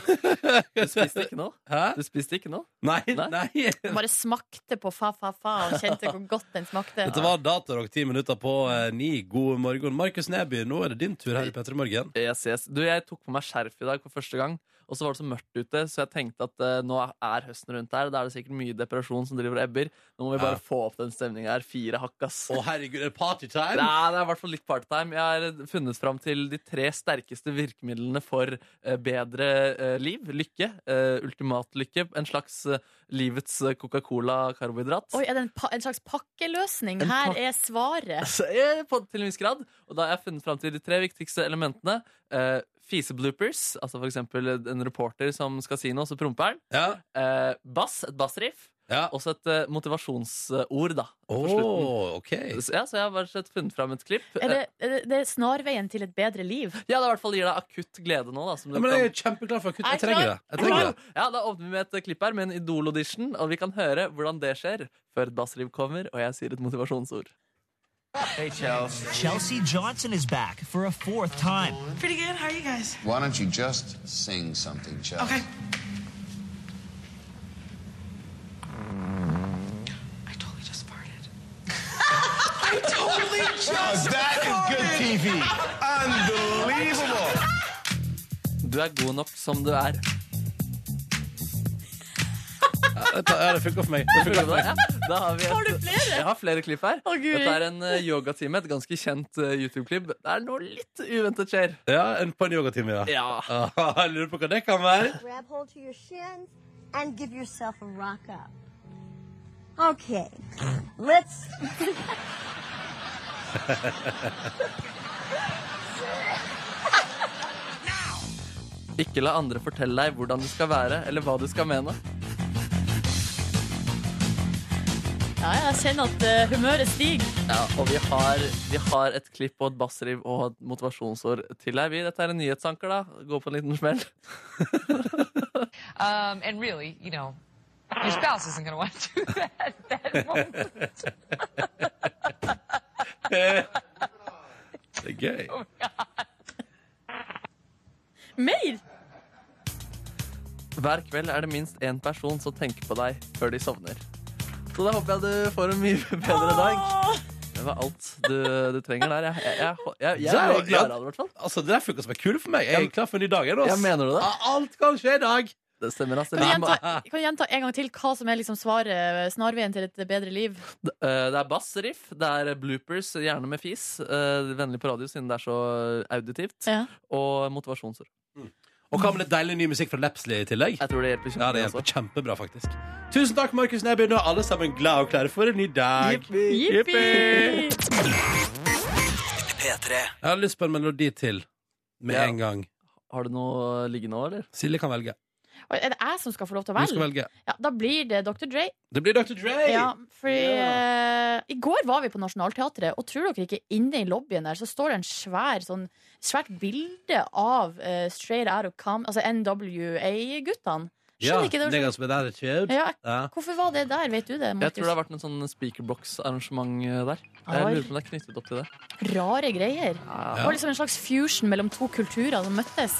[SPEAKER 4] Du spiste ikke nå?
[SPEAKER 2] Hæ?
[SPEAKER 4] Du spiste ikke nå?
[SPEAKER 2] Nei,
[SPEAKER 4] Nei?
[SPEAKER 2] nei.
[SPEAKER 3] Bare smakte på fa-fa-fa og kjente hvor godt den smakte.
[SPEAKER 2] Dette var Datarok, ti minutter på eh, ni. God morgen. Markus Neby, nå er det din tur her i P3 Morgen.
[SPEAKER 4] Yes, yes. E Du, jeg tok på meg skjerf i dag for første gang, og så var det så mørkt ute, så jeg tenkte at eh, nå er høsten rundt her, da er det sikkert mye depresjon som driver og ebber. Nå må vi
[SPEAKER 2] Ja.
[SPEAKER 4] bare få opp den stemninga her. Fire hakk, ass.
[SPEAKER 2] Å, herregud, er det partytime?
[SPEAKER 4] Nei, det er i hvert fall litt part-time. Jeg har funnet fram til de tre sterkeste virkemidlene for eh, bedre eh, liv. Lykke. eh, Ultimat lykke. En slags eh, livets eh, Coca-Cola-karbohydrat.
[SPEAKER 3] Oi, er det en, pa en slags pakkeløsning?
[SPEAKER 4] En
[SPEAKER 3] Her
[SPEAKER 4] pak-
[SPEAKER 3] er svaret.
[SPEAKER 4] Så, eh, På, til en viss grad. Og da har jeg funnet fram til de tre viktigste elementene. Eh, Fisebloopers, altså for eksempel en reporter som skal si noe, så promper han.
[SPEAKER 2] Ja,
[SPEAKER 4] Eh, bass, et bassriff.
[SPEAKER 2] ja.
[SPEAKER 4] Også et eh, motivasjonsord, da.
[SPEAKER 2] Å,
[SPEAKER 4] På slutten.
[SPEAKER 2] ok.
[SPEAKER 4] Så, ja, så jeg har bare sett- funnet fram et klipp.
[SPEAKER 3] Er det,
[SPEAKER 4] Eh,
[SPEAKER 3] er det, det er snarveien til et bedre liv.
[SPEAKER 4] ja, det i hvert fall gir deg akutt glede nå. Da, som du
[SPEAKER 2] Ja, men
[SPEAKER 4] kan-
[SPEAKER 2] jeg er kjempeklar for akutt. Jeg
[SPEAKER 3] Jeg er
[SPEAKER 2] trenger det.
[SPEAKER 3] klar.
[SPEAKER 2] Jeg trenger det.
[SPEAKER 4] Ja, Da åpner vi med et eh, klipp her med en Idol-audition, og vi kan høre hvordan det skjer før et bassriv kommer og jeg sier et motivasjonsord.
[SPEAKER 11] Chelsea Johnson is back for a fourth time.
[SPEAKER 10] Pretty good. How are you guys?
[SPEAKER 12] Why don't you just sing something, Chelsea?
[SPEAKER 10] Okay. I totally just farted.
[SPEAKER 12] that is good TV. Unbelievable.
[SPEAKER 4] Du er god nok som du er.
[SPEAKER 2] Dette- Ja, det funker for meg. Det funker for meg.
[SPEAKER 4] Ja, da har, vi et,
[SPEAKER 3] Har du flere?
[SPEAKER 4] Jeg har flere klipp her.
[SPEAKER 3] Å, Guri.
[SPEAKER 4] Dette er en eh, yogatime, et ganske kjent eh, YouTube-klipp. Det er noe litt uventet skjer.
[SPEAKER 2] Ja, en på en yogatime, ja.
[SPEAKER 4] Ja.
[SPEAKER 2] Ah, Jeg lurer på hva det kan være.
[SPEAKER 11] Grab hold to your shins and give yourself a rock up. Okay, let's.
[SPEAKER 4] Ikke la andre fortelle deg hvordan du skal være, eller hva du skal mene.
[SPEAKER 3] Ja, jeg kjenner at eh, humøret stiger.
[SPEAKER 4] Ja, og vi har, vi har et klipp og et bassriv og et motivasjonsord til deg. Vi, dette er en nyhetsanker, da. Gå på en liten smell.
[SPEAKER 11] Um, and really, you know, your spouse isn't going to want to do that at that moment.
[SPEAKER 2] Det er gøy.
[SPEAKER 3] Mer!
[SPEAKER 4] Hver kveld er det minst én person som tenker på deg før de sovner. Så da håper jeg du får en mye bedre
[SPEAKER 3] Ah.
[SPEAKER 4] dag. Det var alt du, du trenger der. Jeg, jeg, jeg, jeg, jeg
[SPEAKER 2] Der, ja.
[SPEAKER 4] er glad av det, i hvert fall.
[SPEAKER 2] Altså, det der funka som en kule for meg. Jeg er klar for en ny dag. Jeg, nå, ass.
[SPEAKER 4] Ja, mener du det?
[SPEAKER 2] Ah, Alt kan skje i dag.
[SPEAKER 4] Det stemmer, ass.
[SPEAKER 3] Kan du gjenta, kan du gjenta en gang til hva som er liksom svaret, snarveien til et bedre liv?
[SPEAKER 4] D- eh, Det er bassriff, det er eh, bloopers, gjerne med fis. eh, Vennlig på radio siden det er så eh, auditivt. Og motivasjonsord.
[SPEAKER 2] Og hva med litt deilig ny musikk fra Lepsley i tillegg?
[SPEAKER 4] Jeg tror det hjelper altså.
[SPEAKER 2] Ja, det hjelper kjempebra, faktisk. Tusen takk, Markus Neby. Nå er alle sammen glade og klare for en ny dag. Jippi!
[SPEAKER 7] P3.
[SPEAKER 2] Jeg har lyst på en melodi til med
[SPEAKER 4] Ja.
[SPEAKER 2] en gang.
[SPEAKER 4] Har du noe liggende òg, eller?
[SPEAKER 2] Silje kan velge.
[SPEAKER 3] Og Er det jeg som skal få lov til å
[SPEAKER 2] Du
[SPEAKER 3] velge?
[SPEAKER 2] skal velge.
[SPEAKER 3] Ja, da blir det Dr. Dre.
[SPEAKER 2] Det blir Dr. Dre!
[SPEAKER 3] Ja, fordi eh, I går var vi på Nationaltheatret, og tror dere ikke inne i lobbyen der så står det en svær, sånn, svært bilde av eh, Straight Out of Cam... Altså NWA-guttene.
[SPEAKER 2] Ja,
[SPEAKER 3] Skjønner ikke det.
[SPEAKER 2] det er ganske bedre kjød.
[SPEAKER 3] Ja.
[SPEAKER 2] Ja.
[SPEAKER 3] Hvorfor var det der, vet du det,
[SPEAKER 4] Jeg tror det
[SPEAKER 3] Markus?
[SPEAKER 4] har vært noe sånn speakerbox-arrangement eh, der. Jeg
[SPEAKER 3] Oi.
[SPEAKER 4] lurer på om det er knyttet opp til det.
[SPEAKER 3] Rare greier. Det var liksom en slags fusion mellom to kulturer som møttes.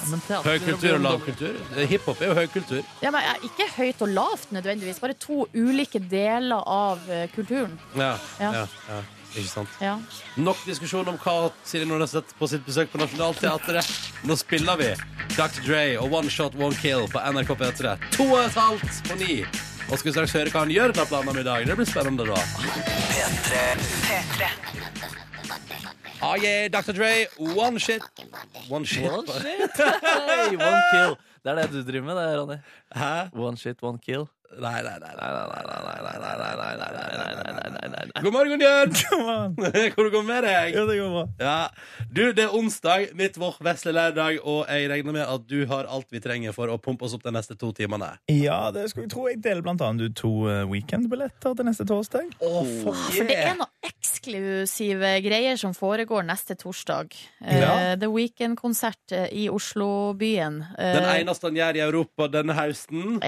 [SPEAKER 2] Høy kultur og lav kultur. Eh, Hiphop er jo høy kultur.
[SPEAKER 3] Ja, men eh, Ikke høyt og lavt nødvendigvis, bare to ulike deler av eh, kulturen.
[SPEAKER 2] Ja.
[SPEAKER 3] Ja.
[SPEAKER 2] Ja. Ja. Ikke sant.
[SPEAKER 3] Ja.
[SPEAKER 2] Nok diskusjon om hva Silje Nordnes har sett på sitt besøk på Nationaltheatret. Nå spiller vi Dr. Dre og One Shot One Kill på NRK P3. To og et halvt på ni. Og skal vi straks høre hva han gjør da planen om i dag. Det blir spennende, da. Ah, yeah, Dr. Dre, one shit. One Oh, shit.
[SPEAKER 4] One shit. Hey, one kill. Det er det du driver med, det, Ronny.
[SPEAKER 2] Hæ?
[SPEAKER 4] One shit, one kill.
[SPEAKER 2] Nei, nei, nei. nei, nei, nei, nei, nei, nei, nei, nei, nei, nei, nei, nei, nei, nei, nei. God morgen, Jørn! Hvordan går det med deg?
[SPEAKER 13] Ja, det går bra.
[SPEAKER 2] Ja. Du, det er onsdag, mitt vår vesle lørdag, og jeg regner med at du har alt vi trenger for å pumpe oss opp de neste to timene.
[SPEAKER 13] Ja, det skulle jeg tro. Jeg deler blant annet ut to eh, weekendbilletter til neste torsdag.
[SPEAKER 3] For det er noen eksklusive greier som foregår neste torsdag. Eh,
[SPEAKER 2] Ja.
[SPEAKER 3] The Weekend-konsert eh, i Oslo-byen. Eh,
[SPEAKER 2] Den eneste han gjør i Europa denne høsten.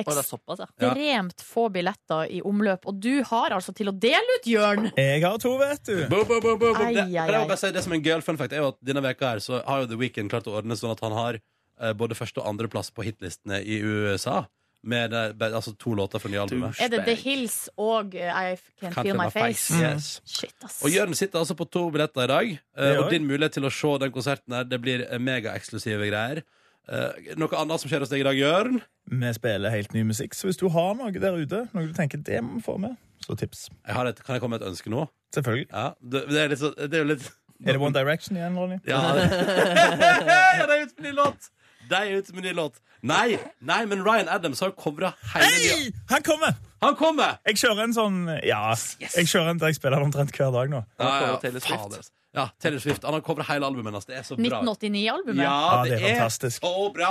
[SPEAKER 3] Ekstremt få billetter i omløp, og du har altså til å dele ut, Jørn!
[SPEAKER 13] Jeg har to, vet du.
[SPEAKER 2] Boom, boom, boom, boom, boom.
[SPEAKER 3] Ai,
[SPEAKER 2] Det,
[SPEAKER 3] ai,
[SPEAKER 2] men jeg må
[SPEAKER 3] ai.
[SPEAKER 2] bare si, det som er en gøyal fun fact, er jo at denne veka her så har jo The Weeknd klart å ordne sånn at han har eh, både første og andre plass på hitlistene i USA. Med eh, be- altså to låter fra nye albumet.
[SPEAKER 3] Er det The Hills og eh, I Can't Feel My Face?
[SPEAKER 2] Yes.
[SPEAKER 3] Shit, ass.
[SPEAKER 2] Og Jørn sitter altså på to billetter i dag. eh,
[SPEAKER 13] Det gjør
[SPEAKER 2] og din mulighet til å se den konserten her, det blir eh, megaeksklusive greier. Eh, noe annet som skjer hos deg i dag, Jørn?
[SPEAKER 13] Vi spiller helt ny musikk, så hvis du har noe der ute, noe du tenker det må vi få med, så tips.
[SPEAKER 2] Jeg har et, kan jeg komme med et ønske nå?
[SPEAKER 13] Selvfølgelig.
[SPEAKER 2] Ja, det, det er litt så, det er jo litt
[SPEAKER 13] Er det One Direction igjen, Ronny?
[SPEAKER 2] Ja, de er ute med ny låt! De er ute med ny låt. Nei, nei, men Ryan Adams har jo covra hele
[SPEAKER 13] Hei! Han kommer!
[SPEAKER 2] Han kommer!
[SPEAKER 13] Jeg kjører en sånn Ja, jeg kjører en der jeg spiller den omtrent hver dag nå.
[SPEAKER 2] Ja, ja, fader, altså. Ja, Taylor Swift. Han har covra hele albumet hans. Det er så bra.
[SPEAKER 3] 1989-albumet?
[SPEAKER 2] Ja, det, er,
[SPEAKER 13] fantastisk.
[SPEAKER 2] så bra!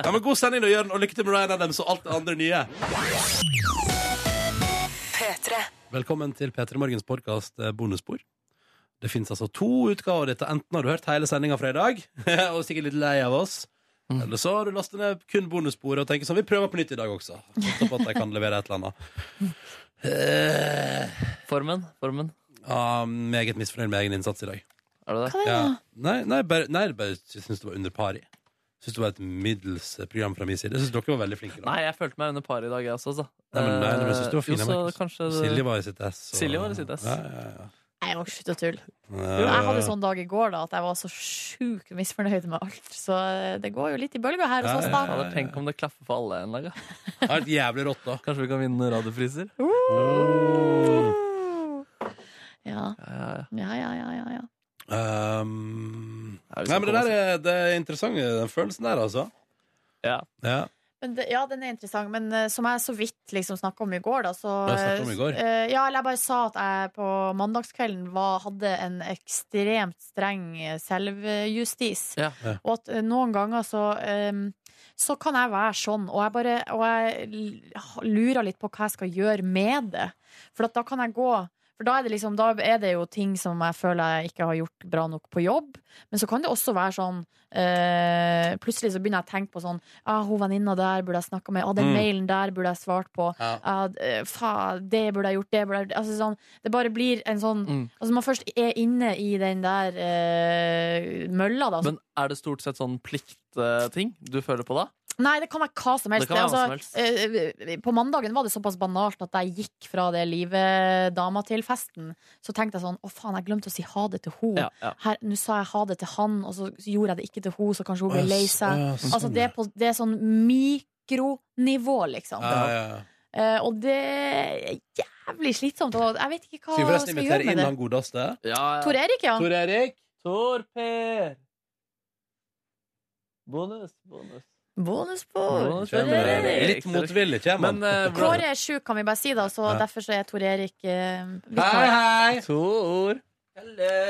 [SPEAKER 2] Ja, men God sending, da, Jørn, og lykke til med Ryan Adams og alt det andre nye. Velkommen til P3 Morgens podkast Bonusspor. Det fins altså to utgaver av dette. Enten har du hørt hele sendinga fra i dag og er sikkert litt lei av oss, eller så har du lastet ned kun bonussporet og tenker sånn Vi prøver på nytt i dag også. Satser på at jeg kan levere et eller annet. Eh,
[SPEAKER 4] Formen. Formen.
[SPEAKER 2] ja, meget misfornøyd med egen innsats i dag.
[SPEAKER 4] Er det det?
[SPEAKER 2] Ja. Nei, nei, bare, nei, bare jeg syns det var under pari. Syns det var et middels program fra min side. Jeg syns dere var veldig flinke. da
[SPEAKER 4] Nei, jeg følte meg under par i dag, jeg også. Altså.
[SPEAKER 2] Nei, men, nei, nei, men jeg synes du var fin,
[SPEAKER 4] Eh, jo,
[SPEAKER 2] Markus.
[SPEAKER 4] så kanskje det-
[SPEAKER 2] Silje var i sitt ess. og-
[SPEAKER 4] Silje var i sitt ess.
[SPEAKER 2] Ja, ja, ja. Eh,
[SPEAKER 3] Nei, må slutte å tulle.
[SPEAKER 2] Ja.
[SPEAKER 3] Jo, Jeg
[SPEAKER 4] Eh.
[SPEAKER 3] hadde sånn dag i går da at jeg var så sjukt misfornøyd med alt. Så eh, det går jo litt i bølger her hos oss, da.
[SPEAKER 4] Ja, tenk om det klaffer for alle en dag. da.
[SPEAKER 2] Det er et jævlig rått da
[SPEAKER 4] Kanskje vi kan vinne radiopriser?
[SPEAKER 3] Ja. Ja, ja, ja, ja, ja.
[SPEAKER 2] Um,
[SPEAKER 4] sånn
[SPEAKER 2] nei, men det der er, det er interessant, den følelsen der, altså.
[SPEAKER 4] Ja.
[SPEAKER 3] Men det, ja, den er interessant, men eh, som jeg så vidt liksom snakka om i går, da, så
[SPEAKER 2] Ja, snakket om i går.
[SPEAKER 3] eh, Ja, eller jeg bare sa at jeg på mandagskvelden var, hadde en ekstremt streng eh, selvjustis.
[SPEAKER 4] Ja.
[SPEAKER 2] Ja.
[SPEAKER 3] Og at eh, noen ganger så eh, så kan jeg være sånn, og jeg bare og jeg l- lurer litt på hva jeg skal gjøre med det. For at da kan jeg gå For da er, det liksom, da er det jo ting som jeg føler jeg ikke har gjort bra nok på jobb. Men så kan det også være sånn eh, Plutselig så begynner jeg å tenke på sånn ah, 'Hun venninna der burde jeg snakka med.' Ah, 'Den
[SPEAKER 6] Mm.
[SPEAKER 3] mailen der burde jeg svart på.'
[SPEAKER 6] Ja.
[SPEAKER 3] Ah, d- eh, faen, 'Det burde jeg gjort.' Det burde jeg gjort. Altså, sånn, det bare blir en sånn
[SPEAKER 4] Mm.
[SPEAKER 3] Altså Man først er inne i den der eh, mølla, da. så
[SPEAKER 4] Men er det stort sett sånn pliktting du føler på da?
[SPEAKER 3] Nei, det kan være hva som helst.
[SPEAKER 4] Det kan være hva
[SPEAKER 3] altså, eh, på mandagen var det såpass banalt at jeg gikk fra det livet dama til festen. Så tenkte jeg sånn Å, faen, jeg glemte å si ha det til ho.
[SPEAKER 4] Ja, ja.
[SPEAKER 3] Her, Nå sa jeg ha det til han, og så gjorde jeg det ikke til ho, så kanskje hun ble
[SPEAKER 2] Å, ja,
[SPEAKER 3] lei
[SPEAKER 2] s-
[SPEAKER 3] seg.
[SPEAKER 2] å, ja, sånn,
[SPEAKER 3] Altså, det er, på, det er sånn mikronivå, liksom.
[SPEAKER 2] Ja, ja, ja.
[SPEAKER 3] Eh, og det er jævlig slitsomt. Og jeg vet ikke hva
[SPEAKER 2] Skal vi
[SPEAKER 3] jeg
[SPEAKER 2] forresten
[SPEAKER 3] skal
[SPEAKER 2] invitere
[SPEAKER 3] gjøre
[SPEAKER 2] inn
[SPEAKER 3] med det.
[SPEAKER 2] han godeste?
[SPEAKER 3] Tor Erik, ja.
[SPEAKER 2] Tor Erik.
[SPEAKER 4] Tor Per. Bonus, bonus.
[SPEAKER 3] Bonus på Tor
[SPEAKER 2] Kjem, eh,
[SPEAKER 3] Erik. eh,
[SPEAKER 2] Litt motvillig kommer han.
[SPEAKER 3] Kåre er sjuk, kan vi bare si, da, så
[SPEAKER 2] Ja.
[SPEAKER 3] derfor så er Tor Erik eh, vikar.
[SPEAKER 4] Hei, hei! Tor.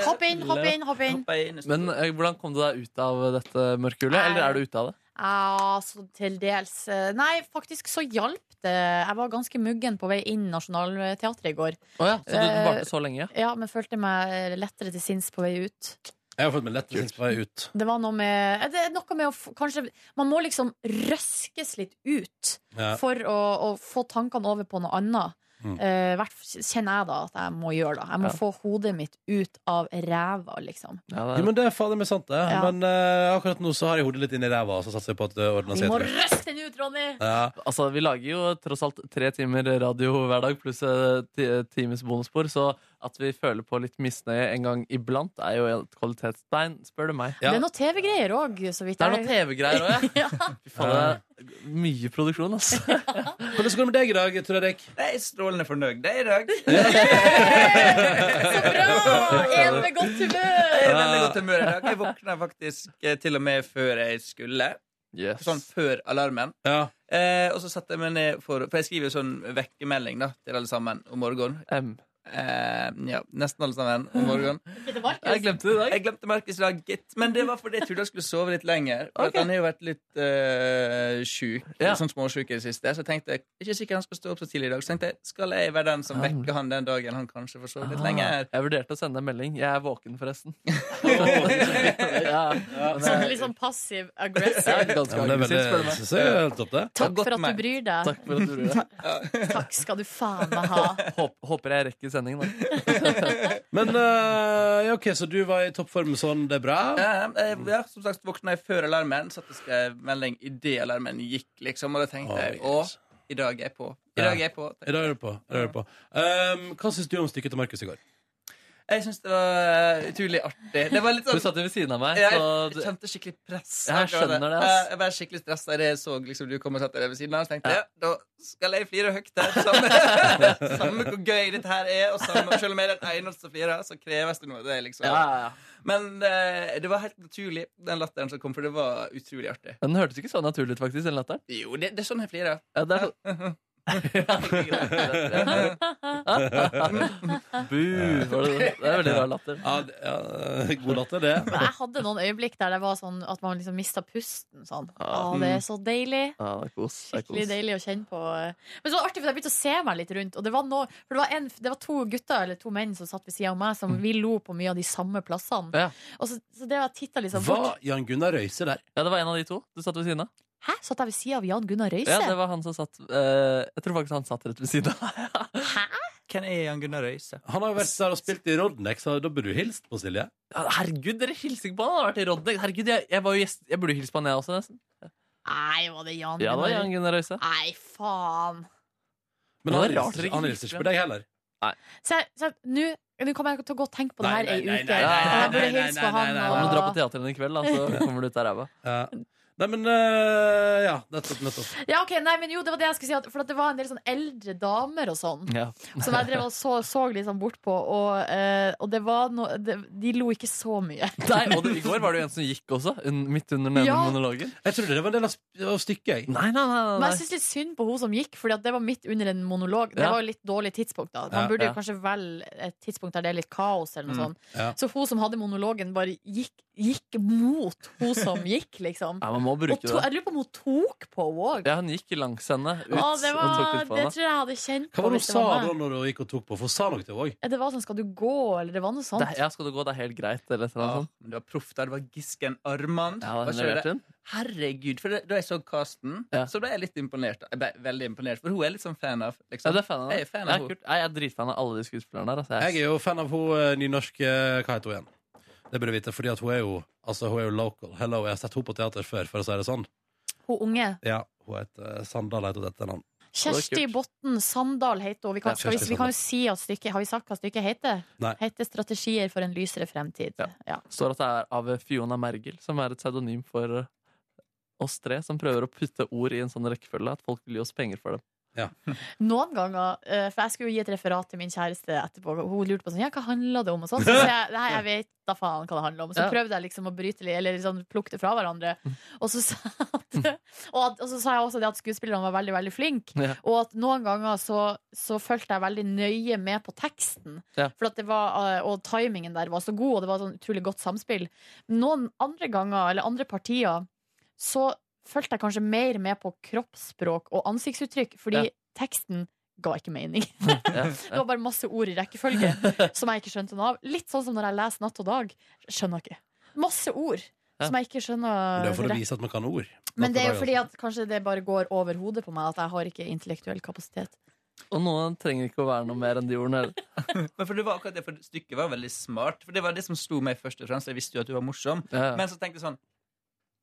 [SPEAKER 3] Hopp inn, hopp inn, hopp inn.
[SPEAKER 4] Men eh, hvordan kom du deg ut av dette mørkhullet?
[SPEAKER 3] Nei.
[SPEAKER 4] Eller er du ute av det?
[SPEAKER 3] Ja, så til dels. eh, Nei, faktisk så hjalp det. Jeg var ganske muggen på vei inn Nationaltheatret i går.
[SPEAKER 4] Å ja, så du
[SPEAKER 3] Eh,
[SPEAKER 4] varte så lenge?
[SPEAKER 3] Ja, men følte meg lettere til sinns på vei ut.
[SPEAKER 2] Jeg har fått meg lettere sinns på vei ut.
[SPEAKER 3] Det var noe med, eh, det er noe med å f- Kanskje man må liksom røskes litt ut
[SPEAKER 2] Ja.
[SPEAKER 3] for å, å få tankene over på noe annet.
[SPEAKER 2] Mm.
[SPEAKER 3] Eh, hvert, kjenner jeg da at jeg må gjøre da. Jeg
[SPEAKER 2] Ja.
[SPEAKER 3] må få hodet mitt ut av ræva, liksom.
[SPEAKER 2] Jo, men det er fader meg sant, det.
[SPEAKER 3] Ja.
[SPEAKER 2] Men eh, akkurat nå så har jeg hodet litt inni ræva, så satser jeg på at det ordner
[SPEAKER 3] Vi
[SPEAKER 2] seg.
[SPEAKER 3] må
[SPEAKER 2] etter hvert.
[SPEAKER 3] røske den ut, Ronny!
[SPEAKER 4] Altså, vi lager jo tross alt tre timer radio hver dag pluss eh, ti- times bonusspor, så at vi føler på litt misnøye en gang iblant, er jo et kvalitetstegn, spør du meg.
[SPEAKER 3] Det er noe TV-greier òg, så vidt
[SPEAKER 4] Det er noe TV-greier òg,
[SPEAKER 3] ja.
[SPEAKER 4] Fy faen, det er mye produksjon, altså.
[SPEAKER 2] Hvordan går det med deg i dag, Tor Erik?
[SPEAKER 6] Jeg er strålende fornøyd det er i dag.
[SPEAKER 3] En med godt humør!
[SPEAKER 6] Jeg er i veldig godt humør i dag. Jeg våkna faktisk eh, til og med før jeg skulle. Sånn før alarmen. Eh, og så satte jeg meg ned for For jeg skriver jo sånn vekkemelding da til alle sammen om morgenen. Eh, ja, nesten alle sammen om morgenen. Jeg
[SPEAKER 4] glemte det i dag.
[SPEAKER 6] Jeg glemte Markus i dag, gitt. Men det var fordi jeg trodde jeg skulle sove litt lenger. For at han har jo vært litt eh, sjuk,
[SPEAKER 4] Ja.
[SPEAKER 6] sånn småsjuk i det siste. Så tenkte jeg ikke sikkert han skal stå opp så tidlig i dag. Så tenkte jeg, skal jeg være den som vekker han den dagen han kanskje får sove litt lenger?
[SPEAKER 4] Ah, Jeg vurderte å sende en melding. Jeg er våken, forresten.
[SPEAKER 3] Sånn litt sånn passiv
[SPEAKER 6] Sånn
[SPEAKER 4] Ja,
[SPEAKER 3] aggressiv.
[SPEAKER 4] ganske
[SPEAKER 2] Ja, men det er veldig-
[SPEAKER 4] aggressivt, spør du meg.
[SPEAKER 2] synes jeg er helt topp, det.
[SPEAKER 3] Takk for at du bryr deg.
[SPEAKER 4] Takk for at du bryr deg.
[SPEAKER 3] Takk skal du faen meg ha.
[SPEAKER 4] Håp, håper jeg rekker sendingen, da.
[SPEAKER 2] Men eh, ja, OK, så du var i toppform sånn, det er bra?
[SPEAKER 6] Ja, jeg, ja, som sagt våkna jeg før alarmen, satt og skrev melding idet alarmen gikk, liksom. Og da tenkte jeg å, i dag er jeg på. I dag er jeg på.
[SPEAKER 2] I dag er du på. I dag er du på. Ehm, hva syns du om stykket til Markus i går?
[SPEAKER 6] Jeg syns det var utrolig artig. Det var litt sånn
[SPEAKER 4] Du satt jo ved siden av meg,
[SPEAKER 6] Jeg,
[SPEAKER 4] så du-
[SPEAKER 6] jeg kjente skikkelig press.
[SPEAKER 4] Jeg skjønner det, ass.
[SPEAKER 6] Jeg, jeg var skikkelig stressa idet jeg så liksom, du kom og satte deg ved siden av. Så tenkte jeg ja, da skal jeg flire høyt her. Samme, samme hvor gøy dette her er, og samme, selv om jeg er den eneste som flirer, så kreves det noe. av Det, liksom. Men eh, det var helt naturlig, den latteren som kom, for det var utrolig artig.
[SPEAKER 4] Den hørtes ikke så naturlig ut, faktisk, den latteren.
[SPEAKER 6] Jo, det, det er sånn jeg flirer.
[SPEAKER 4] Ja, det er sånn- Bu, var det det? Det er veldig rar latter.
[SPEAKER 2] Ja, det- ja, god latter, det.
[SPEAKER 3] Men jeg hadde noen øyeblikk der det var sånn at man liksom mista pusten. Sånn.
[SPEAKER 2] Ja.
[SPEAKER 3] Å, det er så deilig.
[SPEAKER 4] Ja, det er kos. Det er
[SPEAKER 3] Skikkelig
[SPEAKER 4] kos.
[SPEAKER 3] deilig å kjenne på. eh. Men så artig, for jeg begynte å se meg litt rundt. Og det var, noe, for det var, en, det var to gutter, eller to menn, som satt ved siden av meg,
[SPEAKER 2] Mm.
[SPEAKER 3] som vi lo på mye av de samme plassene.
[SPEAKER 4] Ja.
[SPEAKER 3] Og så, så det jeg titta liksom
[SPEAKER 2] Var
[SPEAKER 3] bort.
[SPEAKER 2] Jan Gunnar Røise der?
[SPEAKER 4] Ja, det var en av de to du satt ved siden av.
[SPEAKER 3] Hæ, satt jeg ved siden av Jan Gunnar Røise?
[SPEAKER 4] Ja, det var han som satt eh, Jeg tror faktisk han satt rett ved siden av.
[SPEAKER 6] Hvem er Jan Gunnar Røise?
[SPEAKER 2] Han har jo vært der og spilt i Rodnex, så da burde du hilst på Silje.
[SPEAKER 4] Ja, Herregud, dere hilser ikke på han! Han har vært i Rodney. Herregud, jeg, jeg, var jo gjest, jeg burde hilse på han, jeg også, nesten.
[SPEAKER 3] Nei, var det Jan
[SPEAKER 4] Ja, det var
[SPEAKER 3] Gunnar?
[SPEAKER 4] Jan Gunnar Røise.
[SPEAKER 3] Nei, faen.
[SPEAKER 2] Men
[SPEAKER 4] Det var
[SPEAKER 2] han hilser
[SPEAKER 4] rart
[SPEAKER 2] ikke,
[SPEAKER 4] dere ikke
[SPEAKER 2] han
[SPEAKER 4] hilser
[SPEAKER 2] hilser ikke
[SPEAKER 4] på
[SPEAKER 2] på deg heller.
[SPEAKER 3] Så jeg- så jeg- nå nå kommer jeg til å gå og tenke på det
[SPEAKER 2] Nei,
[SPEAKER 3] her ei
[SPEAKER 2] nei, nei,
[SPEAKER 3] uke.
[SPEAKER 2] nei, nei,
[SPEAKER 3] Og
[SPEAKER 2] nei,
[SPEAKER 3] jeg burde
[SPEAKER 2] nei, nei,
[SPEAKER 3] hilse på
[SPEAKER 2] nei,
[SPEAKER 3] han.
[SPEAKER 2] nei,
[SPEAKER 4] Da må du dra på
[SPEAKER 3] Og...
[SPEAKER 4] teatret i kveld, da, så kommer du ut av ræva.
[SPEAKER 2] Ja. Nei, men eh, Ja, nettopp, nettopp.
[SPEAKER 3] Ja, ok, nei, men jo, det var det jeg skulle si. At, for at det var en del sånn eldre damer og sånn. Som jeg drev og så, så litt sånn bort på, og, eh, og det var noe det, De lo ikke så mye.
[SPEAKER 4] Nei, og det, I går var det jo en som gikk også, un, midt under denne
[SPEAKER 3] Ja.
[SPEAKER 4] monologen.
[SPEAKER 2] Jeg trodde det var en del av, sp- av stykket. jeg.
[SPEAKER 4] Nei, nei, nei,
[SPEAKER 3] Men
[SPEAKER 4] nei.
[SPEAKER 3] jeg syns litt synd på hun som gikk, Fordi at det var midt under en monolog. Det
[SPEAKER 4] Ja.
[SPEAKER 3] var jo litt dårlig tidspunkt. da Man
[SPEAKER 4] Ja,
[SPEAKER 3] burde
[SPEAKER 4] ja.
[SPEAKER 3] jo kanskje velge et tidspunkt der det er litt kaos. Eller noe
[SPEAKER 4] Mm,
[SPEAKER 3] sånt
[SPEAKER 4] ja.
[SPEAKER 3] Så hun som hadde monologen, bare gikk, gikk mot hun som gikk, liksom.
[SPEAKER 4] Ja, man må bruke
[SPEAKER 3] og to,
[SPEAKER 4] det.
[SPEAKER 3] jeg lurer på om hun tok på henne òg.
[SPEAKER 4] Ja, hun gikk langs henne ut
[SPEAKER 3] Å, det,
[SPEAKER 4] og tok
[SPEAKER 3] var,
[SPEAKER 4] litt på
[SPEAKER 3] det
[SPEAKER 4] henne.
[SPEAKER 3] tror jeg jeg hadde kjent
[SPEAKER 2] Hva var det
[SPEAKER 3] hvis
[SPEAKER 2] hun sa
[SPEAKER 3] var meg.
[SPEAKER 2] da når hun gikk og tok på? For hun sa noe til henne òg.
[SPEAKER 3] Ja, Det var sånn 'skal du gå', eller det var noe sånt.
[SPEAKER 4] Det, ja, skal du gå, det er helt greit, eller et eller annet sånt.
[SPEAKER 6] Men du var proff der. Det var Gisken Armand.
[SPEAKER 4] Ja,
[SPEAKER 6] Var
[SPEAKER 4] den
[SPEAKER 6] ikke det?
[SPEAKER 4] leverte hun.
[SPEAKER 6] Herregud. For det, da jeg så casten, så ble jeg litt imponert. Jeg ble veldig imponert, For hun er litt sånn fan av liksom.
[SPEAKER 4] Ja, det er fan av henne.
[SPEAKER 6] Jeg er fan
[SPEAKER 4] Ja,
[SPEAKER 6] av henne.
[SPEAKER 4] kult. Nei, jeg er dritfan av alle de skuespillerne der. Altså, jeg,
[SPEAKER 2] Jeg er jo fan av hun eh, nynorske Hva heter hun igjen? Det burde jeg vite, fordi at hun er jo Altså, hun er jo local. Hello, jeg har sett henne på teater før, for å si det sånn.
[SPEAKER 3] Hun unge.
[SPEAKER 2] Ja, hun heter eh, Sandal heter hun etter navn.
[SPEAKER 3] Kjersti Botten Sandal heter hun. Vi kan,
[SPEAKER 2] Ja,
[SPEAKER 3] skal vi,
[SPEAKER 2] Kjersti
[SPEAKER 3] vi kan jo
[SPEAKER 2] Sandal.
[SPEAKER 3] si at stykket, Har vi sagt hva stykket heter?
[SPEAKER 2] Nei.
[SPEAKER 3] Heter 'Strategier for en lysere fremtid'. Ja.
[SPEAKER 4] Står at det er av Fiona Mergel, som er et pseudonym for eh, oss tre, som prøver å putte ord i en sånn rekkefølge at folk vil gi oss penger for dem.
[SPEAKER 3] Noen ganger, eh, for jeg skulle jo gi et referat til min kjæreste etterpå, og hun lurte på sånn, ja, hva handla det om, og sånn. Så sa jeg nei, jeg vet da faen hva det handler om. Så
[SPEAKER 14] Ja.
[SPEAKER 3] prøvde jeg liksom å bryte litt, eller sånn, plukke det fra hverandre. Og så, sa jeg at, og, at, og så sa jeg også det at skuespillerne var veldig, veldig flink
[SPEAKER 14] Ja.
[SPEAKER 3] Og at noen ganger så, så fulgte jeg veldig nøye med på teksten.
[SPEAKER 14] Ja.
[SPEAKER 3] For at det var, eh, og timingen der var så god, og det var et sånn utrolig godt samspill. Noen andre ganger, eller andre partier, så fulgte jeg kanskje mer med på kroppsspråk og ansiktsuttrykk, fordi
[SPEAKER 14] Ja.
[SPEAKER 3] teksten ga ikke mening. Det var bare masse ord i rekkefølge som jeg ikke skjønte noe av. Litt sånn som når jeg leser Natt og dag. Skjønner ikke. Masse ord
[SPEAKER 2] Ja.
[SPEAKER 3] som jeg ikke
[SPEAKER 2] Men
[SPEAKER 3] skjønner.
[SPEAKER 2] det er jo for å
[SPEAKER 3] rett-
[SPEAKER 2] vise at man kan ord.
[SPEAKER 3] Men det er jo fordi
[SPEAKER 2] at
[SPEAKER 3] at kanskje det bare går over hodet på meg, at jeg har ikke intellektuell kapasitet.
[SPEAKER 4] Og noen trenger ikke å være noe mer enn de ordene. heller.
[SPEAKER 6] Men for det var akkurat det, for Stykket var veldig smart. For Det var det som slo meg først og fremst. Jeg visste jo at du var morsom.
[SPEAKER 4] Ja.
[SPEAKER 6] Men så tenkte jeg sånn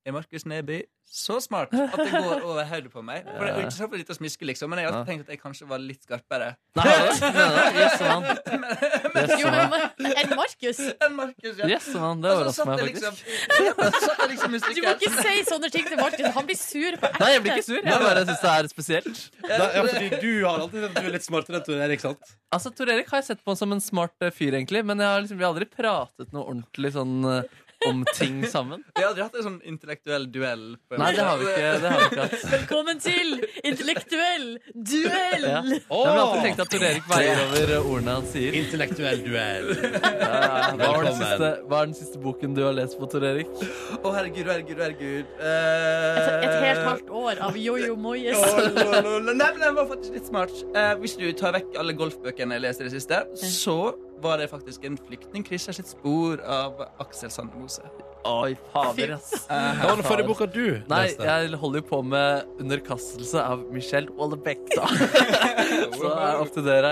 [SPEAKER 6] Er Markus Neby så smart at det går over hodet på meg? For det er jo ikke sånn for litt å smiske, liksom, men jeg har alltid tenkt at jeg kanskje var litt skarpere.
[SPEAKER 4] Nei, nei, nei, yes, man. Yes,
[SPEAKER 6] Jo, men-
[SPEAKER 4] man.
[SPEAKER 3] Enn Markus!
[SPEAKER 6] Enn Markus, ja.
[SPEAKER 4] Yes, man. Det
[SPEAKER 6] Og så
[SPEAKER 4] overrasker
[SPEAKER 6] satt
[SPEAKER 4] meg
[SPEAKER 6] jeg
[SPEAKER 4] faktisk.
[SPEAKER 6] liksom- så satt jeg liksom i
[SPEAKER 3] Du
[SPEAKER 6] stykket
[SPEAKER 3] må
[SPEAKER 6] her
[SPEAKER 3] ikke
[SPEAKER 6] som-
[SPEAKER 3] si sånne ting til Markus! Han blir sur på ekte.
[SPEAKER 4] Nei, jeg blir ikke sur. Jeg bare syns det er spesielt.
[SPEAKER 2] ja, fordi du har alltid tenkt at du er litt smartere enn Tor Erik, sant?
[SPEAKER 4] Altså, Tor Erik har jeg sett på som en smart eh, fyr, egentlig, men jeg har liksom, vi har aldri pratet noe ordentlig sånn eh, om ting sammen.
[SPEAKER 6] Vi har aldri hatt en sånn intellektuell duell. på en
[SPEAKER 4] Nei,
[SPEAKER 6] måte.
[SPEAKER 4] det har vi ikke. Det har vi ikke hatt.
[SPEAKER 3] Velkommen til intellektuell duell!
[SPEAKER 4] Ja. Jeg har alltid tenkt at Tor Erik veier over eh, ordene han sier.
[SPEAKER 2] Intellektuell duell.
[SPEAKER 4] Hva var den
[SPEAKER 2] Velkommen.
[SPEAKER 4] siste, hva er den siste boken du har lest på, Tor Erik?
[SPEAKER 6] Å, herregud, herregud, herregud. Eh,
[SPEAKER 3] Et, et helt halvt år av jojo moyes.
[SPEAKER 6] Lolololol. Nei, men den var faktisk litt smart. Eh, hvis du tar vekk alle golfbøkene jeg leste i det siste, så var det faktisk en flyktning krysser sitt spor av Aksel Sandemose.
[SPEAKER 4] Oi, fader, ass.
[SPEAKER 6] Hva var den forrige boka du
[SPEAKER 4] Nei,
[SPEAKER 6] leste?
[SPEAKER 4] jeg holder jo på med underkastelse av Michelle Houellebecq, da. Så det er opp til dere.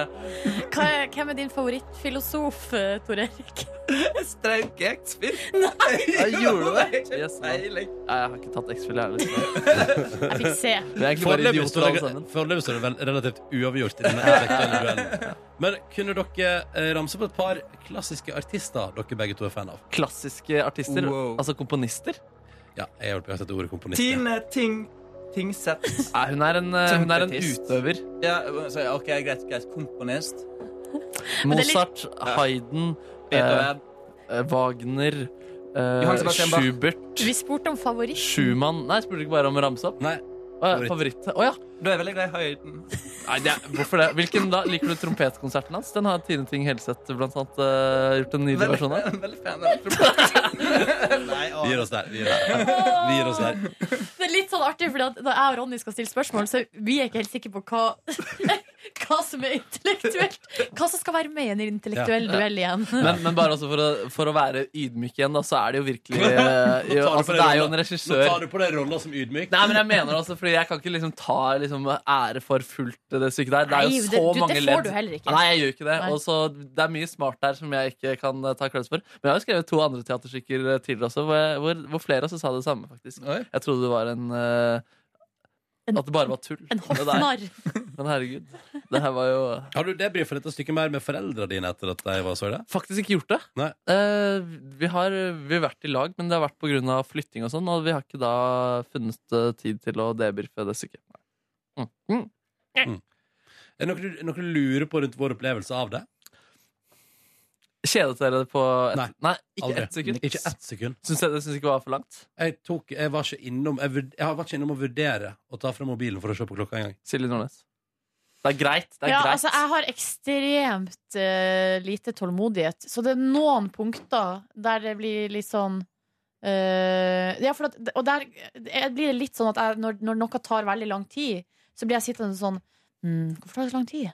[SPEAKER 3] Hva er- Hvem er din favorittfilosof, eh, Tor Erik?
[SPEAKER 6] Strauke Eksfil.
[SPEAKER 4] Jeg gjorde det.
[SPEAKER 6] Helt
[SPEAKER 4] Yes, man.
[SPEAKER 6] feil, jeg.
[SPEAKER 4] Nei, jeg har ikke tatt X-Fill, jeg. Liksom.
[SPEAKER 3] Jeg fikk se.
[SPEAKER 4] Vi er egentlig bare
[SPEAKER 2] Foreløpig
[SPEAKER 4] idioter
[SPEAKER 2] står
[SPEAKER 4] alle
[SPEAKER 2] det- foreløpig står det vel relativt uavgjort i denne intellektuelle duellen. Men kunne dere eh, ramse opp et par klassiske artister dere begge to er fan av?
[SPEAKER 4] Klassiske artister?
[SPEAKER 2] Wow.
[SPEAKER 4] Altså komponister?
[SPEAKER 2] Ja, jeg hjelper å sette ordet komponist. ja.
[SPEAKER 6] Tine eh, Ting Tingseth.
[SPEAKER 4] Nei, hun er en, eh, hun er en
[SPEAKER 6] Trompetist.
[SPEAKER 4] utøver.
[SPEAKER 6] Ja, eh, så, ja, OK, greit. greit. Komponist. Men det er litt-
[SPEAKER 4] Mozart, Haydn, eh,
[SPEAKER 6] Beethoven.
[SPEAKER 4] eh, Wagner, eh,
[SPEAKER 6] Johann Sebastian Bach.
[SPEAKER 4] Schubert
[SPEAKER 3] Vi spurte om favoritt.
[SPEAKER 4] Schumann Nei, spurte du ikke bare om å ramse opp?
[SPEAKER 2] Nei.
[SPEAKER 4] Favoritt. Å ja.
[SPEAKER 6] Du er veldig glad i høyden.
[SPEAKER 4] Nei, det er, hvorfor det? Hvilken da? Liker du trompetkonserten hans? Den har Tine Ting Helseth blant annet eh, gjort en ny
[SPEAKER 6] Veldig-
[SPEAKER 4] versjon av.
[SPEAKER 6] Veldig fan av trompet. Nei, å.
[SPEAKER 2] Vi gir oss der. Vi gir oss der. Vi gir oss der.
[SPEAKER 3] Det er litt sånn artig, for når jeg og Ronny skal stille spørsmål, så vi er ikke helt sikre på hva, hva som er intellektuelt. Hva som skal være med i en intellektuell
[SPEAKER 4] Ja.
[SPEAKER 3] duell igjen.
[SPEAKER 4] Men, men bare altså for, å, for å være ydmyk igjen, da, så er det jo virkelig eh,
[SPEAKER 2] Nå tar du
[SPEAKER 4] jo,
[SPEAKER 2] på
[SPEAKER 4] altså,
[SPEAKER 2] deg
[SPEAKER 4] Det er jo
[SPEAKER 2] rollen.
[SPEAKER 4] en regissør
[SPEAKER 2] Nå tar du på deg rollen som ydmyk.
[SPEAKER 4] Nei, men jeg mener altså, fordi jeg kan ikke liksom ta liksom, ære for fullt det stykket der. Det er
[SPEAKER 3] Nei,
[SPEAKER 4] jo
[SPEAKER 3] det-
[SPEAKER 4] så
[SPEAKER 3] du- det
[SPEAKER 4] mange
[SPEAKER 3] får
[SPEAKER 4] ledd.
[SPEAKER 3] du heller ikke.
[SPEAKER 4] Nei, jeg gjør ikke det.
[SPEAKER 3] Nei.
[SPEAKER 4] Og så det er mye smart der som jeg ikke kan eh, ta kreds for. Men jeg har jo skrevet to andre teaterstykker eh, tidligere også, hvor, jeg- hvor, hvor flere også sa det samme, faktisk. Jeg trodde det var en eh, At det bare var tull.
[SPEAKER 3] En
[SPEAKER 4] Det der.
[SPEAKER 3] hoffnarr.
[SPEAKER 4] Men herregud. Det her var jo
[SPEAKER 2] Har du debrifa dette stykket mer med foreldra dine etter at de var så i det?
[SPEAKER 4] Faktisk ikke gjort det.
[SPEAKER 2] Nei.
[SPEAKER 4] Eh, vi, har, vi har vært i lag, men det har vært pga. flytting og sånn. Og vi har ikke da funnet eh, tid til å debrife det stykket. Nei. Mm. Mm.
[SPEAKER 2] Er det noe, du- noe du lurer på rundt vår opplevelse av det?
[SPEAKER 4] Kjedet dere på et, Nei, ikke
[SPEAKER 2] aldri.
[SPEAKER 4] ett sekund.
[SPEAKER 2] Ikke ett sekund.
[SPEAKER 4] Syns jeg det syns ikke var for langt?
[SPEAKER 2] Jeg, tok, jeg, var ikke innom, jeg, vurd- jeg har vært ikke innom å vurdere å ta frem mobilen for å se på klokka engang.
[SPEAKER 4] Silje Nordnes. Det er greit. Det er
[SPEAKER 3] Ja,
[SPEAKER 4] greit.
[SPEAKER 3] altså, jeg har ekstremt eh, lite tålmodighet, så det er noen punkter der det blir litt sånn eh, ja, for at, og der jeg blir det litt sånn at jeg, når, når noe tar veldig lang tid, så blir jeg sittende sånn «Hm, Hvorfor tar det så lang tid?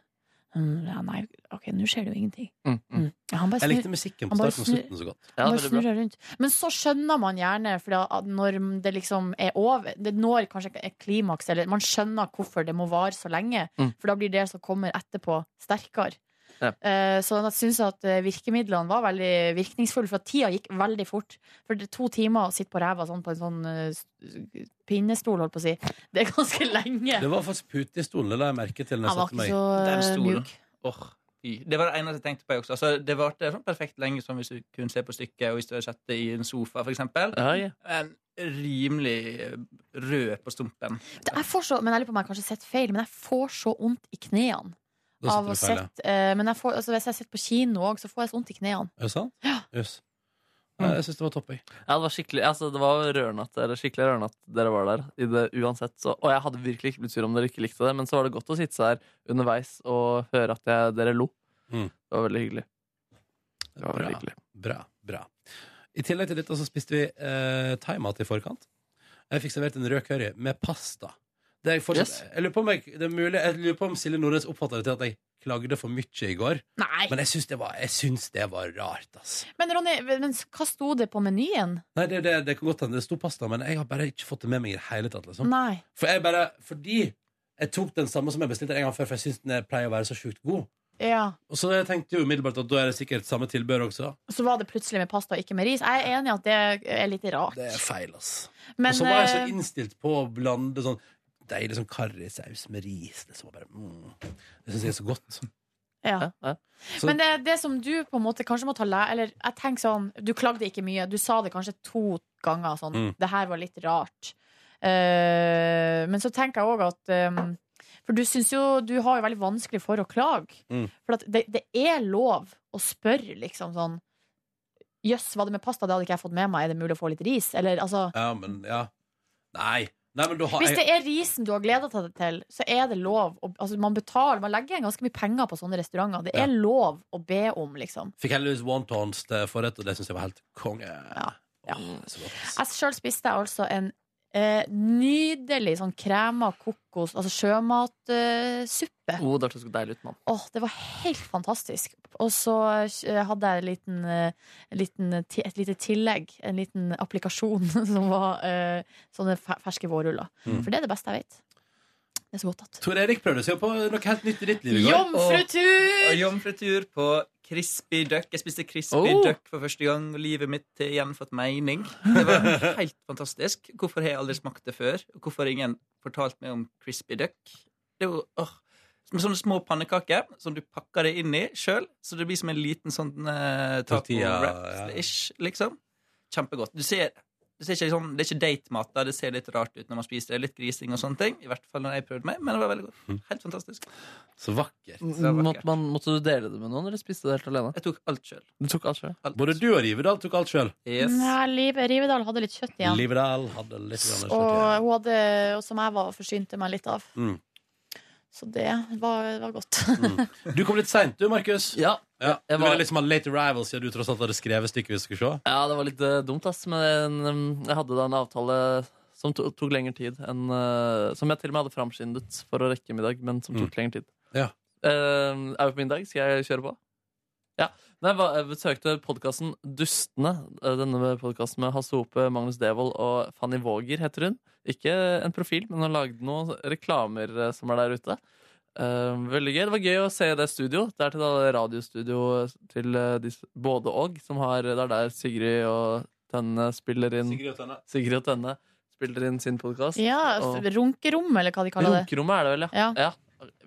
[SPEAKER 3] «Hm, ja, nei, OK, nå skjer det jo ingenting. Mm. Ja, han bare
[SPEAKER 2] Jeg
[SPEAKER 3] snur-
[SPEAKER 2] likte musikken på
[SPEAKER 3] han bare
[SPEAKER 2] starten og
[SPEAKER 3] snur-
[SPEAKER 2] slutten så godt.
[SPEAKER 3] han bare snur seg rundt. Men så skjønner man gjerne, for da- at når det liksom er over Det når kanskje et klimaks, eller man skjønner hvorfor det må vare så lenge.
[SPEAKER 4] Mm.
[SPEAKER 3] For da blir det som kommer etterpå, sterkere. Eh, Så jeg syns at eh, virkemidlene var veldig virkningsfulle, for at tida gikk veldig fort. For det er to timer å sitte på ræva sånn på en sånn eh, s- pinnestol, holdt på å si, det er ganske lenge.
[SPEAKER 2] Det var faktisk pute i stolen, det la jeg merke til. når jeg
[SPEAKER 3] Han var
[SPEAKER 2] satte meg.
[SPEAKER 3] ikke så,
[SPEAKER 6] Den stolen.
[SPEAKER 3] mjuk.
[SPEAKER 6] Åh, fy. det var det eneste jeg tenkte på. jeg Også. Altså, det varte sånn perfekt lenge som hvis du kunne se på stykket, og hvis du hadde sett det i en sofa, f.eks.
[SPEAKER 4] Ja, ja.
[SPEAKER 6] Men rimelig rød på stumpen.
[SPEAKER 3] Det- Jeg får så, men jeg lurer på om jeg kanskje har sett feil, men jeg får så vondt i knærne.
[SPEAKER 6] Da
[SPEAKER 3] Av å
[SPEAKER 6] setter du feil, ja.
[SPEAKER 3] sett, eh, men jeg får, altså hvis jeg sitter på kino òg, så får jeg så vondt i knærne.
[SPEAKER 2] Er det sant? Ja. Jøs. Nei, Jeg syns det var topp. jeg.
[SPEAKER 4] Ja, det var skikkelig altså, Det var rørende at dere, skikkelig rørende at dere var der. I det, uansett, så, og jeg hadde virkelig ikke blitt sur om dere ikke likte det, men så var det godt å sitte seg her underveis og høre at jeg, dere lo.
[SPEAKER 2] Mm.
[SPEAKER 4] Det var veldig hyggelig. Det var veldig hyggelig.
[SPEAKER 2] Bra. bra I tillegg til dette så spiste vi eh, thaimat i forkant. Jeg fikk servert en rød curry med pasta. Det er jeg fortsatt,
[SPEAKER 4] Yes.
[SPEAKER 2] jeg lurer på om jeg, det er mulig, jeg lurer på om Silje Nordnes oppfatta det til at jeg klagde for mye i går.
[SPEAKER 3] Nei.
[SPEAKER 2] Men jeg syns det, var- jeg syns det var rart, ass.
[SPEAKER 3] Men Ronny, men hva sto det på menyen?
[SPEAKER 2] Nei, det, det, det kan godt hende det sto pasta, men jeg har bare ikke fått det med meg i det hele tatt. Liksom.
[SPEAKER 3] Nei.
[SPEAKER 2] For jeg bare, fordi jeg tok den samme som jeg bestilte en gang før, for jeg syns den pleier å være så sjukt god.
[SPEAKER 3] Ja.
[SPEAKER 2] Og så tenkte jeg jo umiddelbart at da er det sikkert samme tilbør også.
[SPEAKER 3] Så var det plutselig med pasta og ikke med ris. Jeg er enig i at det er litt rart.
[SPEAKER 2] Det er feil, ass.
[SPEAKER 3] Men,
[SPEAKER 2] og så var jeg så
[SPEAKER 3] eh,
[SPEAKER 2] innstilt på å blande sånn deilig sånn karrisaus med ris. Liksom, og bare, mm. Det syns jeg er så godt.
[SPEAKER 3] Ja.
[SPEAKER 2] Så-
[SPEAKER 3] Men det, det som du på en måte kanskje må ta læ... Eller jeg tenker sånn, du klagde ikke mye. Du sa det kanskje to ganger sånn.
[SPEAKER 14] Mm.
[SPEAKER 3] Det her var litt rart. Eh, men så tenker jeg òg at eh, For du syns jo Du har jo veldig vanskelig for å klage.
[SPEAKER 2] Mm.
[SPEAKER 3] For at det, det er lov å spørre liksom sånn Jøss, var det med pasta? Det hadde ikke jeg fått med meg. Er det mulig å få litt ris? Eller altså
[SPEAKER 2] Ja, men ja. Nei. Nei, men da har
[SPEAKER 3] Hvis det
[SPEAKER 2] jeg
[SPEAKER 3] er risen du har gleda deg til, så er det lov å altså Man betaler, man legger igjen ganske mye penger på sånne restauranter. Det er lov å be om, liksom.
[SPEAKER 2] Fikk heldigvis wontons til forrett, og det syns jeg var helt konge. Åh, det er så godt.
[SPEAKER 3] Jeg sjøl spiste jeg altså en eh, nydelig sånn krema kokos, altså sjømatsuppe.
[SPEAKER 4] Oh, det hørtes deilig ut, mann.
[SPEAKER 3] Åh, det var helt fantastisk. Og så eh, hadde jeg en liten, eh, liten, ti- et lite tillegg, en liten applikasjon, som var eh, sånne fe- ferske vårruller.
[SPEAKER 2] Mm.
[SPEAKER 3] For det er det beste jeg vet. Det er så godt at
[SPEAKER 2] Tor Erik prøvde seg jo på noe helt nytt i ditt liv i går.
[SPEAKER 3] Jomfrutur!
[SPEAKER 6] Og jomfrutur på crispy duck. Jeg spiste crispy
[SPEAKER 2] Oh.
[SPEAKER 6] duck for første gang, og livet mitt har igjen fått mening. Det var helt fantastisk. Hvorfor har jeg aldri smakt det før? Og Hvorfor har ingen fortalt meg om crispy duck? Det er jo åh, som sånne små pannekaker som du pakker det inn i sjøl, så det blir som en liten sånn uh,
[SPEAKER 2] Tortilla,
[SPEAKER 6] taco-wrap-ish, liksom. Kjempegodt. Du ser det, ser ikke, sånn, det er ikke datemat. da. Det ser litt rart ut når man spiser det. Litt grising og sånne ting. I hvert fall når jeg prøvde meg, men det var veldig godt. Helt fantastisk.
[SPEAKER 2] Så vakkert.
[SPEAKER 4] Måtte, man, måtte du dele det med noen, eller spiste du det helt alene?
[SPEAKER 6] Jeg tok alt sjøl.
[SPEAKER 4] Du tok alt selv?
[SPEAKER 2] Både du og Rivedal tok alt sjøl.
[SPEAKER 3] Nei, Liv, Rivedal hadde litt kjøtt igjen.
[SPEAKER 2] Rivedal hadde litt grann
[SPEAKER 3] og
[SPEAKER 2] kjøtt.
[SPEAKER 3] hun hadde, og som jeg var og forsynte meg litt av.
[SPEAKER 2] Mm.
[SPEAKER 3] Så det var, var godt.
[SPEAKER 2] Du kom litt seint, du, Markus.
[SPEAKER 4] Ja.
[SPEAKER 2] Du
[SPEAKER 4] jeg
[SPEAKER 2] ville
[SPEAKER 4] var-
[SPEAKER 2] liksom ha late arrival siden du tross alt hadde skrevet stykket vi skulle se.
[SPEAKER 4] Ja, det var litt eh, dumt, ass. Men eh, jeg hadde da en avtale som to tok lengre tid enn eh, Som jeg til og med hadde framskyndet for å rekke middag, men som tok lengre tid.
[SPEAKER 2] Ja.
[SPEAKER 4] Eh, er vi på middag? Skal jeg kjøre på? Ja. Nei, jeg var- jeg besøkte podkasten Dustene. eh, Denne podkasten med Hasse Hope, Magnus Devold og Fanny Våger, heter hun. Ikke en profil, men hun lagde noen reklamer eh, som er der ute. Eh, veldig gøy. Det var gøy å se det studio. Det er til da radiostudio til eh, de, s- både og. Som har, det er der Sigrid og Tønne spiller inn
[SPEAKER 2] Sigrid og Tønne.
[SPEAKER 4] Sigrid og Tønne spiller inn sin podkast.
[SPEAKER 3] ja, Runkerom, eller hva de kaller det.
[SPEAKER 4] Runkerommet er det vel, ja. ja.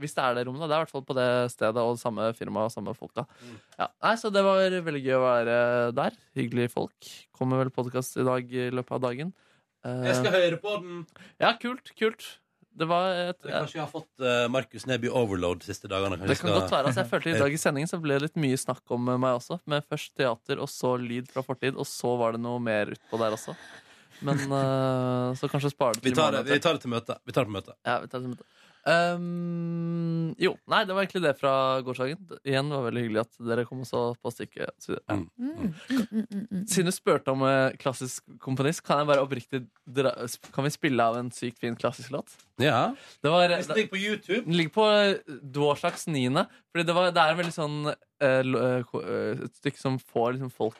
[SPEAKER 4] Hvis det er det rommet, da. Det er i hvert fall på det stedet og samme firma og samme folka.
[SPEAKER 2] Mm.
[SPEAKER 4] Ja. Nei, så det var veldig gøy å være der. Hyggelige folk. Kommer vel podkast i dag i løpet av dagen. Eh,
[SPEAKER 2] Jeg skal høre på den.
[SPEAKER 4] Ja, kult, kult. Det var et
[SPEAKER 2] Kanskje jeg har fått eh, Markus Neby overload de siste dagene. Kanskje
[SPEAKER 4] Det kan
[SPEAKER 2] jeg skal-
[SPEAKER 4] godt være. Altså, jeg følte I dag i sendingen så ble det litt mye snakk om meg også. Med først teater, og så lyd fra fortid, og så var det noe mer utpå der også. Men eh, så kanskje spare det
[SPEAKER 2] Vi
[SPEAKER 4] til i
[SPEAKER 2] tar,
[SPEAKER 4] morgen,
[SPEAKER 2] det,
[SPEAKER 4] eventuelt.
[SPEAKER 2] vi tar det til møte. Vi tar det på møte.
[SPEAKER 4] Ja, vi tar det som et- Ehm, jo, nei, det var egentlig det fra gårsdagen. Igjen det var veldig hyggelig at dere kom og så på stykket. Så- Ja.
[SPEAKER 2] Mm.
[SPEAKER 4] Siden du spurte om eh, klassisk komponist, kan jeg bare oppriktig dra Kan vi spille av en sykt fin klassisk låt?
[SPEAKER 2] Ja.
[SPEAKER 4] Det var,
[SPEAKER 2] Hvis det ligger på YouTube.
[SPEAKER 4] Den ligger på eh, Dvorsaks niende. Fordi det, var, det er en veldig sånn eh, lo- eh, ko- eh, Et stykke som får liksom folk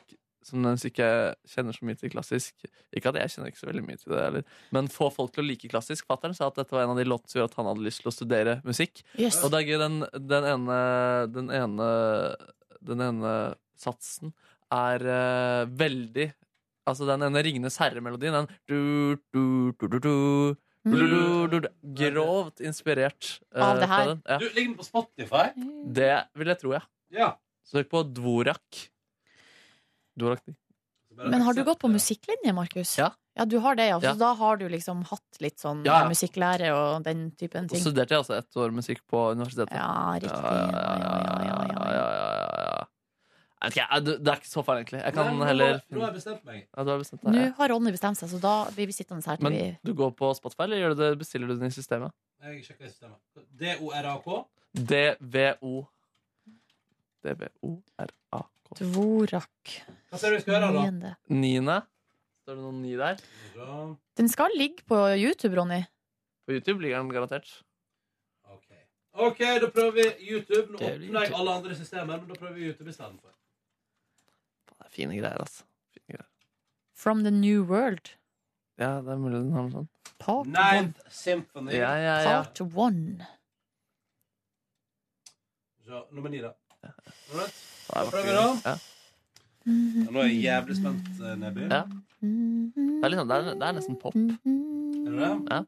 [SPEAKER 4] som nødvendigvis ikke kjenner så mye til klassisk Ikke at jeg kjenner ikke så veldig mye til det heller, men få folk til å like klassisk. Fattern sa at dette var en av de låtene som gjorde at han hadde lyst til å studere musikk.
[SPEAKER 14] Yes.
[SPEAKER 4] Og det er gøy, den, den ene Den ene, den ene satsen er eh, veldig Altså den ene Ringenes herre-melodien, den du, du, du, du, du,
[SPEAKER 3] Mm.
[SPEAKER 4] du, du, du, du, du, Grovt inspirert eh,
[SPEAKER 2] Av det her?
[SPEAKER 4] fra den. Ja.
[SPEAKER 2] Du, ligger den på Spotify?
[SPEAKER 4] Det vil jeg tro, ja. Søk på Dvorak. Dvorak
[SPEAKER 3] Men har du gått på musikklinje, Markus?
[SPEAKER 4] Ja.
[SPEAKER 3] du har det, ja. Så
[SPEAKER 4] Ja.
[SPEAKER 3] da har du liksom hatt litt sånn
[SPEAKER 4] Ja, ja.
[SPEAKER 3] musikklære og den typen
[SPEAKER 4] Og
[SPEAKER 3] ting?
[SPEAKER 4] studerte jeg altså ett år musikk på universitetet.
[SPEAKER 3] Ja, riktig.
[SPEAKER 4] Jeg vet ikke, jeg- Det er ikke så feil, egentlig. Jeg
[SPEAKER 2] Nei,
[SPEAKER 4] kan
[SPEAKER 2] nå-
[SPEAKER 4] heller
[SPEAKER 2] nå har jeg bestemt meg.
[SPEAKER 4] Ja, du har bestemt deg.
[SPEAKER 3] Nå
[SPEAKER 4] ja.
[SPEAKER 3] har Ronny bestemt seg, så da blir vi sittende her til vi
[SPEAKER 4] Men du går på Spotify, eller gjør du det, bestiller du den i systemet?
[SPEAKER 2] Jeg sjekker i systemet. D-O-R-A-K.
[SPEAKER 4] DVO. DVORAK.
[SPEAKER 3] Dvorak.
[SPEAKER 2] Hva ser du vi skal gjøre, da?
[SPEAKER 3] Niende.
[SPEAKER 4] Niende. Står det noen ni der?
[SPEAKER 3] Den skal ligge på YouTube, Ronny.
[SPEAKER 4] På YouTube ligger den garantert.
[SPEAKER 2] OK, da prøver vi YouTube. Nå åpner jeg alle andre systemer, men da prøver vi YouTube istedenfor.
[SPEAKER 4] Det er fine greier, altså. Fine greier.
[SPEAKER 3] From the New World.
[SPEAKER 4] Ja, det er mulig den har noe sånt.
[SPEAKER 3] Part one.
[SPEAKER 2] Ninth Symphony.
[SPEAKER 4] Ja, ja, ja.
[SPEAKER 3] Part one.
[SPEAKER 2] Så, nummer ni, da. Alright. Da
[SPEAKER 4] Nei, det var
[SPEAKER 2] prøver vi,
[SPEAKER 4] ikke-
[SPEAKER 2] da.
[SPEAKER 4] Ja.
[SPEAKER 2] Ja, nå er jeg jævlig spent, eh, Neby.
[SPEAKER 4] Ja. Det er, liksom, det, er, det er nesten pop.
[SPEAKER 3] Mm-hmm.
[SPEAKER 2] Er du det?
[SPEAKER 4] Ja.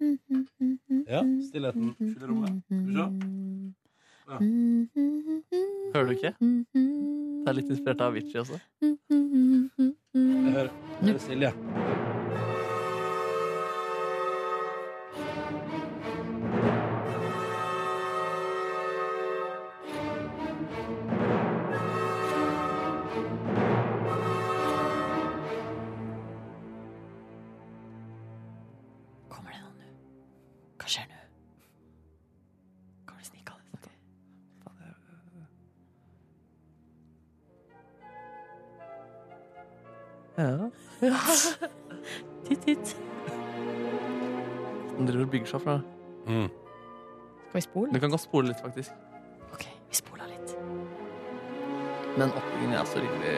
[SPEAKER 2] Ja, stillheten fyller rommet. Skal vi se. Ja.
[SPEAKER 3] Mm-hmm.
[SPEAKER 4] Hører du ikke? Det er litt inspirert av Avicii også.
[SPEAKER 2] Jeg
[SPEAKER 3] Mm-hmm.
[SPEAKER 2] hører, jeg hører Silje.
[SPEAKER 3] Hva skjer nå? Kan du snike av det?
[SPEAKER 4] Ja.
[SPEAKER 3] Titt, titt.
[SPEAKER 4] Den driver og bygger seg opp nå.
[SPEAKER 2] Mm.
[SPEAKER 3] Skal vi spole?
[SPEAKER 4] Du kan godt spole litt, faktisk.
[SPEAKER 3] OK, vi spoler litt.
[SPEAKER 4] Men oppbyggingen er altså rimelig,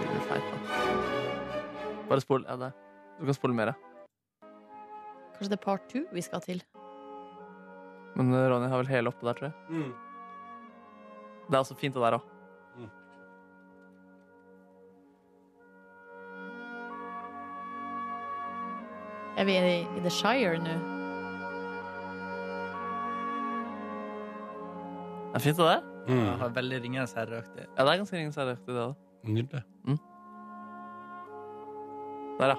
[SPEAKER 4] rimelig feit. Da. Bare spol. Ja, der. Du kan spole mer. ja.
[SPEAKER 3] Kanskje det er part two vi skal til?
[SPEAKER 4] Men eh, Ronny har vel hele oppe der, tror jeg. Det er også fint, det der òg.
[SPEAKER 2] Mm.
[SPEAKER 3] Er vi i, i The Shire nå?
[SPEAKER 4] Det er fint, det der.
[SPEAKER 2] Mm.
[SPEAKER 6] Jeg har veldig Ringenes herre-aktig.
[SPEAKER 4] Ja, det er ganske ingen seriøst i det. da.
[SPEAKER 2] Nydelig.
[SPEAKER 4] Der, ja.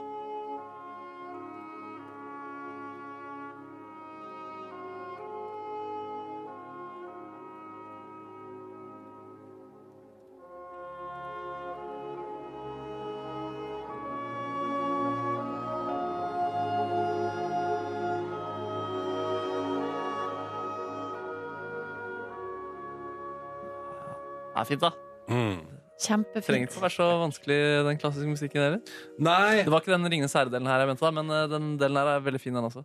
[SPEAKER 4] Det er fint, da.
[SPEAKER 2] Mm.
[SPEAKER 4] Trenger
[SPEAKER 3] Kjempefint.
[SPEAKER 4] ikke å være så vanskelig, den klassiske musikken heller.
[SPEAKER 2] Nei.
[SPEAKER 4] Det var ikke den Ringenes herre-delen her jeg mente, da, men eh, den delen her er veldig fin, den også.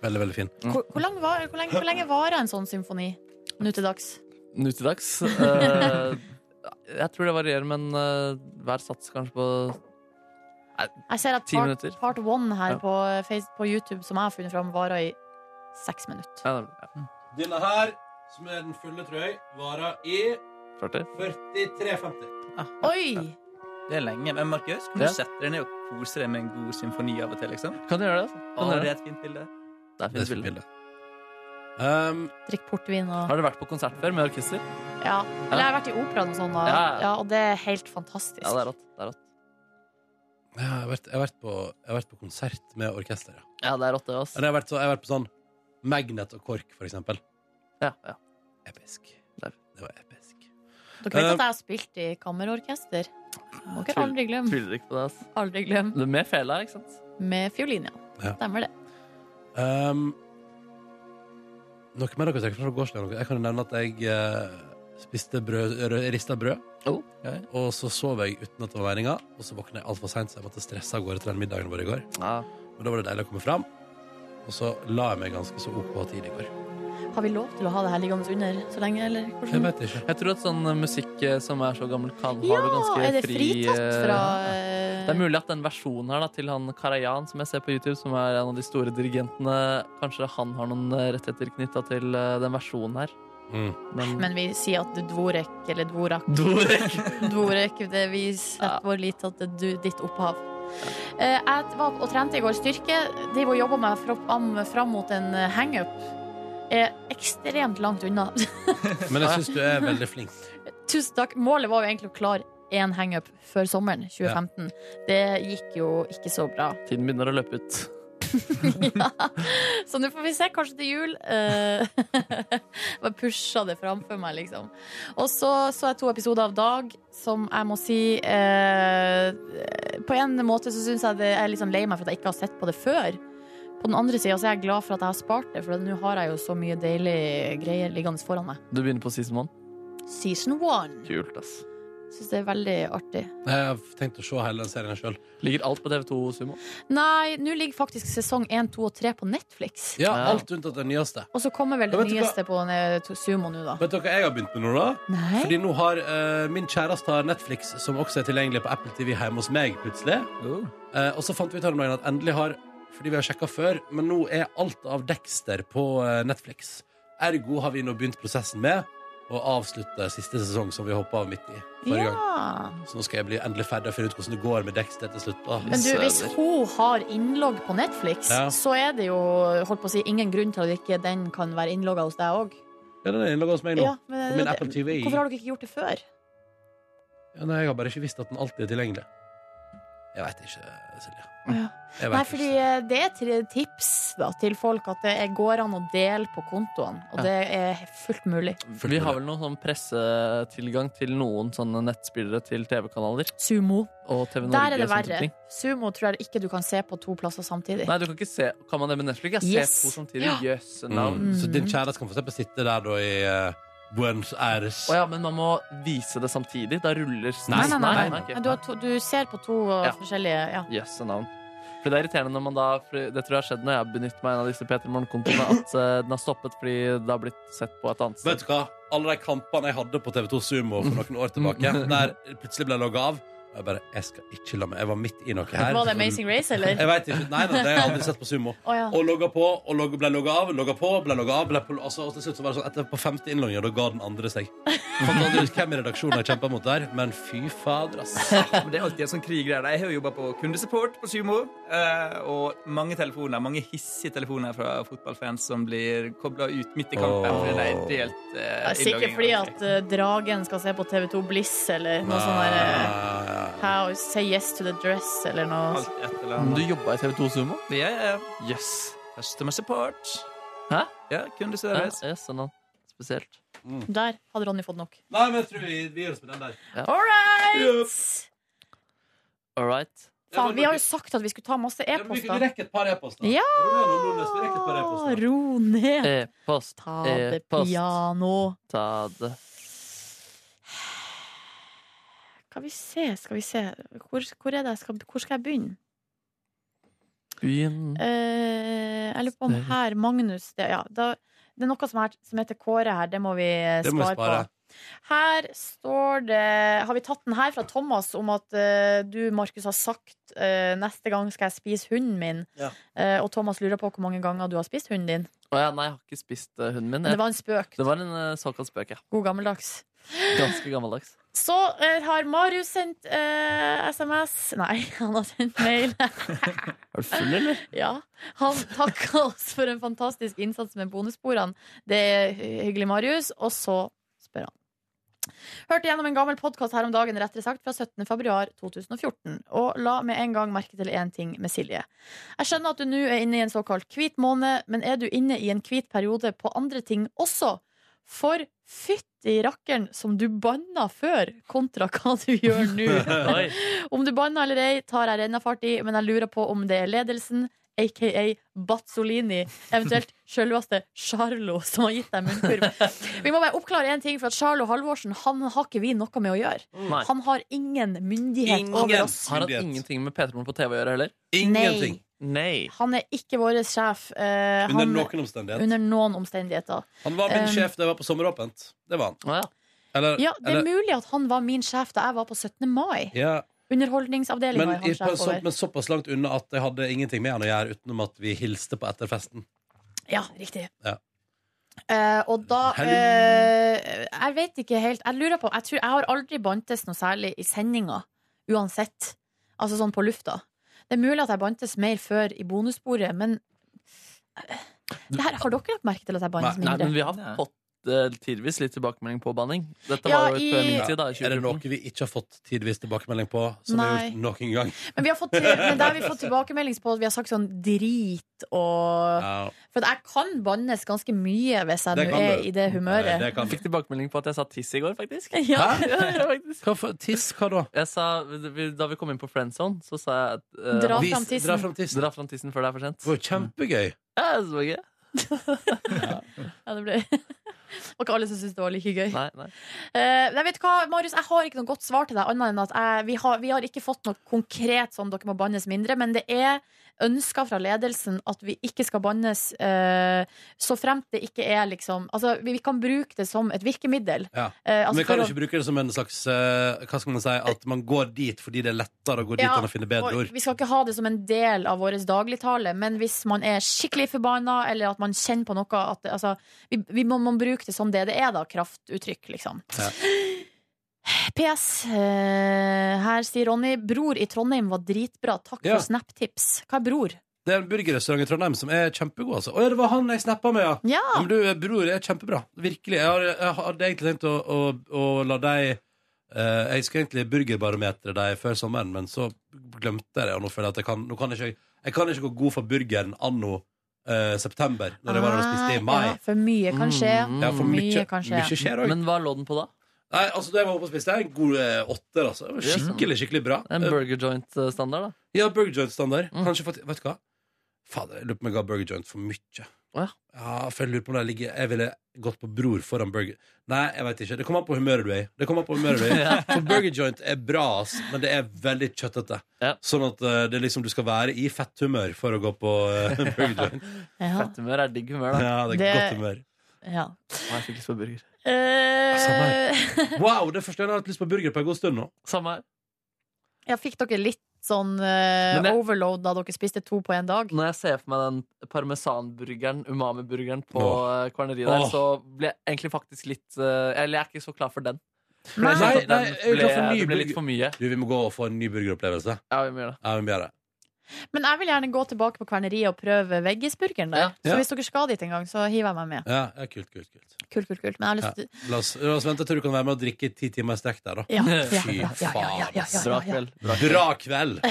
[SPEAKER 2] Veldig, veldig fin.
[SPEAKER 3] Hvor, hvor, lang var, hvor, lenge, hvor lenge varer en sånn symfoni nå til dags?
[SPEAKER 4] Nå til dags. eh, jeg tror det varierer, men eh, hver sats kanskje på Nei,
[SPEAKER 3] Jeg ser at
[SPEAKER 4] ti
[SPEAKER 3] part,
[SPEAKER 4] minutter.
[SPEAKER 3] part one her
[SPEAKER 4] Ja.
[SPEAKER 3] på, Face, på YouTube som jeg har funnet fram, varer i seks minutter.
[SPEAKER 4] Ja, det er-
[SPEAKER 2] Denne her, som er den fulle, tror jeg, varer i
[SPEAKER 4] ja. 40.
[SPEAKER 2] 43,50.
[SPEAKER 3] Oi!
[SPEAKER 6] Det er lenge. Men Markus, kan du
[SPEAKER 4] Ja.
[SPEAKER 6] sette deg ned og kose deg med en god symfoni av og til? liksom?
[SPEAKER 4] Kan du gjøre det? altså?
[SPEAKER 6] Å,
[SPEAKER 4] Kan du gjøre
[SPEAKER 6] det
[SPEAKER 4] det?
[SPEAKER 6] er et fint bilde.
[SPEAKER 4] Det er fint bilde.
[SPEAKER 2] Um,
[SPEAKER 3] Drikk portvin og
[SPEAKER 4] Har du vært på konsert før med orkester?
[SPEAKER 3] Ja. Eller jeg har vært i operaen og sånn, og, ja.
[SPEAKER 4] Ja.
[SPEAKER 3] og det er helt fantastisk.
[SPEAKER 4] Ja, det er rått. Det er rått.
[SPEAKER 2] Ja, jeg, har vært, jeg, har vært på, jeg har vært på konsert med orkester, ja.
[SPEAKER 4] Ja, det er rått, det også.
[SPEAKER 2] Men jeg har vært, så, jeg har vært på sånn Magnet og KORK, for eksempel.
[SPEAKER 4] Ja, ja.
[SPEAKER 2] Episk.
[SPEAKER 4] Det
[SPEAKER 2] var episk.
[SPEAKER 3] Dere vet
[SPEAKER 2] Eh,
[SPEAKER 3] at jeg har spilt i kammerorkester? Må dere aldri glemme.
[SPEAKER 4] Tviler ikke på det, altså. ass.
[SPEAKER 3] Aldri glem.
[SPEAKER 4] Det er Med fela, ikke sant?
[SPEAKER 3] Med fiolin, ja.
[SPEAKER 2] Ja.
[SPEAKER 3] Stemmer det.
[SPEAKER 2] Um, noe mer dere trekker fra gårsdagen? Jeg kan jo nevne at jeg eh, spiste brød, rø- rista brød. Og så sov jeg uten at det var meninga, og så våkna jeg altfor seint, så jeg måtte stresse av gårde til den middagen vår i går.
[SPEAKER 4] Ja.
[SPEAKER 2] Men da var det deilig å komme fram. Og så la jeg meg ganske så OK tidlig i går.
[SPEAKER 3] Har vi lov til å ha det her liggende under så lenge, eller? hvordan?
[SPEAKER 2] Jeg vet ikke.
[SPEAKER 4] Jeg tror at sånn musikk eh, som er så gammel, kan har du ganske fri
[SPEAKER 3] er det fritatt
[SPEAKER 4] eh,
[SPEAKER 3] fra
[SPEAKER 4] Det er mulig at den versjonen her da, til han Karajan, som jeg ser på YouTube, som er en av de store dirigentene, kanskje han har noen eh, rettigheter knytta til eh, den versjonen her.
[SPEAKER 2] Mm.
[SPEAKER 4] Men,
[SPEAKER 3] Men vi sier at Dvorek eller Dvorak.
[SPEAKER 4] Dvorek.
[SPEAKER 3] Dvorek, det vi setter vår lit til at det er du, ditt opphav. Eh, Jeg var og trente i går styrke. De og jobba meg fram, fram mot en eh, hangup. Er ekstremt langt unna.
[SPEAKER 2] Men jeg syns du er veldig flink.
[SPEAKER 3] Tusen takk. Målet var jo egentlig å klare én hangup før sommeren 2015. Det gikk jo ikke så bra.
[SPEAKER 4] Tiden begynner å løpe ut.
[SPEAKER 3] Så nå får vi se, kanskje til jul. eh, Bare pusha det framfor meg, liksom. Og så så jeg to episoder av Dag, som jeg må si eh, På en måte så syns jeg det jeg er litt sånn lei meg for at jeg ikke har sett på det før. På den andre sida er jeg glad for at jeg har spart det, for nå har jeg jo så mye deilig greier liggende foran meg.
[SPEAKER 4] Du begynner på season one.
[SPEAKER 3] Season one.
[SPEAKER 4] Kult, ass.
[SPEAKER 3] Syns det er veldig artig.
[SPEAKER 2] Jeg har tenkt å se hele den serien sjøl.
[SPEAKER 4] Ligger alt på TV2 Sumo?
[SPEAKER 3] Nei, nå ligger faktisk sesong én, to og tre på Netflix.
[SPEAKER 2] Ja, alt unntatt den nyeste.
[SPEAKER 3] Og så kommer vel
[SPEAKER 2] Ja,
[SPEAKER 3] det
[SPEAKER 2] vet du
[SPEAKER 3] nyeste på eh, Sumo nå, da.
[SPEAKER 2] Vet dere hva jeg har begynt med nå, da?
[SPEAKER 3] Nei.
[SPEAKER 2] Fordi nå har eh, min kjæreste har Netflix, som også er tilgjengelig på Apple TV hjemme hos meg, plutselig.
[SPEAKER 3] Oh.
[SPEAKER 2] Eh, og så fant vi ut her om dagen at endelig har Fordi vi har sjekka før, men nå er alt av Dexter på eh, Netflix. Ergo har vi nå begynt prosessen med å avslutte siste sesong, som vi hoppa av midt i forrige
[SPEAKER 3] Ja.
[SPEAKER 2] gang. Så nå skal jeg bli endelig ferdig og finne ut hvordan det går med Dexter til slutt. Da.
[SPEAKER 3] Men du, hvis
[SPEAKER 2] Søder.
[SPEAKER 3] hun har innlogg på Netflix,
[SPEAKER 2] Ja.
[SPEAKER 3] så er det jo holdt på å si, ingen grunn til at ikke den kan være innlogga hos deg òg.
[SPEAKER 2] Ja, den er innlogga hos meg nå.
[SPEAKER 3] Ja, men-
[SPEAKER 2] på min Apple TV.
[SPEAKER 3] Hvorfor har dere ikke gjort det før?
[SPEAKER 2] ja, nei, jeg har bare ikke visst at den alltid er tilgjengelig. Jeg veit ikke, Silje. Jeg vet
[SPEAKER 3] Nei, fordi eh, det er tre tips da, til folk at det er- går an å dele på kontoene, og
[SPEAKER 4] Ja.
[SPEAKER 3] det er fullt mulig.
[SPEAKER 4] Vi har vel noen sånn pressetilgang til noen sånne nettspillere til TV-kanaler.
[SPEAKER 3] Sumo.
[SPEAKER 4] Og TV Norge.
[SPEAKER 3] Der er
[SPEAKER 2] sånn
[SPEAKER 3] det
[SPEAKER 4] og sånne type
[SPEAKER 3] verre.
[SPEAKER 4] ting.
[SPEAKER 3] Sumo tror jeg ikke du kan se på to plasser samtidig.
[SPEAKER 4] Nei, du kan ikke se Kan man det med Netflix? Jeg ser
[SPEAKER 3] Yes.
[SPEAKER 4] to samtidig.
[SPEAKER 3] Ja.
[SPEAKER 4] Jøsse navn.
[SPEAKER 2] Mm. Så din kjæreste kan for eksempel sitte der da i eh, Buenos Aires.
[SPEAKER 4] Å ja, men man må vise det samtidig. Da ruller
[SPEAKER 2] Mm. Nei, nei, nei,
[SPEAKER 4] nei, ok.
[SPEAKER 3] Men du, har to, du ser på to eh,
[SPEAKER 4] Ja.
[SPEAKER 3] forskjellige ja.
[SPEAKER 4] Jøsse navn. For Det er irriterende når man da for Det tror jeg har skjedd når jeg har benyttet meg av en av disse Peter Morgenkontoene, at eh, den har stoppet fordi det har blitt sett på et annet
[SPEAKER 2] Vet
[SPEAKER 4] sted.
[SPEAKER 2] du hva? Alle de kampene jeg hadde på TV2 Sumo for noen år tilbake,
[SPEAKER 3] Mm.
[SPEAKER 2] der plutselig ble jeg logga av. og Jeg bare, jeg skal ikke la meg Jeg var midt i noe her.
[SPEAKER 3] Var det Amazing Race, eller?
[SPEAKER 2] Jeg vet ikke. Nei, nei, det har jeg aldri sett på Sumo.
[SPEAKER 3] Å, ja.
[SPEAKER 2] Og logga på, og logga, ble logga av, logga på, ble logga av. Ble på, altså, og til slutt så var det sånn etter på femte innlogging, og da ga den andre seg. Fant aldri ut hvem i redaksjonen jeg kjempa mot der, men fy fader, ass.
[SPEAKER 6] Men det er alltid en sånn krig der. Jeg har jo jobba på kundesupport på Sumo. eh, Og mange telefoner, mange hissige telefoner fra fotballfans som blir kobla ut midt i kampen.
[SPEAKER 2] Åh.
[SPEAKER 6] Fordi de er delt
[SPEAKER 3] Det
[SPEAKER 6] eh,
[SPEAKER 3] er sikkert
[SPEAKER 6] innlogging.
[SPEAKER 3] fordi at eh, dragen skal se på TV2 Bliss eller
[SPEAKER 2] Ah.
[SPEAKER 3] noe sånn der eh, How Say yes to the dress eller noe.
[SPEAKER 6] Alt et eller
[SPEAKER 4] Men
[SPEAKER 6] annet.
[SPEAKER 4] Du jobba i TV2 Sumo?
[SPEAKER 6] Ja, ja, ja.
[SPEAKER 4] Jøss.
[SPEAKER 6] Customer support.
[SPEAKER 4] Hæ?
[SPEAKER 6] Ja, kundeservice.
[SPEAKER 4] Ja, yes, sånn da. Spesielt.
[SPEAKER 3] Der hadde Ronny fått nok.
[SPEAKER 2] Nei, men jeg tror vi, vi gjør oss med den der.
[SPEAKER 4] Ja.
[SPEAKER 3] All right!
[SPEAKER 4] All right.
[SPEAKER 3] Faen, vi har jo sagt at vi skulle ta masse
[SPEAKER 2] Vi vi
[SPEAKER 3] e-poster.
[SPEAKER 2] rekker et par e-poster.
[SPEAKER 3] Ja!
[SPEAKER 2] Ronny og Nordnes, vi rekker et par e-poster.
[SPEAKER 3] Ro
[SPEAKER 4] Eh,
[SPEAKER 3] ned.
[SPEAKER 4] E-post.
[SPEAKER 3] Ta
[SPEAKER 4] eh,
[SPEAKER 3] det piano.
[SPEAKER 4] Ta det.
[SPEAKER 3] Skal vi se, skal vi se. Hvor, hvor er det jeg skal, hvor skal jeg begynne?
[SPEAKER 4] Begynn.
[SPEAKER 3] Eh, jeg lurer på om her Magnus det, ja, da, det er noe som, her, som heter Kåre her. Det må vi eh,
[SPEAKER 2] Det må vi
[SPEAKER 3] spare på. Her står det Har vi tatt den her fra Thomas om at eh, du, Markus, har sagt eh, 'neste gang skal jeg spise hunden min'?
[SPEAKER 4] Ja.
[SPEAKER 3] Eh, og Thomas lurer på hvor mange ganger du har spist hunden din.
[SPEAKER 4] Å ja, nei, jeg har ikke spist eh, hunden min.
[SPEAKER 3] Men det var en spøk.
[SPEAKER 4] Det var en eh, såkalt spøk, ja.
[SPEAKER 3] God gammeldags.
[SPEAKER 4] Ganske gammeldags.
[SPEAKER 3] Så eh, har Marius sendt eh, SMS Nei, han har sendt mail.
[SPEAKER 4] Er du full, eller?
[SPEAKER 3] Ja, Han takka oss for en fantastisk innsats med bonussporene. Det er hy- hyggelig, Marius. Og så spør han. Hørte gjennom en gammel podkast her om dagen, rettere sagt, fra 17. februar 2014, og la med en gang merke til én ting med Silje. Jeg skjønner at du nå er inne i en såkalt hvit måned, men er du inne i en hvit periode på andre ting også? For fytti rakkeren som du banna før, kontra hva du gjør nå.
[SPEAKER 4] Oi.
[SPEAKER 3] Om du banner eller ei, tar jeg rennafart i, men jeg lurer på om det er ledelsen, aka Bazzolini, eventuelt selveste Charlo, som har gitt deg munnkurv. Vi må bare oppklare én ting, for at Charlo Halvorsen han har ikke vi noe med å gjøre.
[SPEAKER 4] Nei.
[SPEAKER 3] Han har ingen myndighet over oss.
[SPEAKER 4] Har han ingenting med P3morgen på TV å gjøre heller?
[SPEAKER 3] Ingenting.
[SPEAKER 4] Nei.
[SPEAKER 3] Han er ikke vår sjef. eh,
[SPEAKER 2] Under
[SPEAKER 3] han-
[SPEAKER 2] noen omstendighet.
[SPEAKER 3] Under noen omstendigheter.
[SPEAKER 2] Han var min
[SPEAKER 3] Um,
[SPEAKER 2] sjef da jeg var på sommeråpent. Det var han. Eller,
[SPEAKER 3] Ja, det er
[SPEAKER 2] eller-
[SPEAKER 3] mulig at han var min sjef da jeg var på 17. mai.
[SPEAKER 2] Ja,
[SPEAKER 3] Underholdningsavdelinga
[SPEAKER 2] men,
[SPEAKER 3] er han
[SPEAKER 2] i- på,
[SPEAKER 3] sjef
[SPEAKER 2] så,
[SPEAKER 3] over.
[SPEAKER 2] men såpass langt unna at jeg hadde ingenting med han å gjøre utenom at vi hilste på etterfesten.
[SPEAKER 3] Ja, riktig.
[SPEAKER 2] Ja.
[SPEAKER 3] Eh, og da
[SPEAKER 2] Hello.
[SPEAKER 3] eh, Jeg vet ikke helt. Jeg lurer på Jeg, tror, jeg har aldri bantes noe særlig i sendinga. Uansett. Altså sånn på lufta. Det er mulig at jeg bantes mer før i bonussporet, men eh, det her, Har dere lagt merke til at jeg
[SPEAKER 4] Nei,
[SPEAKER 3] bantes
[SPEAKER 4] nei,
[SPEAKER 3] mindre?
[SPEAKER 4] men vi har fått eh, tidvis litt tilbakemelding på banning. Dette
[SPEAKER 3] Ja,
[SPEAKER 4] var jo et før
[SPEAKER 3] i-
[SPEAKER 4] min tid, da.
[SPEAKER 2] Er det noe vi ikke har fått tidvis tilbakemelding på, som vi har
[SPEAKER 3] Nei.
[SPEAKER 2] gjort noen gang?
[SPEAKER 3] Men, vi har fått, men der har vi fått tilbakemelding på at vi har sagt sånn drit og
[SPEAKER 2] Ja.
[SPEAKER 3] For at jeg kan bannes ganske mye hvis jeg
[SPEAKER 4] Det
[SPEAKER 3] nå
[SPEAKER 4] kan
[SPEAKER 3] er
[SPEAKER 4] du.
[SPEAKER 3] i det humøret.
[SPEAKER 4] Jeg fikk tilbakemelding på at jeg sa tiss i går, faktisk.
[SPEAKER 3] Ja. Hæ?
[SPEAKER 2] Hva for, tiss, hva da?
[SPEAKER 4] Jeg sa, vi- da vi kom inn på Friendzone, så sa jeg at, eh,
[SPEAKER 2] Dra Vis- fram tissen. dra fram tissen.
[SPEAKER 4] Dra fram tissen før det er for sent.
[SPEAKER 2] Det var jo kjempegøy.
[SPEAKER 4] Ja, det var gøy.
[SPEAKER 3] Ja, det ble var ikke alle som syntes det var like gøy.
[SPEAKER 4] Nei, nei.
[SPEAKER 3] Eh, nei, vet du hva, Marius, jeg har ikke noe godt svar til deg, annet enn at jeg, vi, har, vi har ikke fått noe konkret sånn dere må bannes mindre, men det er ønsker fra ledelsen at vi ikke skal bannes eh, så fremt det ikke er liksom Altså, vi, vi kan bruke det som et virkemiddel.
[SPEAKER 2] Ja.
[SPEAKER 3] Eh,
[SPEAKER 2] Men
[SPEAKER 3] altså
[SPEAKER 2] vi kan
[SPEAKER 3] for å-
[SPEAKER 2] ikke bruke det som en slags eh, Hva skal man si? At man går dit fordi det er lettere å gå dit
[SPEAKER 3] Ja,
[SPEAKER 2] enn å finne bedre
[SPEAKER 3] og
[SPEAKER 2] ord.
[SPEAKER 3] Vi skal ikke ha det som en del av vår dagligtale, men hvis man er skikkelig forbanna, eller at man kjenner på noe at, det- altså, vi, vi må, må bruke det som det det er, da. Kraftuttrykk, liksom. PS. eh, her sier Ronny Bror i Trondheim var dritbra. Takk
[SPEAKER 2] Ja.
[SPEAKER 3] for Snap-tips. Hva er bror?
[SPEAKER 2] Det er en burgerrestaurant i Trondheim som er kjempegod. Altså. Å ja, det var han jeg snappa med, ja!
[SPEAKER 3] Ja.
[SPEAKER 2] Men du, eh, bror, det er kjempebra. Virkelig. Jeg, har, jeg hadde egentlig tenkt å, å, å la deg eh, Jeg skulle egentlig burgerbarometre deg før sommeren, men så glemte jeg det. Og nå føler jeg at jeg kan, nå kan jeg, ikke, jeg kan ikke gå god for burgeren anno eh, september, når jeg var der og spiste i mai.
[SPEAKER 3] Ah,
[SPEAKER 2] Mm.
[SPEAKER 3] Ja, for mye kan skje.
[SPEAKER 2] Ja, for mye,
[SPEAKER 3] kan skje.
[SPEAKER 2] mye skjer også.
[SPEAKER 4] Men hva lå den på da?
[SPEAKER 2] Nei, altså, da jeg var oppe og spiste, en god eh, åtter, altså. Det var skikkelig, skikkelig bra. Eh,
[SPEAKER 4] En burger joint-standard, da?
[SPEAKER 2] Ja, burger joint-standard. Kanskje, fakt- vet du hva? Fader, jeg lurer på om jeg ga burger joint for mye. Ja, for jeg lurer på om det ligger Jeg ville gått på Bror foran burger Nei, jeg vet ikke. Det kommer an på humøret du er i. Det kommer an på humøret du er i.
[SPEAKER 4] Ja.
[SPEAKER 2] For burger joint er bra, ass, men det er veldig kjøttete. Sånn at eh, det er liksom du skal være i fetthumør for å gå på eh, burger joint.
[SPEAKER 3] Ja.
[SPEAKER 4] Fetthumør er digg humør, da.
[SPEAKER 2] Ja, det er godt humør.
[SPEAKER 3] Ja.
[SPEAKER 4] Å, Jeg fikk lyst på burger.
[SPEAKER 3] Eh,
[SPEAKER 2] Wow, det er første gang jeg har hatt lyst på burger på en god stund nå.
[SPEAKER 4] Samme her.
[SPEAKER 3] ja, fikk dere litt sånn eh,
[SPEAKER 4] Men jeg-
[SPEAKER 3] overload da dere spiste to på én dag?
[SPEAKER 4] Når jeg ser for meg den parmesanburgeren, umami-burgeren på
[SPEAKER 2] Åh.
[SPEAKER 4] eh, kvarneriet der,
[SPEAKER 2] Åh.
[SPEAKER 4] så blir jeg egentlig faktisk litt eh, Eller jeg er ikke så klar for den. For
[SPEAKER 2] Nei,
[SPEAKER 4] jeg
[SPEAKER 2] nei,
[SPEAKER 4] kjente at den
[SPEAKER 2] jeg er glad for
[SPEAKER 4] ble-
[SPEAKER 2] ny
[SPEAKER 4] det ble litt
[SPEAKER 2] burger.
[SPEAKER 4] for mye.
[SPEAKER 2] Du, vi må gå og få en ny burgeropplevelse.
[SPEAKER 4] Ja, vi må gjøre det.
[SPEAKER 2] Ja, vi må gjøre det.
[SPEAKER 3] Men jeg vil gjerne gå tilbake på kverneriet og prøve veggisburgeren der.
[SPEAKER 2] Ja.
[SPEAKER 3] Så hvis dere skal dit en gang, så hiver jeg meg med.
[SPEAKER 2] Ja, ja kult, kult, kult.
[SPEAKER 3] Kult, kult, kult.
[SPEAKER 2] Ja.
[SPEAKER 3] Men jeg har lyst til
[SPEAKER 2] La, oss, la oss vente til du kan være med og drikke ti timer i strekk der, da.
[SPEAKER 3] Ja, ja, ja,
[SPEAKER 2] Fy
[SPEAKER 3] ja, ja, ja, ja, ja,
[SPEAKER 2] faen.
[SPEAKER 3] ja. Bra kveld.
[SPEAKER 2] Bra kveld.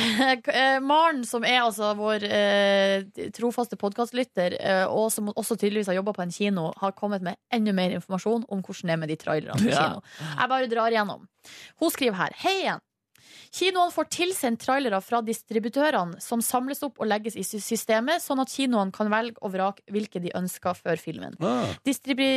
[SPEAKER 3] Eh, Maren, som er altså vår eh, trofaste podkastlytter, eh, og som også tydeligvis har jobba på en kino, har kommet med enda mer informasjon om hvordan det er med de trailerne på
[SPEAKER 14] Ja.
[SPEAKER 3] kino. Jeg bare drar igjennom. Hun skriver her. Hei igjen. Kinoene får tilsendt trailere fra distributørene som samles opp og legges i sy- systemet, sånn at kinoene kan velge og vrake hvilke de ønsker før filmen.
[SPEAKER 2] Ah.
[SPEAKER 3] Distribu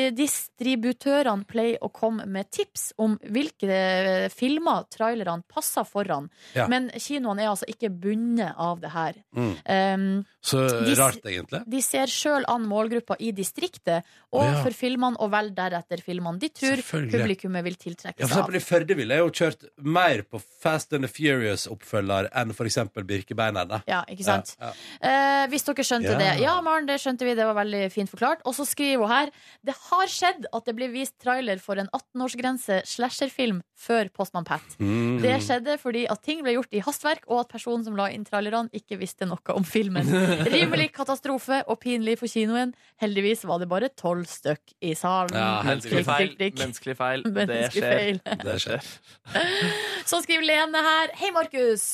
[SPEAKER 3] distributørene pleier å komme med tips om hvilke eh, filmer trailerne passer foran,
[SPEAKER 2] Ja.
[SPEAKER 3] men kinoene er altså ikke bundet av det her.
[SPEAKER 2] Mm.
[SPEAKER 3] Um,
[SPEAKER 2] Så eh,
[SPEAKER 3] de s-
[SPEAKER 2] rart, egentlig.
[SPEAKER 3] De ser sjøl an målgruppa i distriktet og
[SPEAKER 2] Å, ja.
[SPEAKER 3] for filmene, og vel deretter filmene de tror
[SPEAKER 2] Selvfølgelig.
[SPEAKER 3] publikummet vil tiltrekke
[SPEAKER 2] Ja, for
[SPEAKER 3] seg av.
[SPEAKER 2] eksempel I Førde ville jeg jo kjørt mer på Fast and the Furious-oppfølger enn for eksempel Birkebeinerne.
[SPEAKER 3] Ja, ikke sant?
[SPEAKER 2] Ja, ja.
[SPEAKER 3] Eh, hvis dere skjønte
[SPEAKER 2] Ja.
[SPEAKER 3] det. Ja, Maren, det skjønte vi. Det var veldig fint forklart. Og så skriver hun her Det har skjedd at det blir vist trailer for en 18-årsgrense slasherfilm før Postmann Pat.
[SPEAKER 2] Mm.
[SPEAKER 3] Det skjedde fordi at ting ble gjort i hastverk, og at personen som la inn trailerne, ikke visste noe om filmen. Rimelig katastrofe og pinlig for kinoen. Heldigvis var det bare tolv stykk i salen.
[SPEAKER 4] Ja, menneskelig
[SPEAKER 3] Klikk,
[SPEAKER 4] feil.
[SPEAKER 3] klikk, klikk.
[SPEAKER 4] Menneskelig feil. Det
[SPEAKER 3] Menneskelig
[SPEAKER 4] skjer.
[SPEAKER 3] feil.
[SPEAKER 4] Det skjer.
[SPEAKER 3] Så skriver Lene her. Hei, Markus.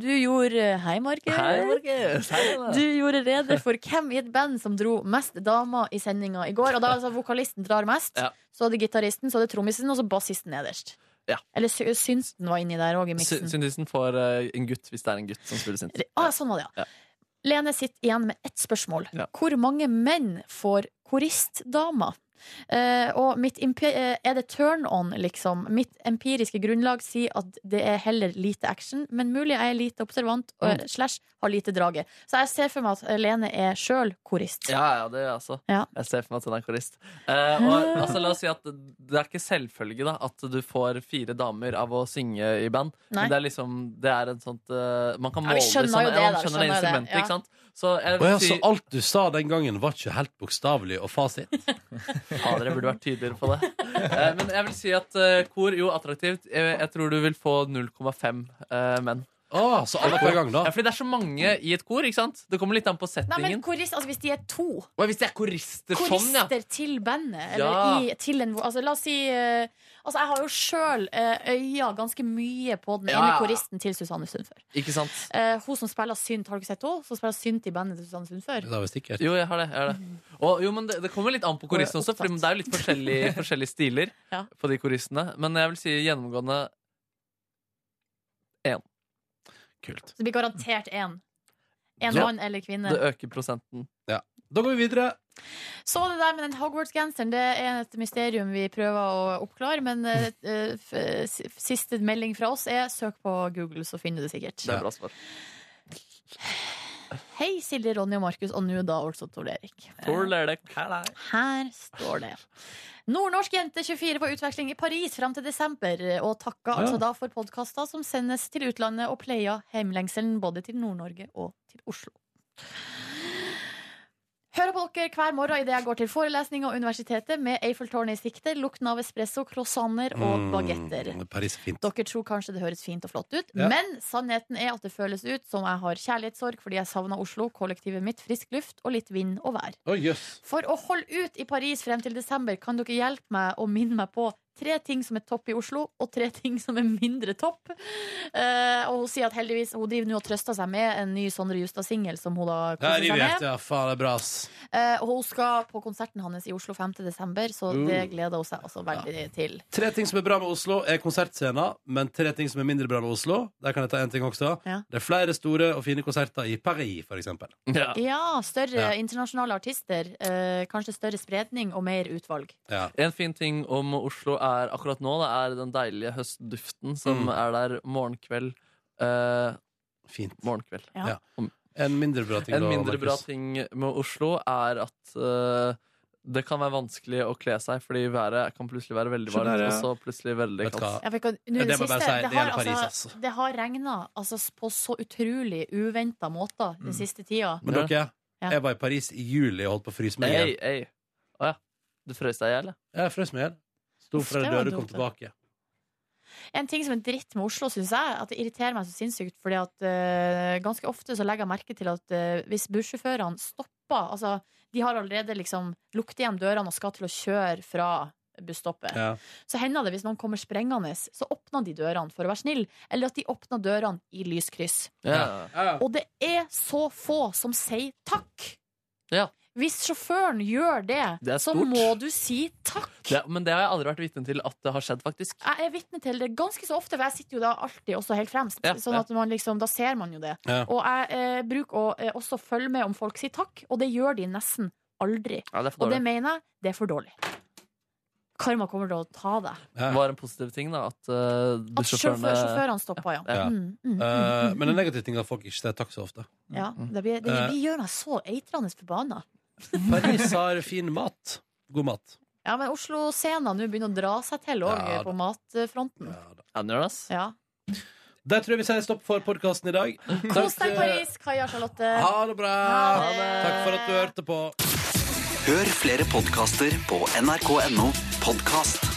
[SPEAKER 3] Du gjorde Hei, Markus.
[SPEAKER 4] Hei, Markus. Hei, Lene.
[SPEAKER 3] Du gjorde rede for hvem i et band som dro mest damer i sendinga i går. Og da altså vokalisten drar mest,
[SPEAKER 4] Ja.
[SPEAKER 3] så er det gitaristen, så er det trommisen, og så bassisten nederst.
[SPEAKER 4] Ja.
[SPEAKER 3] Eller sy synsten var inni der òg, i
[SPEAKER 4] Sy-
[SPEAKER 3] miksen.
[SPEAKER 4] Syntisen får eh, en gutt hvis det er en gutt som spiller synt.
[SPEAKER 3] ah, sånn var det, ja. Lene sitter igjen med ett spørsmål. Hvor mange menn får koristdama? Eh, og mitt impe- eh, er det turn on, liksom? Mitt empiriske grunnlag sier at det er heller lite action, men mulig jeg er lite observant og eh,
[SPEAKER 4] Mm.
[SPEAKER 3] slash har lite draget. Så jeg ser for meg at eh, Lene er sjøl korist.
[SPEAKER 4] Ja, ja, det gjør jeg også.
[SPEAKER 3] Ja.
[SPEAKER 4] Jeg ser for meg at hun er korist. Eh, og, altså, la oss si at det er ikke selvfølge da, at du får fire damer av å synge i band.
[SPEAKER 3] Nei.
[SPEAKER 4] Men det er liksom det er en sånt eh, Man kan
[SPEAKER 3] Ja, vi
[SPEAKER 4] måle
[SPEAKER 3] skjønner
[SPEAKER 4] sånn-
[SPEAKER 3] jo det,
[SPEAKER 4] ja,
[SPEAKER 3] da,
[SPEAKER 4] man
[SPEAKER 3] vi
[SPEAKER 4] skjønner det
[SPEAKER 3] skjønner jo det,
[SPEAKER 4] instrumentet,
[SPEAKER 3] ja.
[SPEAKER 4] ikke sant? Så jeg
[SPEAKER 2] Og
[SPEAKER 4] vil
[SPEAKER 2] ja, så
[SPEAKER 4] si
[SPEAKER 2] alt du sa den gangen, var ikke helt bokstavelig og fasit.
[SPEAKER 4] Fader, jeg burde vært tydeligere på det. Eh, men jeg vil si at eh, kor, jo, attraktivt. Jeg, jeg tror du vil få 0,5 eh, menn.
[SPEAKER 2] Ah, så alle på en gang, da.
[SPEAKER 4] Ja, fordi det er så mange i et kor, ikke sant? Det kommer litt an på
[SPEAKER 3] Nei, men
[SPEAKER 4] settingen.
[SPEAKER 3] korist, altså hvis de er to
[SPEAKER 4] Å, hvis det er korister, sånn, ja.
[SPEAKER 3] Korister til bandet. Eller
[SPEAKER 4] Ja.
[SPEAKER 3] i, til en, altså, la oss si eh, Altså, jeg har jo sjøl eh, øya ganske mye på den ene
[SPEAKER 4] Ja.
[SPEAKER 3] koristen til Susanne Sundfør.
[SPEAKER 4] Ikke sant?
[SPEAKER 3] Eh, hun som spiller synt, har du ikke sett henne? Som spiller synt i bandet til Susanne Sundfør.
[SPEAKER 4] Jo, jeg har det. Jeg har det. Og, jo, men det, det kommer litt an på koristen også, for det er jo litt forskjellige, forskjellige stiler
[SPEAKER 3] Ja.
[SPEAKER 4] på de koristene. Men jeg vil si gjennomgående én.
[SPEAKER 3] Så det blir garantert én. En
[SPEAKER 4] Ja.
[SPEAKER 3] mann eller kvinne.
[SPEAKER 4] Det øker prosenten.
[SPEAKER 2] Da går vi videre.
[SPEAKER 3] Så var det der med den Hogwarts-genseren. Det er et mysterium vi prøver å oppklare. Men eh,
[SPEAKER 4] Mm.
[SPEAKER 3] eh, f- eh, s- siste melding fra oss er søk på Google, så finner du det sikkert.
[SPEAKER 4] Det er bra svar.
[SPEAKER 3] Hei, Silje, Ronny og Markus, og nå da altså Tor Erik.
[SPEAKER 4] Tor Lerdek.
[SPEAKER 3] Her står det. Nordnorsk jente 24 på utveksling i Paris fram til desember, og takka
[SPEAKER 4] Ja.
[SPEAKER 3] altså da for podkaster som sendes til utlandet og pleier heimlengselen både til Nord-Norge og til Oslo. Hører på dere hver morgen idet jeg går til forelesning og universitetet med Eiffeltårnet i sikte, lukten av espresso, croissanter
[SPEAKER 2] Mm,
[SPEAKER 3] og bagetter.
[SPEAKER 2] Paris er fint.
[SPEAKER 3] Dere tror kanskje det høres fint og flott ut,
[SPEAKER 2] Ja.
[SPEAKER 3] men sannheten er at det føles ut som jeg har kjærlighetssorg fordi jeg savna Oslo, kollektivet mitt, frisk luft og litt vind og vær.
[SPEAKER 2] Å, jøss.
[SPEAKER 3] For å holde ut i Paris frem til desember, kan dere hjelpe meg og minne meg på tre ting som er topp i Oslo, og tre ting som er mindre topp? Eh, og hun sier at heldigvis hun driver nå og trøster seg med en ny Sondre Justad-singel som hun da
[SPEAKER 2] Ja,
[SPEAKER 3] koser
[SPEAKER 2] riv i
[SPEAKER 3] seg med.
[SPEAKER 2] hjertet. Ja, faen, det er bra, ass.
[SPEAKER 3] Eh, og hun skal på konserten hans i Oslo 5. desember, så
[SPEAKER 2] Uh.
[SPEAKER 3] det gleder hun seg også veldig til.
[SPEAKER 2] Tre ting som er bra med Oslo, er konsertscener. Men tre ting som er mindre bra med Oslo, der kan jeg ta en ting også.
[SPEAKER 3] Ja.
[SPEAKER 2] Det er flere store og fine konserter i Paris, for eksempel.
[SPEAKER 4] Ja.
[SPEAKER 3] Ja, større
[SPEAKER 2] Ja.
[SPEAKER 3] internasjonale artister. Eh, kanskje større spredning og mer utvalg.
[SPEAKER 4] En fin ting om Oslo er akkurat nå, det er den deilige høstduften som
[SPEAKER 2] Mm.
[SPEAKER 4] er der morgenkveld. eh, Morgenkveld.
[SPEAKER 2] Ja. En mindre bra ting,
[SPEAKER 4] En
[SPEAKER 2] da,
[SPEAKER 4] mindre bra
[SPEAKER 2] Markus.
[SPEAKER 4] ting med Oslo er at eh, det kan være vanskelig å kle seg, fordi været kan plutselig være veldig varmt,
[SPEAKER 2] Skjønner jeg.
[SPEAKER 4] og så plutselig veldig
[SPEAKER 2] Vet du hva?
[SPEAKER 4] kaldt.
[SPEAKER 3] Jeg vet ikke, nå i
[SPEAKER 2] Det
[SPEAKER 3] det,
[SPEAKER 2] må jeg
[SPEAKER 3] siste,
[SPEAKER 2] bare si,
[SPEAKER 3] det,
[SPEAKER 2] det
[SPEAKER 3] har,
[SPEAKER 2] gjelder Paris,
[SPEAKER 3] altså,
[SPEAKER 2] altså.
[SPEAKER 3] det har regna altså, på så utrolig uventa måter
[SPEAKER 2] Mm.
[SPEAKER 3] den siste tida.
[SPEAKER 2] Men dere,
[SPEAKER 3] Ja.
[SPEAKER 2] jeg var i Paris i juli og holdt på å fryse meg
[SPEAKER 4] Ei,
[SPEAKER 2] igjen.
[SPEAKER 4] ei. Å ja. Du frøs deg i hjel, ja?
[SPEAKER 2] Jeg frøs meg igjen. Sto
[SPEAKER 3] Uff,
[SPEAKER 2] fra
[SPEAKER 3] det
[SPEAKER 2] det
[SPEAKER 3] var
[SPEAKER 2] døde og kom
[SPEAKER 3] dumt,
[SPEAKER 2] tilbake.
[SPEAKER 3] En ting som er dritt med Oslo, syns jeg, at det irriterer meg så sinnssykt, fordi at eh, ganske ofte så legger jeg merke til at eh, hvis bussjåførene stopper Altså, de har allerede liksom lukket igjen dørene og skal til å kjøre fra busstoppet.
[SPEAKER 2] Ja.
[SPEAKER 3] Så hender det hvis noen kommer sprengende, så åpner de dørene for å være snill, eller at de åpner dørene i lyskryss.
[SPEAKER 4] Ja.
[SPEAKER 3] Og det er så få som sier takk! Hvis sjåføren gjør det,
[SPEAKER 4] Det er
[SPEAKER 3] så
[SPEAKER 4] stort.
[SPEAKER 3] må du si takk.
[SPEAKER 4] Det, men det har jeg aldri vært vitne til at det har skjedd, faktisk.
[SPEAKER 3] Jeg er vitne til det ganske så ofte, for jeg sitter jo da alltid også helt fremst.
[SPEAKER 4] Ja,
[SPEAKER 3] sånn
[SPEAKER 4] ja.
[SPEAKER 3] at man liksom, Da ser man jo det.
[SPEAKER 4] Ja.
[SPEAKER 3] Og jeg eh, bruker å eh, også følge med om folk sier takk, og det gjør de nesten aldri.
[SPEAKER 4] Ja, det er for
[SPEAKER 3] og det
[SPEAKER 4] dårlig.
[SPEAKER 3] mener jeg, det er for dårlig. Karma kommer til å ta deg.
[SPEAKER 4] var en positiv ting, da. At, uh,
[SPEAKER 3] At sjåfør- sjåførene stopper, ja.
[SPEAKER 2] eh, Ja.
[SPEAKER 3] Mm, mm,
[SPEAKER 2] Eh,
[SPEAKER 3] mm, mm,
[SPEAKER 2] men en
[SPEAKER 3] mm.
[SPEAKER 2] negativ ting er at folk ikke sier takk så ofte.
[SPEAKER 3] ja, det, blir, det,
[SPEAKER 2] Eh.
[SPEAKER 3] det gjør meg så eitrende forbanna.
[SPEAKER 2] Paris har fin mat. God mat.
[SPEAKER 3] Ja, men Oslo-scena nå begynner å dra seg til òg,
[SPEAKER 2] Ja,
[SPEAKER 3] på matfronten. Ja.
[SPEAKER 2] Der tror jeg vi sier stopp for podkasten i dag.
[SPEAKER 3] Kos
[SPEAKER 2] Takk,
[SPEAKER 3] deg i Paris, Kaja Charlotte.
[SPEAKER 2] Ha det bra.
[SPEAKER 3] Ha det.
[SPEAKER 2] Takk for at du hørte på.
[SPEAKER 7] Hør flere podkaster på nrk.no podkast.